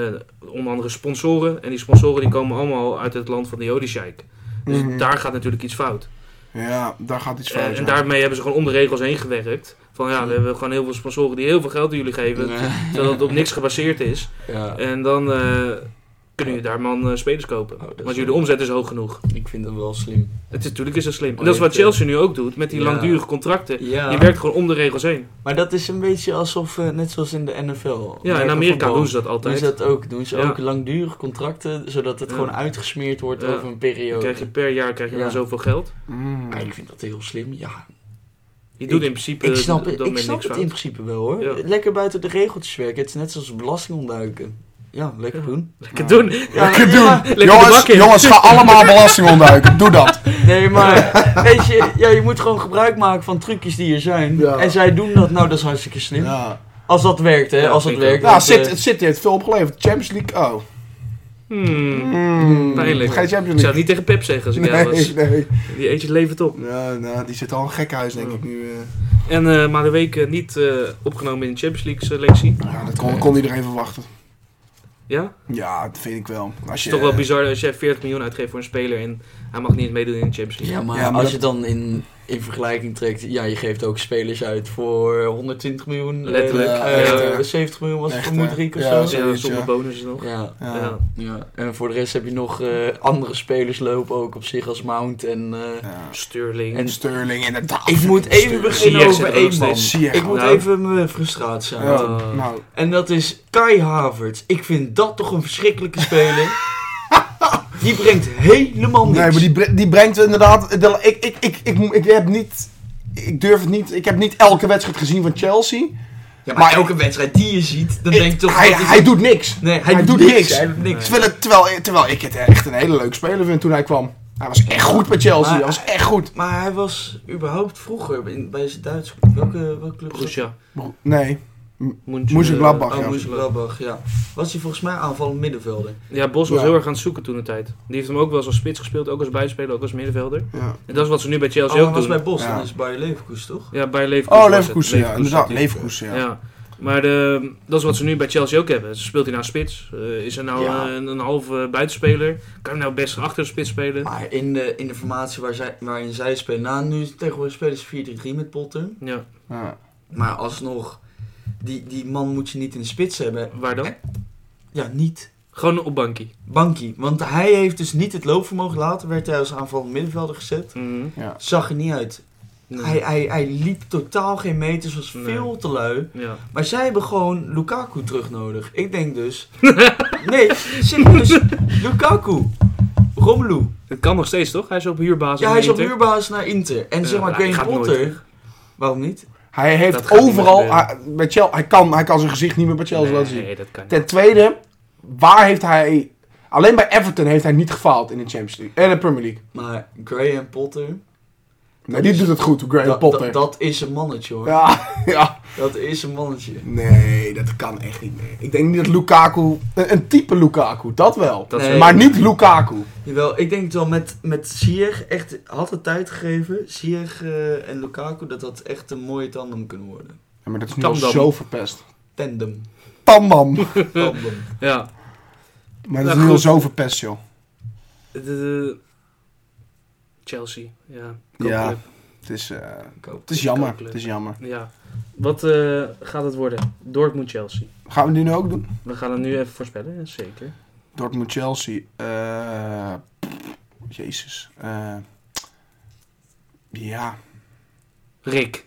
B: onder andere sponsoren. En die sponsoren die komen allemaal uit het land van de Odysseik. Dus
C: Mhm.
B: daar gaat natuurlijk iets fout.
C: Ja, daar gaat iets
B: Eh,
C: fout.
B: en
C: ja.
B: daarmee hebben ze gewoon om de regels heen gewerkt. Van ja, we hebben gewoon heel veel sponsoren die heel veel geld aan jullie geven.
D: Nee.
B: Terwijl het op niks gebaseerd is.
D: Ja,
B: En dan eh, kunnen jullie daar man eh, spelers kopen.
D: Oh, dat is
B: want
D: wel-
B: jullie omzet is hoog genoeg.
D: ik vind hem wel slim.
B: Het is, natuurlijk is dat slim. En
D: Maar
B: dat is
D: je
B: wat
D: hebt, eh,
B: Chelsea nu ook doet met die
D: ja.
B: langdurige contracten.
D: Ja.
B: Je werkt gewoon om de regels heen.
D: Maar dat is een beetje alsof, eh, net zoals in de NFL.
B: Ja, in Amerika doen ze dat
D: Doen
B: altijd.
D: ze dat ook. Doen ze
B: Ja.
D: ook langdurig contracten, zodat het
B: Ja.
D: gewoon uitgesmeerd wordt
B: Ja.
D: over een
B: Dan
D: periode.
B: krijg je per jaar krijg je
D: Ja.
B: dan zoveel geld.
C: Mm.
D: Ja, ik vind dat heel slim. Ja,
B: Je doet
D: Ik-
B: in principe
D: ik snap,
B: eh,
D: het,
B: dan
D: ik
B: met
D: snap
B: niks
D: het
B: fout.
D: in principe wel hoor.
B: Ja.
D: Lekker buiten de regeltjes werken. Het is net zoals belasting ontduiken. Ja, lekker doen.
B: Lekker doen.
D: Ja,
C: Lekker
D: ja,
C: doen.
D: maar-
B: Lekker de
C: jongens,
B: bak in.
C: jongens, ga allemaal belasting ontduiken. Doe dat.
D: Nee, maar weet je, ja, je moet gewoon gebruik maken van trucjes die er zijn.
C: Ja.
D: En zij doen dat, nou dat is hartstikke slim.
C: Ja,
D: Als dat werkt, hè,
B: Ja,
D: als dat
B: zeker.
D: werkt.
C: nou,
D: want,
C: City,
D: eh,
C: City heeft veel opgeleverd. Champions League, oh.
B: Hmm.
C: Mm,
B: Pijnlijk.
C: Geen Champions
B: Ik zou het
C: League.
B: niet tegen Pep zeggen als ik jou was.
C: Nee, nee.
B: Die eentje levert op.
C: Ja, nou, die zit al in een gekhuis, denk ik nu. eh.
B: En eh, maar de week eh, niet eh, opgenomen in de Champions League selectie.
C: Ja, dat kon, kon iedereen verwachten.
B: Ja?
C: Ja, dat vind ik wel. Als
B: Het
C: je, eh,
B: is toch wel bizar als jij 40 miljoen uitgeeft voor een speler en hij mag niet meedoen in de Champions League.
D: Ja, maar,
C: Ja, maar
D: als
C: dat-
D: je dan in, in vergelijking trekt, ja, je geeft ook spelers uit voor 120 miljoen. eh,
B: Letterlijk.
D: eh,
B: Ja,
C: echt, eh.
D: 70 miljoen was het
C: Echt,
D: voor
C: eh.
D: Moedrik of
C: Ja,
D: zo.
C: zo.
B: Ja,
C: zoiets,
B: zonder
C: ja.
B: bonussen nog.
D: Ja,
C: Ja.
B: Ja.
D: ja. En voor de rest heb je nog eh, andere spelers lopen ook op zich als Mount en... eh,
C: Ja.
B: Sterling.
D: En-
C: Sterling inderdaad.
D: Ik moet even
C: Sterling.
D: beginnen
B: Ziyech
D: over
B: zit er nog
D: één man.
B: steeds.
C: Ziyech.
D: Ik moet
B: Nou.
D: even mijn frustratie
C: Ja,
D: aan.
B: Ah.
C: nou,
D: En dat is Kai Havertz. Ik vind dat toch een verschrikkelijke speler. die brengt helemaal niks.
C: Oh, Nee, maar die, bre- die brengt inderdaad. eh, de- Ik, ik, ik, ik, mo- ik heb niet. Ik durf het niet. Ik heb niet elke wedstrijd gezien van Chelsea.
D: Ja,
C: maar-
D: elke wedstrijd die je ziet, dan
C: Ik-
D: denk je toch...
C: hij,
D: dat is-
C: hij doet niks.
D: nee,
C: hij doet niks.
D: Hij doet niks.
C: Terwijl, het- terwijl, terwijl ik het echt een hele leuke speler vind toen hij kwam. Hij was echt goed bij Chelsea.
D: Maar-
C: hij was echt goed.
D: Maar hij was überhaupt vroeger in- bij zijn Duits. Welke, welke club was dat?
B: Borussia.
C: Nee.
B: Mönch-
C: Mönchengladbach,
B: eh,
D: Oh,
C: ja.
B: Mönchengladbach.
D: Mönchengladbach, ja. Was hij volgens mij aanvallend middenvelder.
B: Ja, Bos was
C: Ja.
B: heel erg aan het zoeken toen de tijd. Die heeft hem ook wel eens als spits gespeeld, ook als buitenspeler, ook als middenvelder.
C: Ja.
B: En dat is wat ze nu bij
D: Oh,
B: Chelsea
D: hij
B: ook
D: was
B: doen.
D: bij Bos,
C: Ja.
D: dan is bij Leverkusen, toch?
B: Ja, bij Leverkusen.
C: Oh,
B: was het.
C: Leverkusen. Ja, inderdaad. Leverkusen, ja.
B: Ja. Maar de, dat is wat ze nu bij Chelsea ook hebben. Speelt hij nou spits? Eh, is hij nou
D: Ja.
B: eh, een, een halve buitenspeler? Kan hij nou best achter de spits spelen?
D: Maar in de, in de formatie waar zij, waarin zij spelen... Nou, nu tegenwoordig spelen ze 4-3-3 met Potter.
B: Ja,
C: Ja.
D: Maar alsnog, die, die man moet je niet in de spits hebben.
B: waar dan?
D: Ja, niet.
B: Gewoon op bankie.
D: Bankie. Want hij heeft dus niet het loopvermogen. Later werd hij als aanvallend middenvelder gezet.
B: Mhm.
D: Zag er niet uit.
B: Nee.
D: Hij, hij, hij liep totaal geen meters, was
B: Nee.
D: veel te lui.
B: Ja.
D: Maar zij hebben gewoon Lukaku terug nodig. Ik denk dus... nee, simpel dus Lukaku. Romelu.
B: Het kan nog steeds, toch? Hij is op huurbasis.
D: Ja,
B: in
D: hij is op
B: Inter.
D: huurbasis naar Inter. En
B: Ja,
D: zeg maar,
B: nou, die
D: Graham
B: gaat nooit
D: Potter... Waarom niet?
C: Hij
B: Dat
C: heeft
B: gaat niet
C: overal.
B: meer
C: Hij, bij Chelsea, hij, kan, hij kan zijn gezicht niet meer bij Chelsea laten zien.
B: Nee, dat kan niet.
C: Ten tweede, waar heeft hij. Alleen bij Everton heeft hij niet gefaald in de Champions League. En de Premier League.
D: Maar Graham Potter...
C: Nee, die doet het goed, Graham
D: da- da-
C: Potter.
D: dat is een mannetje, hoor.
C: ja, ja.
D: Dat is een mannetje.
C: Nee, dat kan echt niet meer. Ik denk niet dat Lukaku. Een, een type Lukaku, dat wel.
B: Dat
D: Nee.
C: Maar niet Lukaku.
D: Jawel, ik denk het wel met, met Sier echt had het tijd gegeven. Sier eh, en Lukaku, dat dat echt een mooie tandem kunnen worden.
C: Ja, maar dat is nu al
B: Tandam.
C: zo verpest.
D: Tandem.
C: Tandam.
D: Tandem.
B: Ja.
C: Maar
B: Nou,
C: dat is nu al
B: goed.
C: zo verpest, joh.
B: De- de- eh, Chelsea. Ja.
C: Ja.
B: Koopclub.
C: Het is, eh, het
D: Koop.
C: is jammer.
B: Koopclub.
C: Het is jammer.
B: ja. Wat eh, gaat het worden? Dortmund-Chelsea.
C: Gaan we die nu ook doen?
B: We gaan het nu even voorspellen, ja, zeker.
C: Dortmund Chelsea. eh, Jezus. eh, ja.
B: Rick.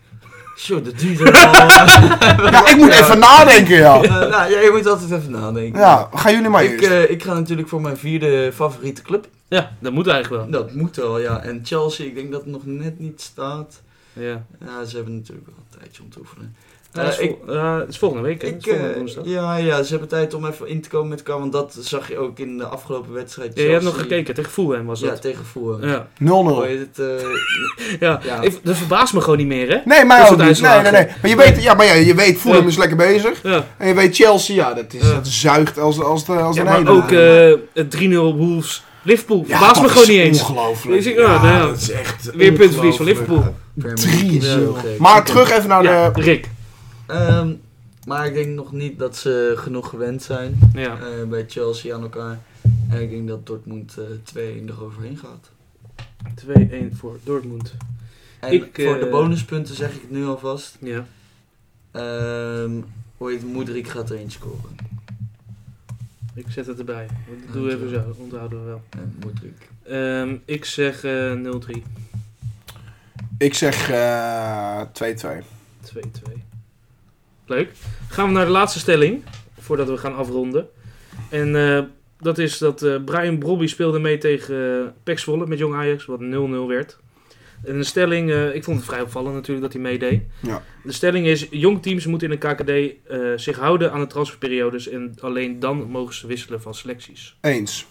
D: Zo, dat duurt wel. Eh,
C: Ja, ik moet even nadenken, ja.
D: nou, ja, je moet altijd even nadenken.
C: Ja, gaan jullie maar
D: ik,
C: eerst.
D: eh, ik ga natuurlijk voor mijn vierde favoriete club.
B: Ja, dat moet eigenlijk wel.
D: Dat moet wel, ja. En Chelsea, ik denk dat het nog net niet staat.
B: Ja.
D: Ja, ze hebben natuurlijk wel een tijdje om te oefenen.
B: Ja, dat is
D: Eh, ik-
B: vol- ja, het is volgende week, hè? Het
D: Ik,
B: is volgende
D: eh,
B: woensdag.
D: ja, ja, ze hebben tijd om even in te komen met elkaar, want dat zag je ook in de afgelopen wedstrijd.
B: Ja, je hebt nog
D: Chelsea-
B: gekeken. Tegen Fulham was
D: Ja,
B: dat.
D: tegen Fulham.
B: Ja. Oh, Ja.
C: 0-0.
D: Hoe heet het? eh, Ja.
B: Ik- dat verbaast me gewoon niet meer, hè?
C: Nee, mij
B: Dat
C: ook
B: soort
C: niet. Nee, nee,
B: uitslagen.
C: nee. Maar je weet, ja, maar ja, je weet Fulham
B: Ja.
C: is lekker bezig.
B: Ja.
C: En je weet Chelsea, ja, dat, is,
B: Ja.
C: dat zuigt als, als, de, als
B: Ja,
C: een
B: maar
C: ene.
B: ook eh, het 3-0 op Wolves. Liverpool.
C: Ja,
B: verbaast me
C: dat
B: gewoon
C: is
B: niet eens.
C: Ongelooflijk.
B: Is ik- ja, nou ja.
C: dat is echt
B: Weer puntverlies van Liverpool.
D: Heel
C: 3
D: gek.
C: Maar terug even naar
B: ja,
C: de...
B: Rick.
D: Ehm, maar ik denk nog niet dat ze genoeg gewend zijn
B: Ja.
D: eh, bij Chelsea aan elkaar. En ik denk dat Dortmund eh 2-1 eroverheen gaat.
B: 2-1 Eh, voor Dortmund.
D: En
B: Ik,
D: voor de
B: eh,
D: bonuspunten zeg ik het nu alvast.
B: Ja.
D: Ehm hoe heet het? Moedrik gaat er eentje scoren.
B: Ik zet het erbij. Dat doen we even zo. Onthouden we wel.
D: En Eh, Moedrik.
B: Ah, Ehm, ik zeg eh, 0-3.
C: Ik zeg eh, 2-2.
B: 2-2. Leuk. Gaan we naar de laatste stelling. Voordat we gaan afronden. En eh, dat is dat eh, Brian Brobby speelde mee tegen eh Pek Zwolle met Jong Ajax. Wat 0-0 werd. En de stelling, eh, ik vond het vrij opvallend natuurlijk dat hij meedeed.
C: Ja.
B: De stelling is, jong teams moeten in de KKD eh, zich houden aan de transferperiodes en alleen dan mogen ze wisselen van selecties.
C: Eens.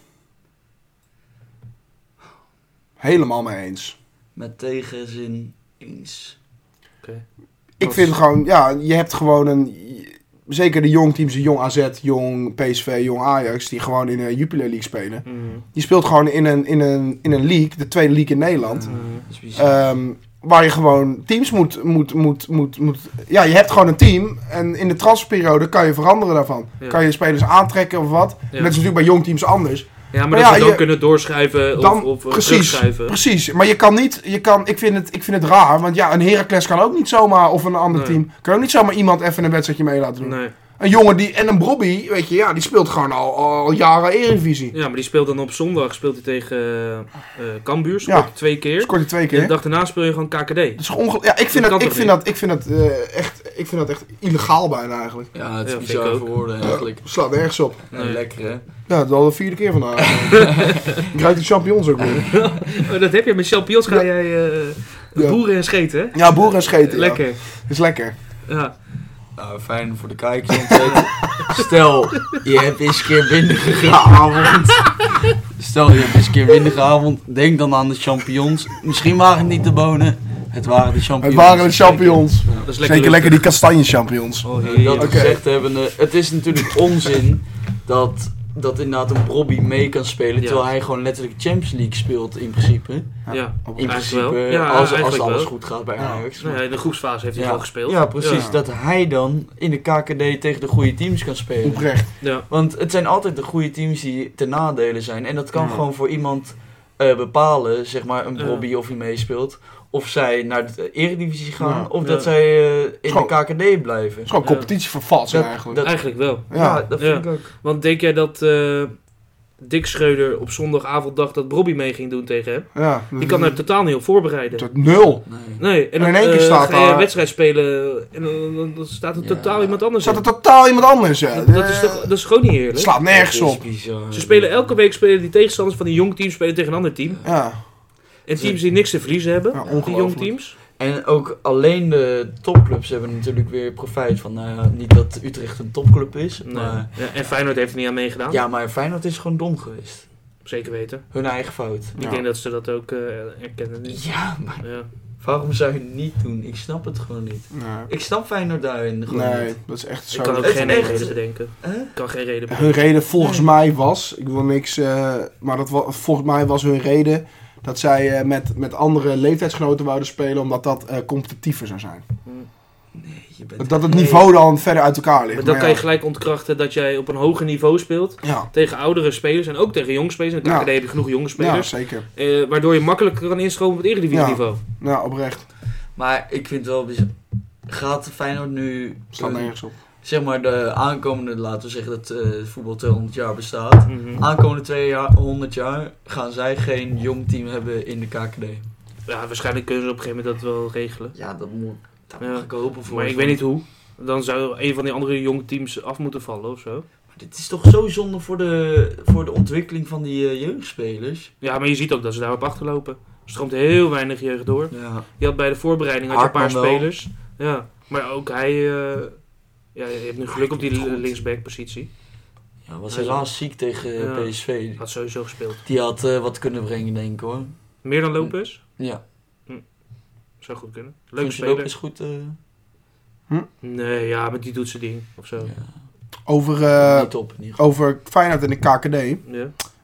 C: Helemaal mee eens.
D: Met tegenzin eens.
C: Ik
B: Als-
C: vind gewoon, ja, je hebt gewoon een... Zeker de jong teams, de jong AZ, jong PSV, jong Ajax, die gewoon in de Jupiler League spelen.
B: Mhm.
C: Je speelt gewoon in een, in een, in een league, de tweede league in Nederland.
D: Dat is
B: Eh,
D: bizar.
C: Ehm, waar je gewoon teams moet, moet, moet, moet, moet. Ja, je hebt gewoon een team. En in de transferperiode kan je veranderen daarvan.
B: Ja.
C: Kan je spelers aantrekken of wat.
B: Ja.
C: En dat is natuurlijk bij jong teams anders.
B: Ja, maar,
C: Maar
B: dat
C: ja,
B: ze dan
C: je-
B: kunnen doorschrijven of,
C: Dan-
B: of eh,
C: precies.
B: terugschrijven.
C: Precies. Maar je kan niet. Je kan, ik, vind het, ik vind het raar. Want ja, een Heracles kan ook niet zomaar. Of een ander
B: Nee.
C: team. Kan ook niet zomaar iemand even een wedstrijdje mee laten doen.
B: Nee.
C: Een jongen die. En een Brobby. Weet je, ja, die speelt gewoon al, al jaren Eredivisie.
B: Ja, maar die speelt dan op zondag speelt hij tegen eh, eh, Cambuur, scoort
C: Ja.
B: hij twee keer.
C: Scoort hij twee
B: En de
C: keer.
B: dag daarna speel je gewoon KKD.
C: Dat is ongel- ja, ik vind
B: Dat
C: dat,
B: kan
C: ik
B: toch
C: vind
B: niet?
C: dat, ik vind dat, eh, echt, ik vind dat echt illegaal bijna eigenlijk.
D: ja, het is
B: Ja, vind ik
D: bizar
B: ook.
D: voor woorden eigenlijk.
C: Slaat nergens op.
D: Ja,
B: Nee.
D: Lekker hè.
C: Ja, dat is al de vierde keer vandaag. ik ruik de champignons ook weer.
B: Oh, dat heb je met champignons ga
C: Ja.
B: jij eh,
C: Ja.
B: boeren en scheten, hè?
C: Ja, boeren en scheten. ja.
B: Lekker.
C: Is lekker.
B: Ja.
D: Nou, fijn voor de kijkers om te weten. Stel, je hebt eens een keer bindengeavond. Stel, je hebt eens een keer bindengeavond. Denk dan aan de champignons. Misschien waren het niet de bonen. Het waren de
C: Het
D: champignons.
C: waren de champignons.
B: Dat is
C: Zeker lekker die kastanjechampignons.
B: Oh,
D: Nou, dat
B: heerlijk.
C: Oké.
D: gezegd hebbende, het is natuurlijk onzin dat, dat inderdaad een Bobby mee kan spelen.
B: Ja.
D: Terwijl hij gewoon letterlijk Champions League speelt in principe. In
B: Ja. Eigenlijk
D: principe,
B: wel. Ja,
D: als, als
B: eigenlijk
D: alles
B: wel.
D: goed gaat bij
C: Ja.
D: Ajax.
B: Nou ja, in de groepsfase heeft hij
D: Ja.
B: wel gespeeld.
D: Ja, precies.
C: Ja.
D: Dat hij dan in de KKD tegen de goede teams kan spelen.
C: Oprecht.
B: Ja.
D: Want het zijn altijd de goede teams die ten nadelen zijn. En dat kan
C: Ja.
D: gewoon voor iemand eh, bepalen, zeg maar, een
B: Ja.
D: Bobby of hij meespeelt. Of zij naar de Eredivisie gaan,
C: Ja.
D: of
B: Ja.
D: dat zij eh, in
C: Gewoon-
D: de KKD blijven.
C: Het is gewoon
B: Ja.
C: competitie voor vals
D: Dat-
C: eigenlijk.
D: dat-
B: Eigenlijk wel.
D: Ja,
C: ja.
D: dat
B: Ja.
D: vind ik ook.
B: Want denk jij dat eh Dick Schreuder op zondagavond dacht dat Bobby mee ging doen tegen hem?
C: ja.
B: Die kan daar totaal niet op voorbereiden.
C: Tot nul.
D: Nee.
B: Nee, en
C: En in
B: dan,
C: één keer
B: eh,
C: staat
B: ga je
C: daar-
B: een wedstrijd spelen en dan, dan- dan staat er
D: Ja.
B: totaal iemand
C: Er
B: anders
C: staat
B: in.
C: er totaal iemand anders, ja.
B: Dat, dat is toch, dat is gewoon niet eerlijk.
C: Het slaat nergens
D: Dat is
C: op.
D: bizar.
B: Ze spelen elke week spelen die tegenstanders van die jong teams spelen tegen een ander team.
C: Ja,
B: En teams die niks te verliezen hebben,
C: ja
B: die jong
C: ongelooflijk.
B: teams.
D: En ook alleen de topclubs hebben natuurlijk weer profijt van. Nou ja, niet dat Utrecht een topclub is,
B: Nee.
D: maar...
B: Ja, en Feyenoord heeft er niet aan meegedaan.
D: Ja, maar Feyenoord is gewoon dom geweest.
B: Zeker weten.
D: Hun eigen fout.
B: Ik
C: Ja.
B: denk dat ze dat ook eh, erkennen. nu.
D: Ja, maar
B: Ja.
D: waarom zou je het niet doen? Ik snap het gewoon niet.
C: Nee.
D: Ik snap Feyenoord daarin gewoon
C: Nee,
D: niet.
C: dat is echt
B: Ik kan
C: zo.
B: ook
D: Het is
B: geen
D: echt-
B: reden bedenken.
D: Hè?
B: Ik kan geen reden
C: Hun
B: bedenken.
C: reden volgens mij was, ik wil niks, eh, maar dat wa- volgens mij was hun reden dat zij eh, met, met andere leeftijdsgenoten wouden spelen, omdat dat eh, competitiever zou zijn.
D: Nee, je bent
C: Dat het
D: Nee.
C: niveau dan verder uit elkaar
B: Maar
C: ligt.
B: dan
C: Maar
B: kan
C: ja.
B: je gelijk ontkrachten dat jij op een hoger niveau speelt.
C: Ja,
B: Tegen oudere spelers en ook tegen jong spelers. In de
C: Ja.
B: KKD heb je genoeg jonge
C: ja
B: spelers.
C: zeker.
B: eh, waardoor je makkelijker kan instromen op het eredivisie niveau.
C: Ja, oprecht.
D: Maar ik vind het wel bizar. Gaat Feyenoord nu...
C: Staat
B: Eh.
D: hun-
C: nergens op.
D: zeg maar de aankomende, laten we zeggen dat eh voetbal 200 jaar bestaat.
B: Mhm.
D: Aankomende 200 jaar gaan zij geen jong team hebben in de KKD.
B: Ja, waarschijnlijk kunnen ze op een gegeven moment dat wel regelen.
D: Ja, dat moet, dat
B: Ja.
D: mag ik hopen voor.
B: Maar ik weet niet hoe. Dan zou een van die andere jong teams af moeten vallen of zo.
D: Maar dit is toch zo zonde voor de, voor de ontwikkeling van die eh, jeugdspelers.
B: Ja, maar je ziet ook dat ze daarop achterlopen. Er stroomt heel weinig jeugd door.
D: Ja.
B: Je had bij de voorbereiding had je een paar
D: Hartman wel.
B: spelers. Ja, maar ook hij... eh, ja, je hebt nu geluk op die
D: Goed.
B: linksback positie.
D: ja, was
B: Hij is
D: helaas ziek tegen eh,
B: Ja.
D: PSV.
B: Had sowieso gespeeld.
D: Die had eh, wat kunnen brengen, denk ik hoor.
B: Meer dan Lopez?
D: Ja,
B: Zou goed kunnen. Leuk
D: Functie ook
B: speler.
D: is goed. eh,
B: Nee, ja, maar die doet zijn ding. Of zo. Ja.
C: Over,
D: ja,
C: eh
D: niet op in ieder geval.
C: over Feyenoord en de KKD.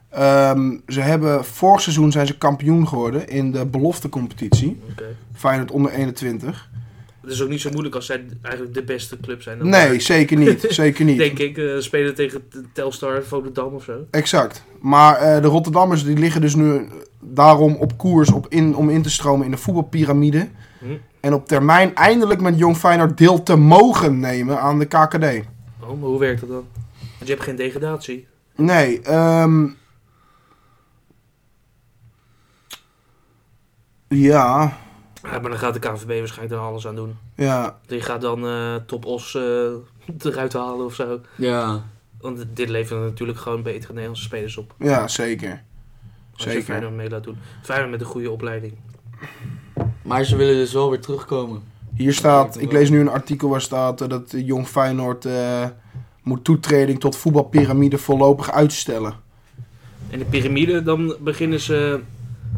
C: Ehm, ze hebben, vorig seizoen zijn ze kampioen geworden in de beloftecompetitie.
B: Oké.
C: Feyenoord onder 21.
B: Het is ook niet zo moeilijk als zij eigenlijk de beste club zijn. Dan
C: Nee, zeker niet. Zeker niet.
B: Denk ik. eh, spelen tegen t- Telstar, Volendam of zo.
C: Exact. Maar eh, de Rotterdammers die liggen dus nu daarom op koers op in, om in te stromen in de voetbalpyramide.
B: Hm.
C: En op termijn eindelijk met Jong Feyenoord deel te mogen nemen aan de KKD.
B: Oh, maar hoe werkt dat dan? Want je hebt geen degradatie.
C: Nee, ehm Ja,
B: Ja, maar dan gaat de KNVB waarschijnlijk er alles aan doen.
C: ja.
B: Die gaat dan eh Top Os eh, eruit halen of zo.
D: Ja.
B: Want dit levert natuurlijk gewoon betere Nederlandse spelers op.
C: Ja, zeker.
B: Als je
C: Zeker.
B: Feyenoord mee laat doen. Feyenoord met een goede opleiding.
D: Maar ze willen dus wel weer terugkomen.
C: Hier staat, ik lees nu een artikel waar staat eh, dat eh, Jong Feyenoord eh, moet toetreding tot voetbalpyramide voorlopig uitstellen.
B: En de piramide, dan beginnen ze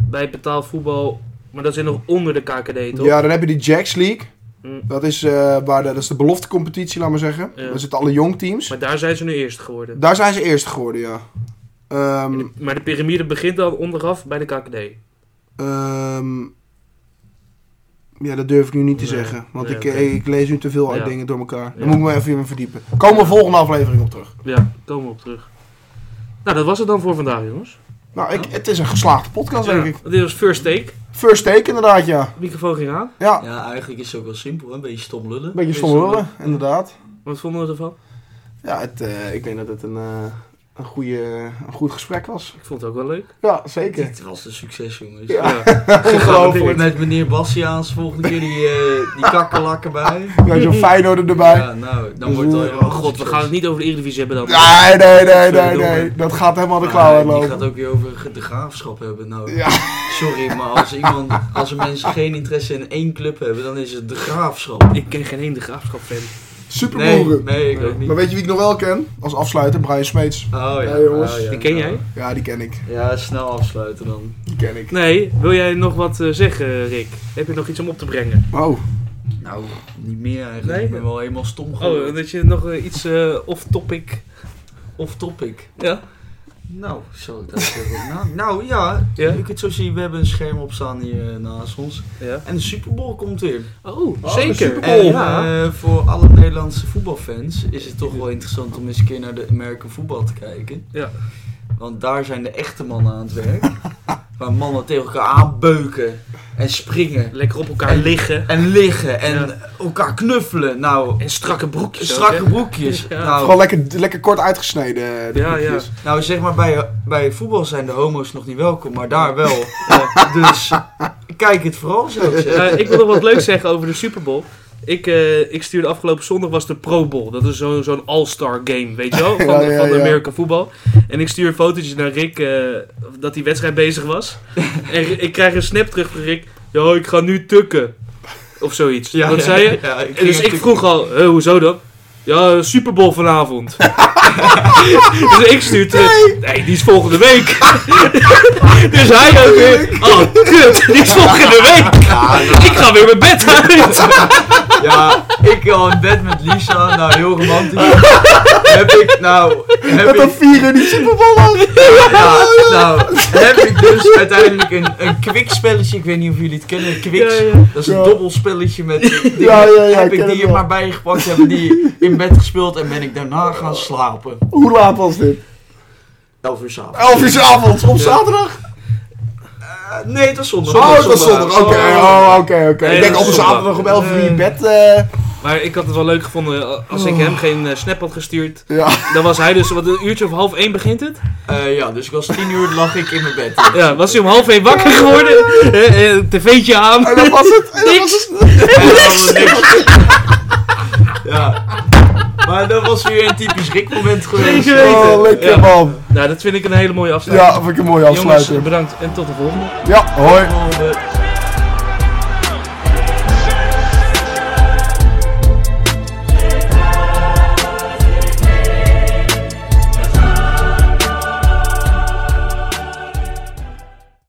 B: bij betaalvoetbal. Maar dat zit nog onder de KKD, toch?
C: Ja, dan heb je die Jacks League.
B: Mm.
C: Dat is, eh, waar de, dat is de beloftecompetitie, laat maar zeggen.
B: Ja.
C: Daar zitten alle jongteams.
B: Maar daar zijn ze nu eerst geworden.
C: Daar zijn ze eerst geworden, ja. Ehm,
B: Maar de piramide begint dan onderaf bij de KKD.
C: ehm, ja, dat durf ik nu niet te
B: Nee.
C: zeggen. Want
B: Nee,
C: ik, eh,
B: oké.
C: ik lees nu te veel uit
B: Ja.
C: dingen door elkaar.
B: Ja.
C: Daar moet ik me even in verdiepen. Komen we volgende aflevering op terug.
B: Ja, komen we op terug. Nou, dat was het dan voor vandaag, jongens.
C: Nou, ik, het is een geslaagde podcast, denk ik.
B: Dit was First Take.
C: First take, inderdaad, ja.
B: De microfoon ging aan.
C: Ja,
D: Ja, eigenlijk is het ook wel simpel, hè? een beetje stom lullen.
C: een beetje stom lullen, inderdaad.
B: Wat vonden we ervan?
C: Ja, het, eh, ik denk dat het een, eh, een, goede, een goed gesprek was.
B: Ik vond het ook wel leuk.
C: Ja, zeker.
D: Dit was een succes, jongens.
C: Ja.
D: Ongelooflijk.
B: Ongelooflijk.
D: Met meneer Bastiaans volgende keer die, eh die kakkerlakken bij.
C: Ja, zo'n Feyenoord erbij. Dus, eh,
D: Ja, nou, dan wordt het wel
B: Oh god, we gaan het niet over de Eredivisie hebben dan.
C: Nee, nee, nee, nee, nee.
D: Verdomme.
C: Dat gaat helemaal de
D: Maar
C: klauw
D: Die
C: uitlopen.
D: gaat ook weer over de graafschap hebben. Nou,
C: Ja.
D: sorry, maar als, iemand, als er mensen geen interesse in één club hebben, dan is het de graafschap.
B: Ik ken geen ene graafschap fan.
D: Nee,
C: Superboeren.
D: nee, ik ook niet.
C: Maar
D: Oh
C: weet je wie ik nog wel ken? Als afsluiter, Brian Smeets.
D: ja,
C: Ja, jongens.
D: oh ja,
B: Die ken jij?
C: Ja, die ken ik.
D: Ja, snel afsluiten dan.
C: Die ken ik.
B: Nee, wil jij nog wat eh, zeggen, Rick? Heb je nog iets om op te brengen?
C: Oh.
D: Nou, niet meer eigenlijk.
B: Nee?
D: Ik ben wel helemaal stom
B: Oh,
D: geworden.
B: dat je nog eh, iets eh, off-topic...
D: Off topic.
B: Ja?
D: Nou, zo, dat is heel goed. nou, nou ja,
B: Ja?
D: je kunt zo zien, we hebben een scherm op staan hier eh, naast ons.
B: Ja.
D: En de Super Bowl komt weer.
B: Oh,
C: de
B: zeker.
C: Super
D: En
C: Bowl.
B: Oh, ja.
D: eh, voor alle Nederlandse voetbalfans is het toch wel interessant om eens een keer naar de American voetbal te kijken.
B: Ja.
D: Want daar zijn de echte mannen aan het werk. waar mannen tegen elkaar aanbeuken en springen
B: Lekker op elkaar liggen.
D: en liggen en
B: Ja.
D: elkaar knuffelen. Nou,
B: En strakke broekjes ook,
D: strakke
B: hè?
D: broekjes.
B: Ja.
D: Nou,
C: Vooral lekker, lekker kort uitgesneden. eh, De
B: Ja, ja.
C: boekjes.
D: nou, zeg maar, bij, bij voetbal zijn de homo's nog niet welkom, maar daar wel. Eh, dus kijk het vooral zo.
B: Eh, ik wil nog wat leuks zeggen over de Super Bowl. Ik, eh, ik stuurde afgelopen zondag was de Pro Bowl. Dat is zo- zo'n all-star game, weet je wel? Van,
C: Ja,
B: de-
C: ja,
B: van de
C: ja.
B: Amerika voetbal. En ik stuur fotootjes naar Rick eh, dat die wedstrijd bezig was. En Rick- ik krijg een snap terug van Rick. Yo, ik ga nu tukken. Of zoiets. Wat zei je?
D: Ja, ik
B: En dus ik vroeg al, "Eh, hoezo dan? Ja, eh, Super Bowl vanavond. dus ik stuur terug. Nee, die is volgende week. dus hij ook weer. Oh, kut, die is volgende week. Ik ga weer mijn bed uit.
D: Ja, ik al in bed met Lisa, nou heel romantisch. heb ik nou, heb
C: Dat er
D: ik,
C: vier in die superballen.
D: ja, nou, heb ik dus uiteindelijk een, een kwikspelletje, ik weet niet of jullie het kennen, kwiks.
B: Ja, ja.
D: Dat is een
C: Ja.
D: dobbelspelletje met dingen.
C: Ja, ja, ja, ik
D: heb
C: ken
D: ik
C: het
D: die er
C: wel.
D: maar bijgepakt, hebben die in bed gespeeld en ben ik daarna gaan slapen.
C: Hoe laat was dit?
D: Elf uur s'avonds.
C: Elf uur 's avonds op zaterdag?
D: Eh, nee, het was zondag.
C: Oh, dat was zondag. Oké, oh, oké, oké.
B: Nee,
C: Ik denk
B: dat
C: op
B: was
C: een
B: zondag.
C: zaterdag om elf uur in bed. eh,
B: Maar ik had het wel leuk gevonden eh, als ik hem geen eh, snap had gestuurd.
C: Ja.
B: Dan was hij dus, wat een uurtje of half één begint het?
D: Eh, ja, dus ik was tien uur lag ik in mijn bed.
B: Ja, was hij om half één wakker geworden. Eh, eh, tv'tje aan.
C: En dat was het. En dat was
B: Niks.
C: het.
D: En dan hadden we niks. Ja. Maar dat was weer een typisch Rick-moment geweest.
B: Zeker.
C: Oh,
B: Ja.
C: lekker man.
B: Nou, dat vind ik een hele mooie afsluiting.
C: Ja, vind ik een mooie
B: Jongens,
C: afsluiter.
B: bedankt en tot de volgende.
C: Ja, hoi.
D: Oh, de-